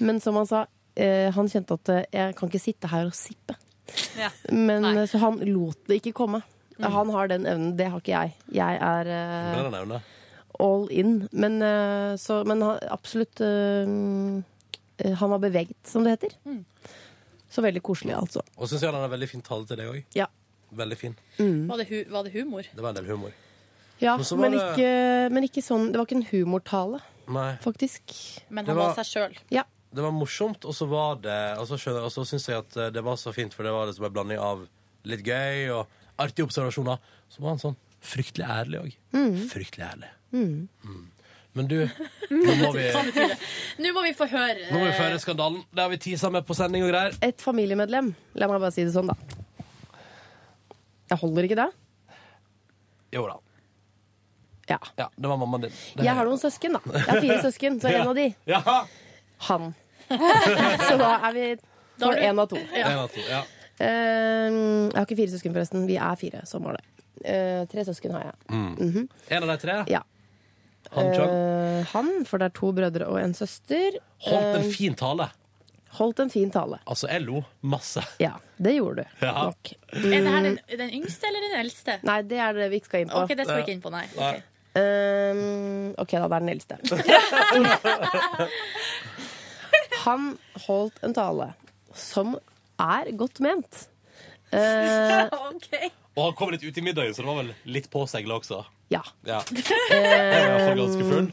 Men som han sa, eh, han kjente at eh, 'jeg kan ikke sitte her og sippe'. Men, eh, så han lot det ikke komme. Han har den evnen. Det har ikke jeg. Jeg er eh,
Imponerende evne.
all in. Men, eh, så, men han, absolutt eh, eh, Han var beveget, som det heter. Så veldig koselig, altså.
Og syns jeg han har veldig fin tale til deg òg.
Ja.
Veldig fin.
Mm.
Var, det hu- var det humor?
Det var en del humor.
Ja,
Men så var det-
men, ikke, men ikke sånn Det var ikke en humortale,
Nei.
faktisk.
Men han Det var var- seg
sjøl.
Ja.
Det var morsomt, og så var det Og så, skjønner- og så syns jeg at eh, det var så fint, for det var liksom en blanding av litt gøy og artige observasjoner. Så var han sånn fryktelig ærlig òg.
Mm.
Fryktelig ærlig.
Mm.
Men
(laughs)
du, nå må vi,
Hva betyr det? Nå må vi få høre
Mm.
nå må vi føre skandalen. Det har vi tisa med på sending og greier.
Et familiemedlem. La meg bare si det sånn, da. Jeg holder ikke det.
Jo da.
Ja.
det var mammaen din. Det-
Jeg har noen søsken, da. Jeg
(laughs)
har fire søsken, så en av de
Ja.
han.
(laughs)
Så da er vi
Da er
for
du-
én av to.
En av to, ja.
Eh, jeg har ikke fire søsken, forresten. Vi er fire, sånn var det. Eh, tre søsken har jeg.
Mm.
Mhm.
En av de tre?
Ja.
Han Chang
Eh, han, for det er to brødre og en søster.
holdt en
Eh,
fin tale.
holdt en fin tale.
Altså, jeg lo masse.
Ja, det gjorde du.
Ja.
Er det her den, den yngste eller den eldste?
Nei, det er det vi ikke skal inn på.
Ok, det skal vi ikke inn på, nei. Ok.
Ehm, ok, da. Det er den eldste. Han holdt en tale som er godt ment. Eh,
Og han kom litt ut i middagen, så det var vel litt påsegla også.
ja. Eh,
Ja. Jeg var i hvert fall ganske full.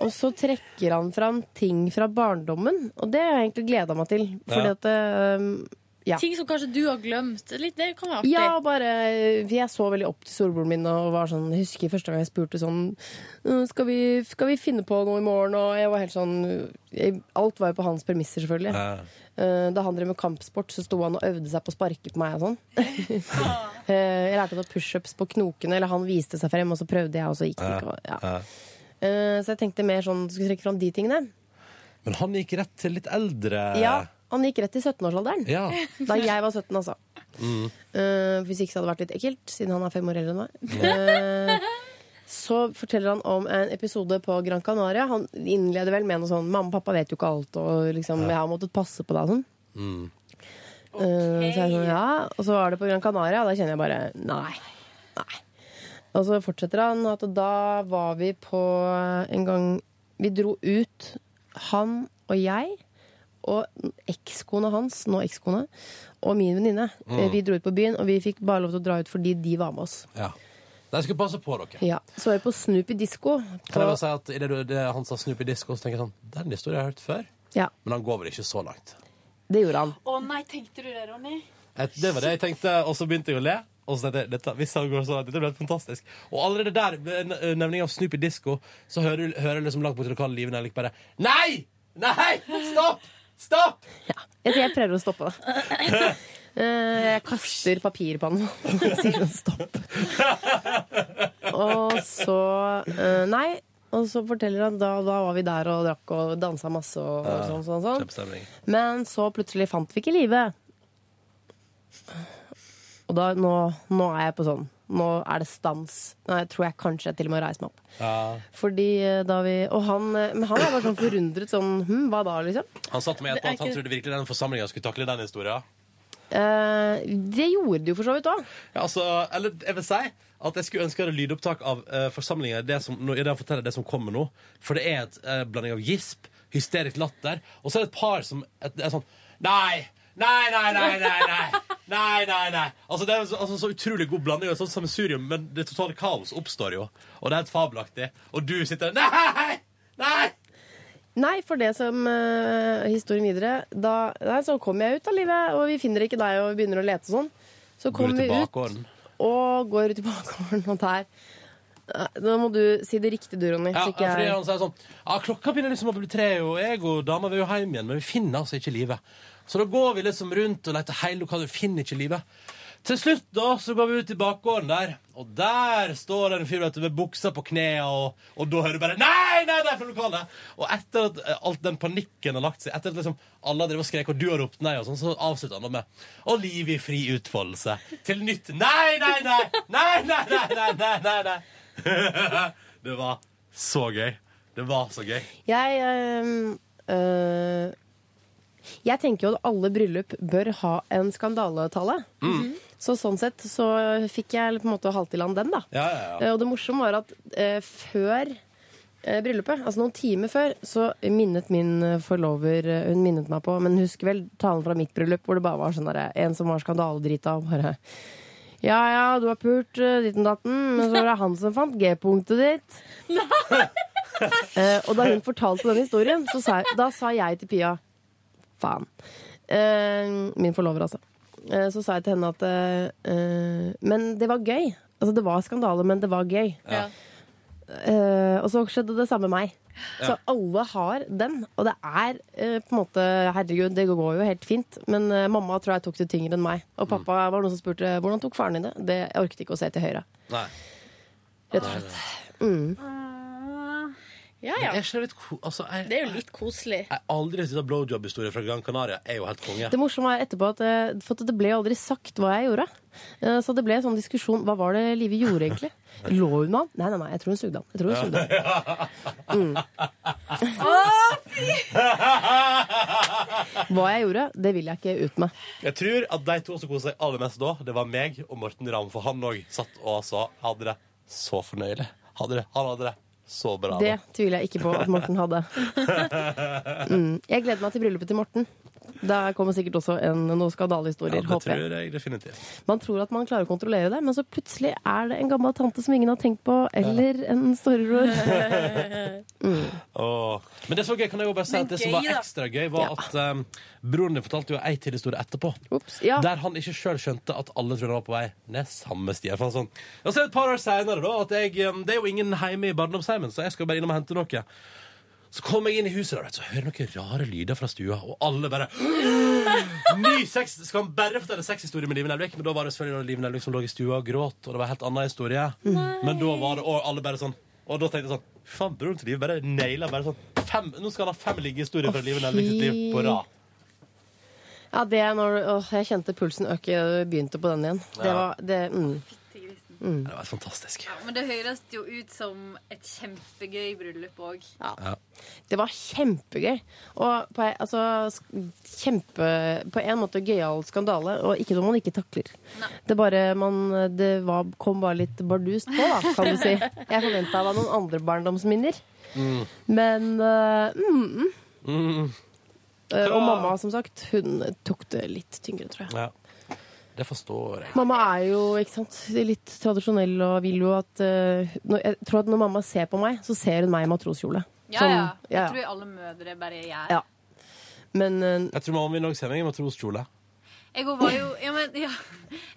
Og så trekker han fram ting fra barndommen, og det har jeg egentlig gleda meg til. Fordi
Ja.
at ehm, ja.
Ting som kanskje du har glemt. Litt, det kan være artig.
Ja, bare for Jeg så veldig opp til storebroren min og var sånn Jeg husker første gang jeg spurte sånn «Øh, skal vi, skal vi finne på noe i morgen? Og jeg var helt sånn jeg, Alt var jo på hans premisser, selvfølgelig. Eh, Da han drev med kampsport, så sto han og øvde seg på å sparke på meg og (laughs) sånn. Eh, jeg lærte å ta pushups på knokene, eller han viste seg frem, og så prøvde jeg, og så gikk det ikke. og- Ja. Eh, Så jeg tenkte mer sånn Skulle trekke fram de tingene.
Men han gikk rett til litt eldre.
Ja, han gikk rett i 17-årsalderen.
Ja.
(laughs) Da jeg var 17, altså.
Mm.
Eh, hvis ikke så hadde det vært litt ekkelt, siden han er fem år eldre enn meg. Eh, så forteller han om en episode på Gran Canaria. Han innleder vel med noe sånn 'Mamma og pappa vet jo ikke alt', og liksom, 'jeg har måttet passe på deg' og sånn. Eh, så jeg sånn, ja. Og så var det på Gran Canaria, og da kjenner jeg bare nei. nei. Og så fortsetter han at da var vi på en gang Vi dro ut, han og jeg og ekskona hans, nå ekskone, og min venninne.
Mm.
Eh, Vi dro ut på byen, og vi fikk bare lov til å dra ut fordi de var med oss.
Ja. Nei, jeg skulle passe på dere.
Ja, Så var vi på Snoopy Disko.
Kan jeg bare si at i det, du- det han sa Snoopy Disco, så tenker jeg sånn Den historien har jeg hørt før.
Ja,
Men han går vel ikke så langt.
det gjorde han.
Å nei, tenkte du det, Ronny?
Et- Det var det jeg tenkte, og så begynte jeg å le. Og så tenkte jeg, dette, hvis han går så langt, dette blir helt fantastisk. Og allerede der, ved n- øh, nevningen av Snoopy Disco, så hører, du- hører jeg liksom langt borti lokale Live Nellik bare Nei! Nei! Stopp! Stopp!
Jeg, jeg prøver å stoppe det. (laughs) Eh, Jeg kaster papir på han (laughs) og sier sånn stopp. Og så eh, Nei. Og så forteller han da, da var vi der og drakk og dansa masse og, og sånn. sånn, sånn.
Kjempestemning.
Men så plutselig fant vi ikke livet. Og da, nå, nå er jeg på sånn. Nå er det stans. Nå tror jeg kanskje jeg til og med reiser meg opp.
Ja.
Fordi eh, da vi, og han, eh, men han er bare sånn forundret sånn Hm, hva da, liksom?
Han satt med et
Det
på
er
at han
ikke-
trodde virkelig den forsamlingen skulle takle den historien.
Eh, det gjorde de jo for så vidt òg.
Ja, altså, eller jeg vil si at jeg skulle ønske jeg hadde lydopptak av uh, forsamlingen det som, når jeg forteller det som kommer nå. For det er et eh, blanding av gisp, hysterisk latter, og så er det et par som et, er sånn Nei! Nei, nei, nei, nei! nei Nei, nei, nei Altså Det er så, altså, så utrolig god blanding, og sånn et sånt sammensurium, men det totale kaos oppstår jo. Og det er helt fabelaktig. Og du sitter der Nei! Nei!
Nei, for det som eh, historien videre da, Nei, så kom jeg ut av livet, og vi finner ikke deg, og vi begynner å lete og sånn. Så
Går
kom
du
vi
til
ut
bakgården?
og går ut i bakgården, og der Eh, Nå må du si det riktig, du, Ronny.
Ja,
så ikke
fordi
jeg-
han sier sånn Ja, klokka begynner liksom å bli tre, og jeg og dama vil jo hjem igjen, men vi finner altså ikke livet. Så da går vi liksom rundt og leter hele lokalet, vi finner ikke livet. Til slutt da, så går vi ut i bakgården der, og der står det en fyr vet du, med buksa på knea, og, og da hører du bare Nei, nei, nei! fra lokalet! Og etter at eh, alt den panikken har lagt seg, etter at liksom alle har drevet og skrek, og du har ropt nei, og sånn, så avslutter han da med Og liv i fri utfoldelse. Til nytt Nei, nei, nei! Nei, nei, nei, nei, nei, nei, nei. Det var så gøy. Det var så gøy.
Jeg øhm, øh, Jeg tenker jo at alle bryllup bør ha en skandaletale.
Mm.
Så sånn sett så fikk jeg på en måte halvt i land den, da.
Ja, ja,
Eh,
ja.
Og det morsomme var at eh, før eh, bryllupet, altså noen timer før, så minnet min eh, forlover eh, Hun minnet meg på, men husker vel talen fra mitt bryllup, hvor det bare var sånn derre En som var skandaledrita og bare ja, ja, du har pult eh, ditten datten, men så var det han som fant G-punktet ditt. (laughs) Eh, og da hun fortalte den historien, så sa, jeg- da sa jeg til Pia Faen. Eh, min forlover, altså. Eh, så sa jeg til henne at eh, Men det var gøy. Altså, det var skandale, men det var gøy.
Ja.
Eh, og så skjedde det samme med meg.
Ja.
Så alle har den. Og det er eh, på en måte Herregud, det går jo helt fint. Men eh, mamma tror jeg tok det tyngre enn meg. Og pappa var noen som spurte hvordan tok faren din det. Det jeg orket ikke å se til høyre.
Mm. Nei.
Rett og slett. Mm.
Ja, ja.
Det er ikke litt ko- altså, jeg,
Det er jo litt koselig.
jeg har aldri sett en blowjob-historie fra Gran Canaria. Jeg er jo helt konge.
Det morsomme er etterpå at eh, for at det ble aldri sagt hva jeg gjorde. Eh, Så det ble en sånn diskusjon. Hva var det Live gjorde,
(laughs)
egentlig? Lå hun med han? Nei, nei, nei, jeg tror hun sugde han. Jeg tror hun sugde han. Hva jeg gjorde, det vil jeg ikke ut med.
Jeg tror at de to som koste seg aller mest da, det var meg og Morten Ramm. For han òg satt og altså hadde det så fornøyelig. Hadde det, han hadde det så bra.
Det tviler jeg ikke på at Morten
(laughs)
hadde.
da.
Mm. Jeg gleder meg til bryllupet til Morten. Der kommer sikkert også en, noen
Ja,
skandalehistorier.
det
håper jeg.
tror jeg definitivt.
Man tror at man klarer å kontrollere det, men så plutselig er det en gammel tante som ingen har tenkt på, eller en storebror.
(laughs)
Mm.
Åh. Men det som var gøy, kan jeg jo bare si
Men
at det som
gøy,
var
da.
ekstra gøy, var at um, broren din fortalte jo ei til historie etterpå.
ja.
Der han ikke sjøl skjønte at alle trodde han var på vei ned samme sti. For han sånn, og så er det et par år seinere, da, at jeg um, Det er jo ingen hjemme i barndomsheimen, så jeg skal bare innom og hente noe. Så kom jeg inn i huset, og så hører jeg noen rare lyder fra stua, og alle bare Ny sex! Skal han bare fortelle sexhistorie med Live Nelvik? Men da var det selvfølgelig når Live Nelvik som lå i stua og gråt, og det var en helt annen historie. Men da var det og alle bare sånn. Og da tenkte jeg sånn Faen, broren til Live bare naila bare sånn fem, Nå skal han ha fem liggehistorier fra Live Nelvik sitt liv på rad.
Ja, det er når åh, jeg kjente pulsen øke og begynte på den igjen. Det
Ja.
var det, mm. Mm.
Det var fantastisk.
Ja, men det høres jo ut som et kjempegøy bryllup òg.
Ja.
Det var kjempegøy. Og på, en- altså, sk- kjempe, på en måte gøyal skandale, og ikke noe man ikke takler. Det, bare, man, det var, kom bare litt bardust på, da, kan du si. Jeg forventa det var noen andre barndomsminner.
Mm.
Men eh, mm, mm.
Mm.
Eh, Og
Hva-
mamma, som sagt, hun tok det litt tyngre, tror jeg.
Ja. Det forstår jeg.
Mamma er jo ikke sant, litt tradisjonell og vil jo at eh, når, Jeg tror at når mamma ser på meg, så ser hun meg i matroskjole.
Ja,
Sånn,
ja.
ja,
Jeg tror alle mødre bare gjør
ja. Men eh,
Jeg tror mamma min òg ser meg i matroskjole.
Jeg òg var jo ja, men, ja.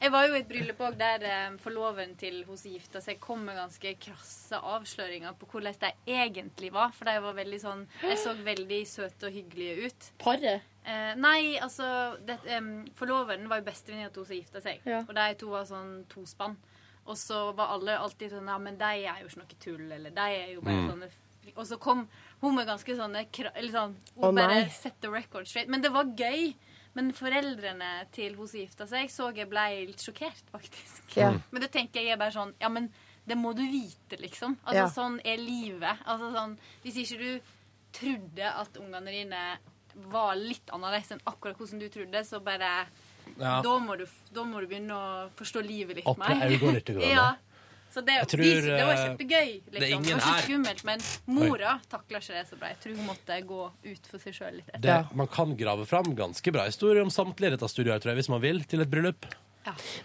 Jeg var jo i et bryllup òg der eh, forloveren til hun som gifta seg, kom med ganske krasse avsløringer på hvordan de egentlig var. For de var veldig sånn De så veldig søte og hyggelige ut.
Paret?
Eh, nei, altså det, em, Forloveren var jo bestevenninna til hun som gifta seg.
Ja.
Og de to var sånn tospann. Og så var alle alltid sånn Ja, men de er jo ikke noe tull, eller de er jo bare
Mm.
sånne f- Og så kom hun med ganske sånne kra- Eller sånn Hun
Å,
bare
nei.
set the record straight. Men det var gøy. Men foreldrene til hun som gifta seg, så jeg ble litt sjokkert, faktisk.
Ja.
Men det tenker jeg er bare sånn Ja, men det må du vite, liksom. Altså,
Ja.
Sånn er livet. Altså, sånn, hvis ikke du trodde at ungene dine var litt annerledes enn akkurat hvordan du trodde, så bare
Ja.
da, må du, da må du begynne å forstå livet litt
Oppe øynene litt
(laughs)
grann,
ja. Så det,
Jeg tror,
de, det var
eh,
kjempegøy. Liksom.
det er
Det,
ingen
var
her.
ikke skummelt, men mora takla ikke det så bra. Jeg tror hun måtte gå ut for seg sjøl litt
Det, Man kan grave fram ganske bra historier om samtlige dette studiet, her, tror jeg, hvis man vil, til et bryllup.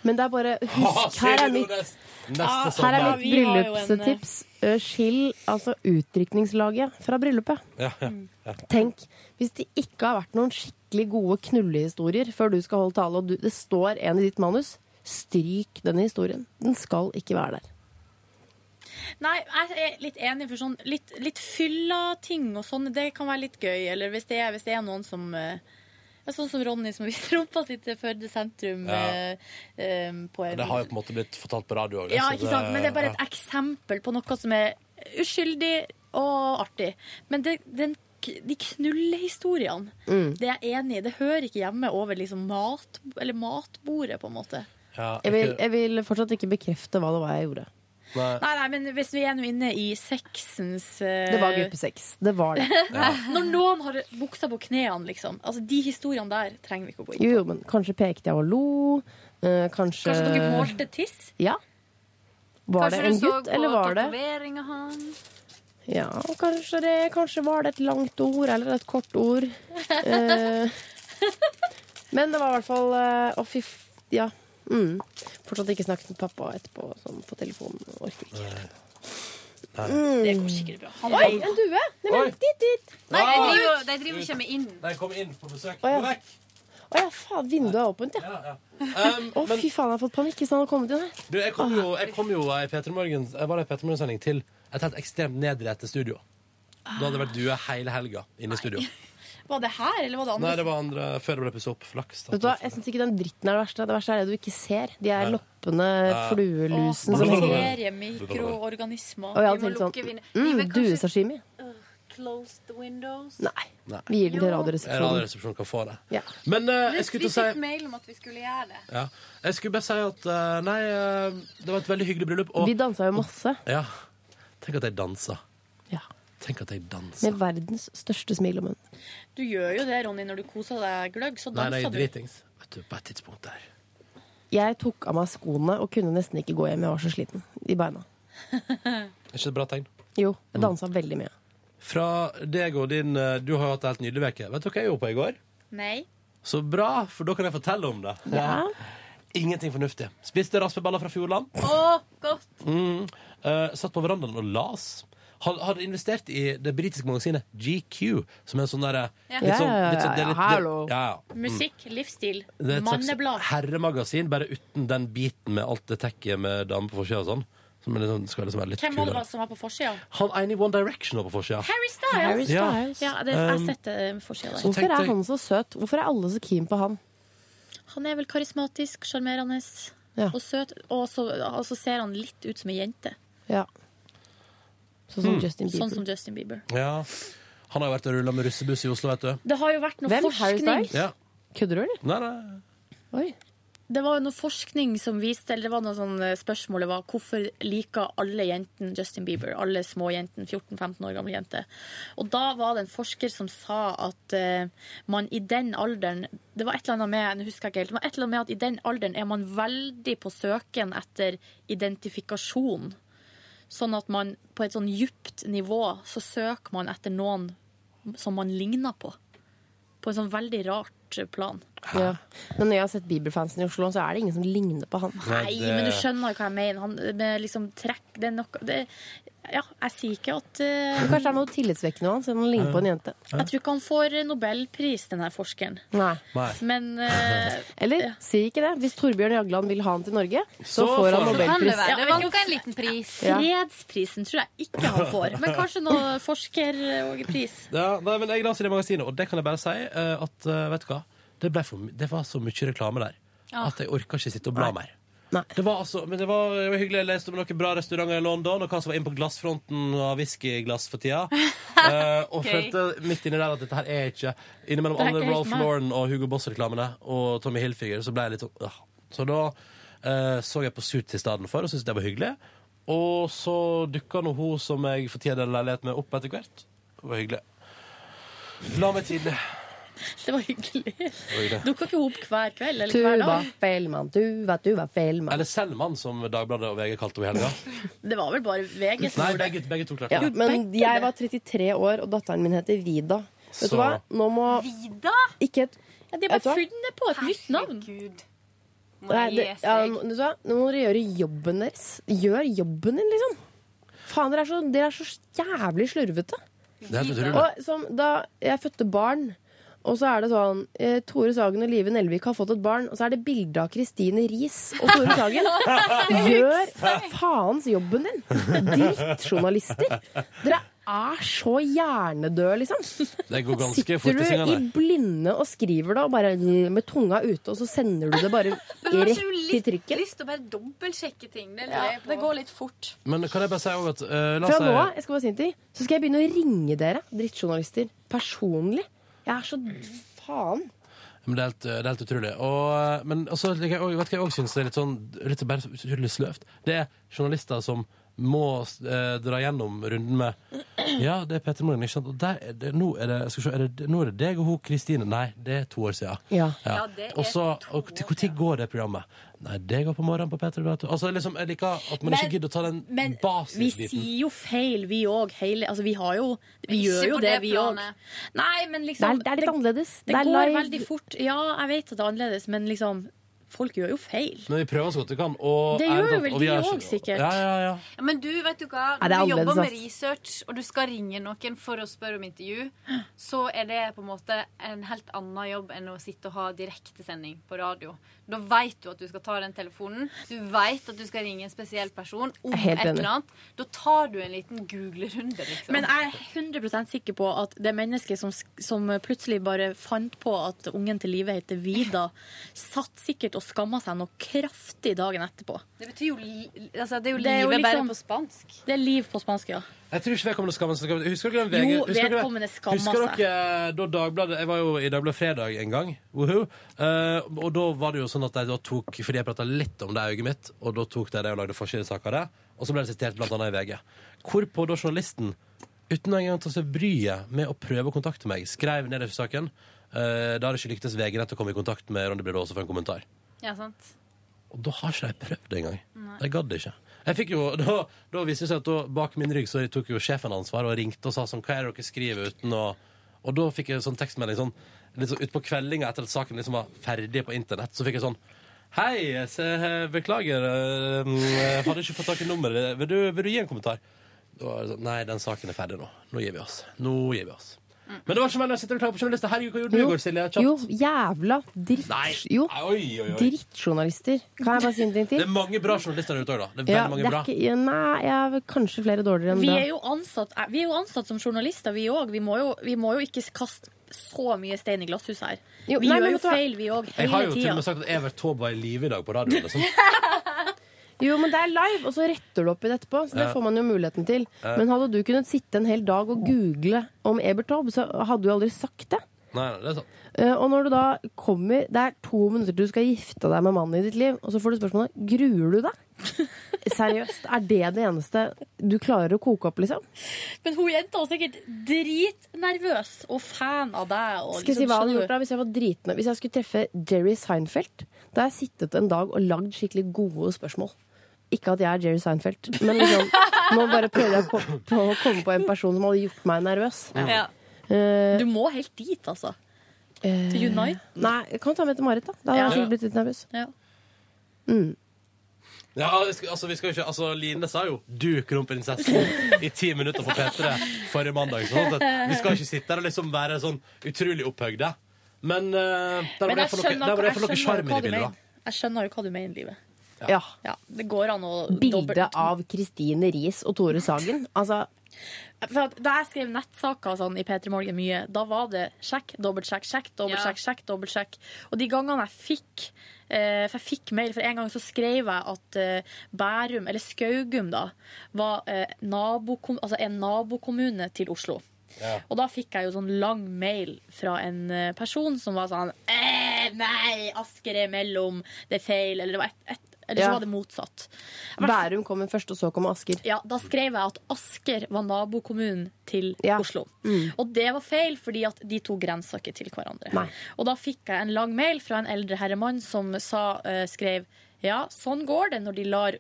Men det er bare Husk, her er mitt,
Ah.
Neste
her er
sommer.
mitt bryllupstips. Eh, Skill altså utdrikningslaget fra bryllupet.
Ja, ja, ja.
Tenk, hvis det ikke har vært noen skikkelig gode knullehistorier før du skal holde tale, og du, det står en i ditt manus, stryk denne historien. Den skal ikke være der.
Nei, jeg er litt enig, for sånn litt, litt fylla ting og sånn, det kan være litt gøy. Eller hvis det er, hvis det er noen som eh, Men Sånn som Ronny som (laughs) viste rumpa si til Førde sentrum.
Ja.
eh, eh, på en
Det har jo på en måte blitt fortalt på radio òg.
Ja, ikke sant? Men det er bare et eksempel på noe som er uskyldig og artig. Men det, den, de knullehistoriene,
Mm.
det er jeg enig i. Det hører ikke hjemme over liksom mat, eller matbordet, på en måte.
Jeg vil, jeg vil fortsatt ikke bekrefte hva det var jeg gjorde.
Nei, nei, men hvis vi er nå inne i sexens eh,
Det var gruppe sex. Det var det.
Når noen har buksa på knærne, liksom. Altså, De historiene der trenger vi ikke å gå inn
Jo,
på.
jo, men kanskje pekte jeg og lo. eh, kanskje
Kanskje dere målte tiss?
Ja. Var
Kanskje
det en
du så
gutt, eller var
på
det
tatoveringa hans?
Ja, kanskje det. Kanskje var det et langt ord eller et kort ord. Eh, men det var i hvert fall eh, Å, fy f... Ja. Mm. Fortsatt ikke snakket med pappa etterpå sånn på telefonen. Orker ikke.
Det går sikkert bra. Han
Oi,
vet.
en due!
eh,
Nei,
Oi.
men, dit, dit.
Nei, de driver, de driver og kommer inn.
De kom inn på besøk.
Å, ja.
Gå vekk!
Å ja, faen. Vinduet er åpent, ja.
Um,
Å,
men
fy faen, jeg har fått panikk hvis han har kommet inn her.
du, jeg kom jo, jeg kom jo eh, i Peter Morgens, jeg var i Peter Morgens-sending til et helt ekstremt nedrettet studio. Da hadde det vært due hele helga inne i studio.
Var det her, eller var det andre?
Nei, det var andre før det ble pusset opp. Flaks.
Vet du hva, Jeg syns ikke den dritten er det verste. Det verste er det du ikke ser. De er
Nei.
loppene,
Ja.
fluelusen som henger
Bakterier, mikroorganismer
Og jeg
Vi
hadde
må
tenkt
lukke
sånn
vinduet. Vi
mm,
vil kanskje-
Duesashimi.
Close the windows.
Nei.
Nei.
Vi gir den til Radioresepsjonen.
Radioresepsjonen kan få det.
Ja.
Men eh,
Vi
jeg skulle til å si
fikk mail om at vi skulle gjøre det.
ja. Jeg skulle bare si at eh, Nei, eh, det var et veldig hyggelig bryllup. Og
Vi dansa jo masse
ja, tenk at jeg dansa.
Ja.
Tenk at jeg dansa.
med verdens største smil om munnen.
Du gjør jo det, Ronny, når du koser deg gløgg. Så
Nei,
danser
nei,
du.
dritings. Vet du, på et tidspunkt der
Jeg tok av meg skoene og kunne nesten ikke gå hjem. Jeg var så sliten i beina.
Er ikke det et bra tegn?
Jo, jeg dansa veldig mye.
Fra deg og din eh, Du har jo hatt en helt nydelig uke. Vet du hva jeg gjorde på i går?
Nei.
Så bra, for da kan jeg fortelle om det. Ingenting fornuftig. Spiste raspeballer fra Fjordland.
Å, godt.
Mm. Eh, satt på verandaen og las. Har, har investert i det britiske magasinet GQ, som er en sånn derre
Ja.
litt sånn-
Ja, ja,
litt sånn- det er
ja,
litt-
ja,
det-
hallo.
ja, ja. Mm.
Musikk, livsstil,
Det er et slags
manneblad.
herremagasin, bare uten den biten med alt det tekket med damer på forsida og sånn. Som er litt sånn- skal liksom være litt
Hvem var det
kulere.
var som var på forsida?
Han ene i One Direction var på forsida.
Harry Styles!
Harry
Ja.
Styles.
Ja, det, jeg har
Um,
sett det på forsida der.
tenkte
Hvorfor er
jeg-
han så søt? Hvorfor er alle så keen på han?
Han er vel karismatisk, sjarmerende
Ja.
og søt, og så, og så ser han litt ut som ei jente.
Ja. Sånn som Justin Bieber.
Sånn som Justin Bieber.
Ja. Han har jo vært og rulla med russebuss i Oslo, vet du.
Det har jo vært noe
Hvem? Harry
forskning
Styles?
Ja.
Kødder du, eller?
Nei, nei.
Oi.
Det var jo noe forskning som viste Eller det var noe sånn eh, spørsmålet var hvorfor liker alle jentene Justin Bieber? Alle små jentene, 14-15 år gamle jenter. Og da var det en forsker som sa at eh, man i den alderen Det var et eller annet med nå husker jeg ikke helt, det var et eller annet med at i den alderen er man veldig på søken etter identifikasjon. Sånn at man på et sånn djupt nivå så søker man etter noen som man ligner på. På en sånn veldig rart plan.
Ja. Men når jeg har sett Bieber-fansen i Oslo, så er det ingen som ligner på han.
Nei,
det-
men du skjønner jo hva jeg mener. Han med liksom trekk Det er nok det, Ja, jeg sier ikke at eh,
Kanskje det er noe tillitsvekkende ved han, siden han ligner på en jente.
Jeg tror ikke han får nobelpris, den her forskeren.
Nei.
Nei.
Men eh,
Eller si ikke det. Hvis Torbjørn Jagland vil ha han til Norge, så,
Så
får
får
han
han.
Kan det
Nobelpris.
være?
Ja,
Det
men-
var nok en liten pris.
Ja.
fredsprisen tror jeg ikke han får. Men kanskje noe forskerpris.
Ja, nei, men jeg la oss i det magasinet, og det kan jeg bare si eh, at eh, vet du hva? Det, ble for, my- det var så mye reklame der at jeg orka ikke sitte og bla mer.
Nei.
Det var altså, men det var, det var hyggelig. Jeg leste om noen bra restauranter i London, og hva som var inne på glassfronten av whiskyglass for tida. Eh, og
Gøy.
følte midt inni der at dette her er ikke Innimellom
Det er
alle
ikke helt
Rolf
meg.
Lauren og Hugo Boss-reklamene og Tommy Hilfiger, så ble jeg litt sånn «Åh». Så da eh, så jeg på Suits i stedet for og syntes det var hyggelig. Og så dukka nå hun som jeg for tida deler leilighet med, opp etter hvert. Det var hyggelig. La meg tidlig.
Det var hyggelig.
Det var hyggelig.
Dukker ikke opp hver kveld eller
Du
hver
var
dag.
feil mann, du var, du var feil mann.
Eller Selman, som Dagbladet og VG kalte henne i helga.
(laughs)
Det var vel bare VG som
Nei,
gjorde det.
begge, begge to klarte
Ja,
det.
men jeg var 33 år, og datteren min heter Vida. Vet
Så-
du hva? Nå må
Vida!
ikke et
Ja, de har
Vet du hva?
bare funnet på et nytt navn.
Herregud. Må
Nei, det,
jeg gi
ja,
seg?
nå- vet du hva? Nå må dere gjøre jobben deres. Gjør jobben din, liksom. Faen, dere er så, dere er så jævlig slurvete.
Det er helt utrolig.
Og som da jeg fødte barn, og så er det sånn eh, Tore Sagen og Live Nelvik har fått et barn, og så er det bilde av Kristine Riis og Tore
(laughs)
Sagen. Gjør faens jobben din! Drittjournalister. Dere er så hjernedød, liksom.
Det går ganske fort i
Sitter du i
svingene.
blinde og skriver det, og bare med tunga ute, og så sender du det bare
Men har
rett
ikke du
i
litt
trykken.
lyst til å bare dobbeltsjekke ting? Det,
Ja,
det går litt fort.
Men kan jeg bare si også at eh, la
Fra
oss
nå av
si
jeg skal bare si en ting, så skal jeg begynne å ringe dere, drittjournalister, personlig. Jeg er så faen.
Men det er helt, det er helt utrolig. Og, men også, liker jeg, og vet du hva jeg også syns er litt sånn litt bare så utrolig sløvt? Det er journalister som må eh, dra gjennom runden med Ja, det er Petter Morgan, ikke sant? Og der er det, nå, er det, skal vi se, er det, nå er det deg og hun Kristine. Nei, det er to år siden.
Ja.
Ja,
det er
og så, og til når går det programmet? Nei, det går på morgenen på P3. vet du. Altså, liksom, jeg liker at man
Men-
ikke gidder å ta den
Men vi
basisbiten.
sier jo feil, vi òg. Altså, vi har jo Vi
Ikke
gjør jo
på
det,
det
vi òg.
planet.
Nei, men liksom
Det er- det er litt annerledes.
Det,
Det er
går
live.
veldig fort. Ja, jeg vet at det er annerledes, men liksom Folk gjør jo feil.
Men vi prøver så godt vi kan. Og,
Det gjør
ærlig talt,
vel
og vi
de
er-
også, sikkert.
Ja, ja, ja.
Ja, men du, vet du
Nei,
hva? Når
det er
du jobber
annerledes,
med
ass.
research, og du skal ringe noen for å spørre om intervju, så er det på en måte en helt annen jobb enn å sitte og ha direktesending på radio. Da veit du at du skal ta den telefonen. Du veit at du skal ringe en spesiell person om
er helt
et
enig.
eller annet. Da tar du en liten googlerunde, liksom.
Men jeg er 100 sikker på at det mennesket som, som plutselig bare fant på at ungen til livet heter Vida, satt sikkert og skamma seg noe kraftig dagen etterpå.
det betyr jo li altså, Det er jo
Det er jo
livet
liksom-
bare på spansk.
Det er liv på spansk, ja.
Jeg tror ikke vedkommende skammer seg. Husker dere den
Jo,
VG? husker dere-
vedkommende skammer
Husker dere eh, da Dagbladet Jeg var jo i Dagbladet Fredag en gang. Woohoo. Eh, og da var det jo sånn at de da tok Fordi jeg prata litt om det øyet mitt, og da tok de det og lagde forsidesak av det. Og så ble det sitert blant annet i VG. Hvorpå da journalisten, uten å engang ta seg bryet med å prøve å kontakte meg, skrev ned i saken eh, Da har det ikke lyktes VG nett å komme i kontakt med Ronny Brede Aase for en kommentar.
Ja, sant?
Og da har ikke de prøvd det engang.
Nei.
De gadd ikke. Jeg fikk jo, (laughs) da, da viste det seg at da, bak min rygg så tok jo sjefen ansvar og ringte og sa sånn, hva er det dere skriver uten å Og da fikk jeg sånn tekstmelding sånn litt sånn utpå kveldinga etter at saken liksom var ferdig på internett, så fikk jeg sånn Hei, jeg se- beklager, eh, mm, hadde ikke fått tak i nummeret. Vil du, vil du gi en kommentar? Da var det sånn, Nei, den saken er ferdig nå. Nå gir vi oss. Nå gir vi oss. Men det var ikke meningen å sitte og klage på journalister. Herregud, hva gjorde du i går, Silje? Kjapt.
Mm. Jo, jævla dritt...
Nei.
Jo,
Oi, oi, oi.
drittjournalister. Kan jeg bare si en ting
Det
til?
er mange bra journalister der ute òg, da. Det er veldig
Ja,
mange
det er
bra.
ikke, ja, nei, jeg er kanskje flere dårligere enn
Vi
bra.
er jo ansatt, eh, vi er jo ansatt som journalister, vi òg. Vi, må jo- vi må jo ikke kaste så mye stein i glasshuset her.
Jo,
vi
nei, men
gjør jo
vet du hva?
feil, vi òg,
Jeg har
hele
jo til og
tida.
med sagt at Evert Taube var i live i dag på radioen. Liksom.
(laughs)
Jo, men det er live, og så retter du opp i det etterpå. Så det
Ja.
får man jo muligheten til.
Ja.
Men hadde du kunnet sitte en hel dag og google om Ebert Taube, så hadde du aldri sagt det.
Nei, nei, det er sant.
Eh, Og når du da kommer Det er to minutter til du skal gifte deg med mannen i ditt liv, og så får du spørsmålet gruer du
(laughs)
deg. Seriøst, er det det eneste du klarer å koke opp, liksom?
Men hun jenta var sikkert dritnervøs og fan av deg. Og liksom
Skal jeg si hva jeg hadde gjort da Hvis jeg var dritnøy Hvis jeg skulle treffe Jerry Seinfeld Da har jeg sittet en dag og lagd skikkelig gode spørsmål Ikke at jeg er Jerry Seinfeld Men liksom
(laughs)
Nå bare prøvde jeg å ko- på å komme på en person som hadde gjort meg nervøs
Ja.
Eh,
Du må helt dit, altså.
eh,
Til Unite?
Nei, jeg kan ta med til Marit da Da hadde
Ja.
jeg sikkert blitt litt nervøs
Ja.
mm.
Ja, vi skal- altså, vi skal jo ikke, altså, Line sa jo 'du, kronprinsessen', i ti minutter på P3 forrige mandag. Sånn at vi skal ikke sitte her og liksom være sånn utrolig opphøyde. Men uh, der var
Men
det
jeg
for noe-
skjønner,
der var det for
jeg
noe
skjønner
sjarm i
hva
det
du
bildet. da.
mener. Jeg skjønner jo hva du mener, livet.
Ja.
det går an å
Bilde av Kristine Ries og Tore Sagen Altså,
For at da jeg skrev nettsaker sånn, i P3 Morgen mye, da var det sjekk, dobbeltsjekk, sjekk, dobbeltsjekk, sjekk, dobbeltsjekk. Og de gangene jeg fikk eh, For jeg fikk mail, for en gang så skrev jeg at eh, Bærum, eller Skaugum, da, var eh, nabokom, altså en nabokommune til Oslo. Og da fikk jeg jo sånn lang mail fra en eh, person som var sånn eh, Nei, Asker er imellom, det er feil, eller det var et, et eller så
Ja.
var det motsatt.
Bærum kommer først og så kommer Asker
Ja, da skrev jeg at Asker var nabokommunen til Oslo.
Mm.
Og det var feil, fordi at de to grensa ikke til hverandre.
Nei.
Og da fikk jeg en lang mail fra en eldre herremann som sa, eh, skrev ja, sånn går det når de lar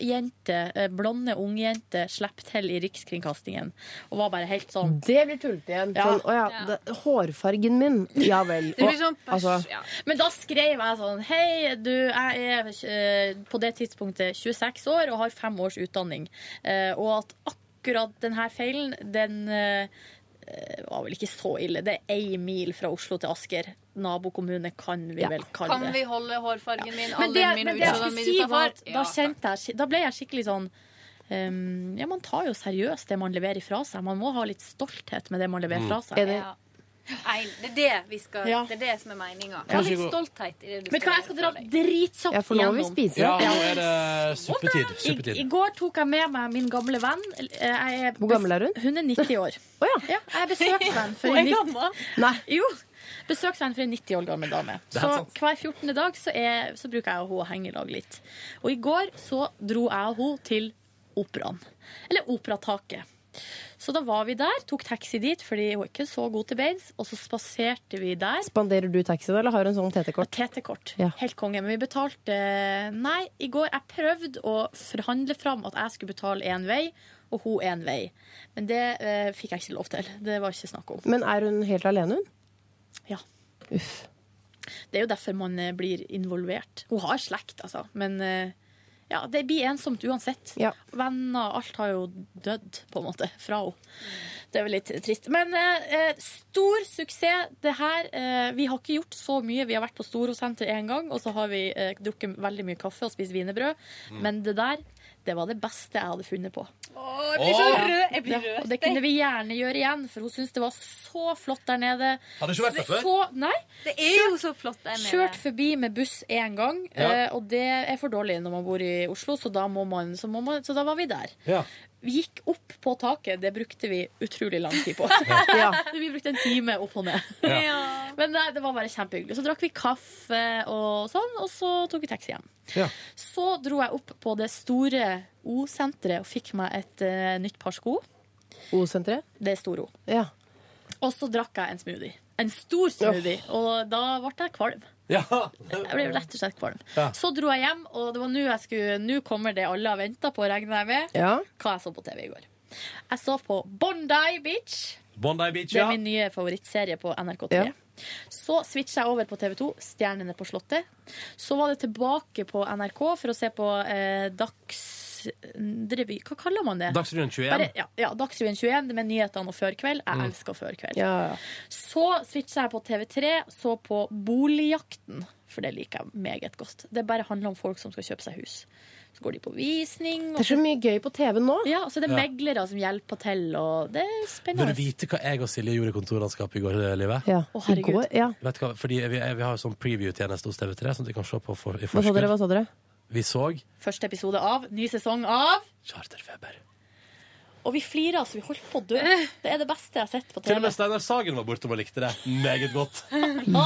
ungjente, eh, blonde ungjenter slippe til i Rikskringkastingen. Og var bare helt sånn
Det blir tullete igjen sånn, «Å ja, det, Hårfargen min, ja vel
Det blir
Og,
sånn pers-
altså,
ja. Men da skrev jeg sånn Hei, du, jeg er eh, på det tidspunktet 26 år og har fem års utdanning. Eh, og at akkurat denne feilen, den eh, eh, var vel ikke så ille. Det er ei mil fra Oslo til Asker. Nabokommune kan vi vel kalle
Kan
det.
vi holde hårfargen min,
Men det,
alderen min
men
og
det jeg
utseendelen
skulle
min
si var
utenfor?
at da, kjente jeg, da ble jeg skikkelig sånn ehm, ja, man tar jo seriøst det man leverer fra seg. Man må ha litt stolthet med det man leverer fra seg.
Ja. Nei, det er det vi skal
Ja.
Det er det som er meninga.
Ja.
Ha litt stolthet i det du
Vet du hva, jeg skal dra dritkjapt
Ja, for nå må vi
igjennom.
spise.
Ja, nå er det suppetid.
I, I
suppetid.
går tok jeg med meg min gamle venn. Eh, Jeg er
Hvor gammel er hun?
Hun er 90 år. ja. jeg er besøksvenn for
Hun er
en nitt-
gammel?
Nei. Jo. Besøksvenn for en 90 år gammel dame.
Det er
Så
sant.
hver 14. dag så, er, så bruker jeg og hun å henge i lag litt. Og i går så dro jeg og hun til operaen. Eller Operataket. Så da var vi der, tok taxi dit fordi hun er ikke så god til beins, og så spaserte vi der.
Spanderer du taxi da, eller har du en sånn TT-kort?
TT-kort.
Ja.
Helt konge. Men vi betalte Nei, i går jeg prøvde å forhandle fram at jeg skulle betale én vei, og hun én vei. Men det eh, fikk jeg ikke lov til. Det var ikke snakk om.
Men er hun helt alene, hun?
Ja.
Uff.
Det er jo derfor man eh, blir involvert. Hun har slekt, altså. Men eh, ja, det blir ensomt uansett. Venner, alt har jo dødd, på en måte, fra henne. Det er vel litt trist. Men eh, eh, stor suksess. Det her, eh, vi har ikke gjort så mye. Vi har vært på Storosenter én gang, og så har vi eh, drukket veldig mye kaffe og spist wienerbrød.
Mm.
Men det der, det var det beste jeg hadde funnet på.
Å, jeg blir så
Åh!
rød! Jeg blir
Ja,
rød.
og det kunne vi gjerne gjøre igjen, for hun syntes det var så flott der nede.
Har det ikke vært der før?
Så, nei.
Det er jo så flott der nede.
Kjørt forbi med buss én gang,
Ja.
eh, og det er for dårlig når man bor i Oslo, så da, må man, så må man, så da var vi der. Vi gikk opp på taket, det brukte vi utrolig lang tid på.
Ja.
vi brukte en time opp og ned.
Ja.
Men nei, det var bare kjempehyggelig. Så drakk vi kaffe og sånn, og så tok vi taxi hjem. Så dro jeg opp på det store O-senteret og fikk meg et eh, nytt par sko.
O-senteret?
Det er stor O.
Ja.
Og så drakk jeg en smoothie. En stor smoothie. Og da ble jeg kvalm. Jeg ble rett og slett kvalm.
Ja.
Så dro jeg hjem, og det var nå jeg skulle Nå kommer det alle har venta på, regner jeg med.
Ja.
Hva jeg så på TV i går. Jeg så på Bondi Beach.
Bondi Beach,
Det er
ja.
min nye favorittserie på NRK3.
Ja.
Så switcha jeg over på TV2, Stjernene på Slottet. Så var det tilbake på NRK for å se på eh, Dagsrevy Hva kaller man det?
Dagsrevyen 21.
Bare, ja, ja, Dagsrevyen 21 med nyhetene og Førkveld. Jeg
Mm.
elsker Førkveld. Så switcha jeg på TV3, så på Boligjakten, for det liker jeg meget godt. Det bare handler om folk som skal kjøpe seg hus. Så går de på visning. og
Det er så mye gøy på TV nå.
Ja, så det er
Ja.
meglere som hjelper til, og det er
Vil du
spennende.
vite hva jeg og Silje gjorde i kontorlandskapet i går? eh, Live?
Å, herregud. I går, ja.
Vet du hva? Fordi vi, vi har jo sånn preview-tjeneste hos TV3, sånn at vi kan se på for, i
Hva sa dere?
forskudd.
Hva sa dere?
Vi så
Første episode av ny sesong av
Charterfeber.
Og vi flirer så vi holdt på å dø. Det er det beste jeg har sett på
Til og
TV.
med Steinar Sagen var bortom og likte det meget godt.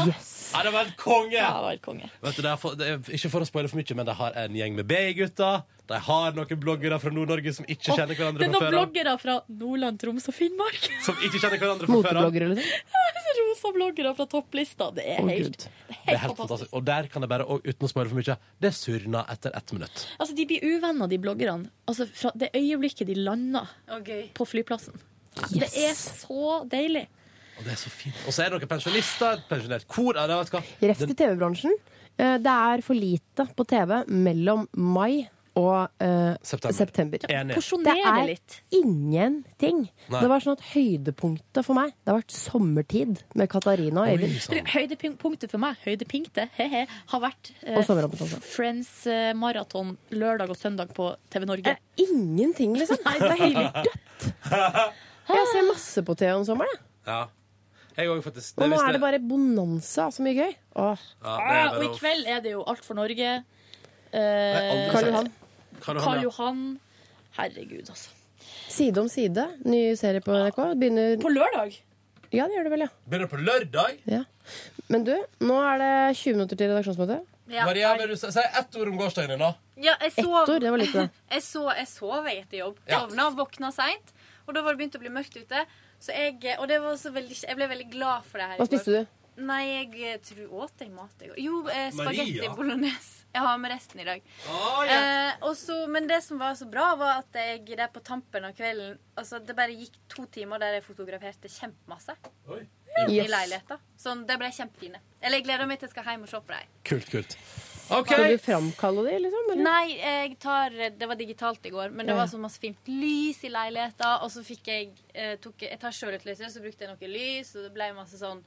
Yes.
Ja, det var en konge!
Ja, det var helt konge.
Vet du, det er for, det er, ikke for å spoile for mye, men de har en gjeng med B-gutter. De har noen bloggere fra Nord-Norge som ikke
Åh,
kjenner
det
hverandre
er
fra
noen
før av.
bloggere fra Nordland, Troms og Finnmark. (laughs)
Som ikke kjenner hverandre fra før av.
liksom?
Rosa bloggere fra topplista. Det er
Å,
helt,
Gud.
det er
Det er helt fantastisk. Og der kan jeg bare, og uten å spoile for mye, det surna etter ett minutt.
Altså, de blir uvenner, de bloggerne. Altså, fra det øyeblikket de lander på flyplassen. Det er så deilig.
Og det er så fint. Og så er det noen pensjonister, et pensjonert kor. Ja, det vet du hva.
Ref til TV-bransjen. Eh, Det er for lite på TV mellom mai og eh,
September.
september.
Enig.
Det
Porsjonere
er ingenting.
Nei.
Det var sånn at høydepunktet for meg Det har vært sommertid med Katarina og Øyvind.
sånn.
Høydepunktet for meg høydepunktet, he-he, har vært eh,
Og sommeråpent også.
Friends eh, maraton lørdag og søndag på TV
Eh,
Norge.
Ingenting, liksom.
Nei, det er helt
(laughs) Jeg ser masse på TV om sommeren. jeg.
Ja. Jeg òg, faktisk.
Og nå
visste
er det
jeg.
bare bonanza. Så mye gøy. Åh.
Ja, det er
Ah,
bare
og i
å-
kveld er det jo Alt for Norge. Eh,
aldri
Karl sett. Johan.
Karl Johan, ja.
Karl Johan. Herregud, altså.
Side om side, ny serie på NRK. Begynner
På lørdag?
Ja, det gjør det vel, ja.
Begynner på lørdag.
ja. Men du, nå er det 20 minutter til redaksjonsmøte.
Ja.
Maria, vil du si si ett ord om gårsdagen din, da?
Ja, jeg sov,
Ett år, det var lite, da.
jeg, så, jeg sov jeg etter jobb.
Ja.
Sovna, våkna seint. Og da var det begynt å bli mørkt ute. Så jeg, og det var så veldig, jeg ble veldig glad for det her. i
Hva
går.
spiste du?
Nei, jeg tror åt jeg mat i går. Jo, eh, spagetti
Maria.
bolognese. Jeg har med resten i dag.
Oh,
eh, og så- men det som var så bra, var at jeg der på tampen av kvelden altså Det bare gikk to timer der jeg fotograferte kjempemasse. Inne
Yes.
I leiligheta. Sånn, det ble kjempefine. Eller jeg gleder meg til jeg skal hjem og se på dem.
Kult, kult.
Skal du framkalle de, liksom? Eller?
Nei, jeg tar Det var digitalt i går, men det
Ja.
var så masse fint lys i leiligheta, og så fikk jeg eh, tok, Jeg tar sjølutløser, så brukte jeg noe lys, og det ble masse sånn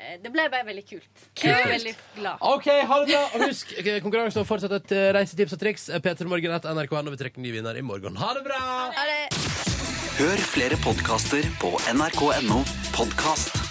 eh, Det ble bare veldig kult. Jeg var veldig glad.
OK, ha det bra. Og husk, eh, konkurransen om fortsatt et eh, reisetips og triks. P3morgen.nrk.no. Vi trekker ny vinner i morgen. Ha det bra!
Ha det.
Hør flere podkaster på nrk.no podkast.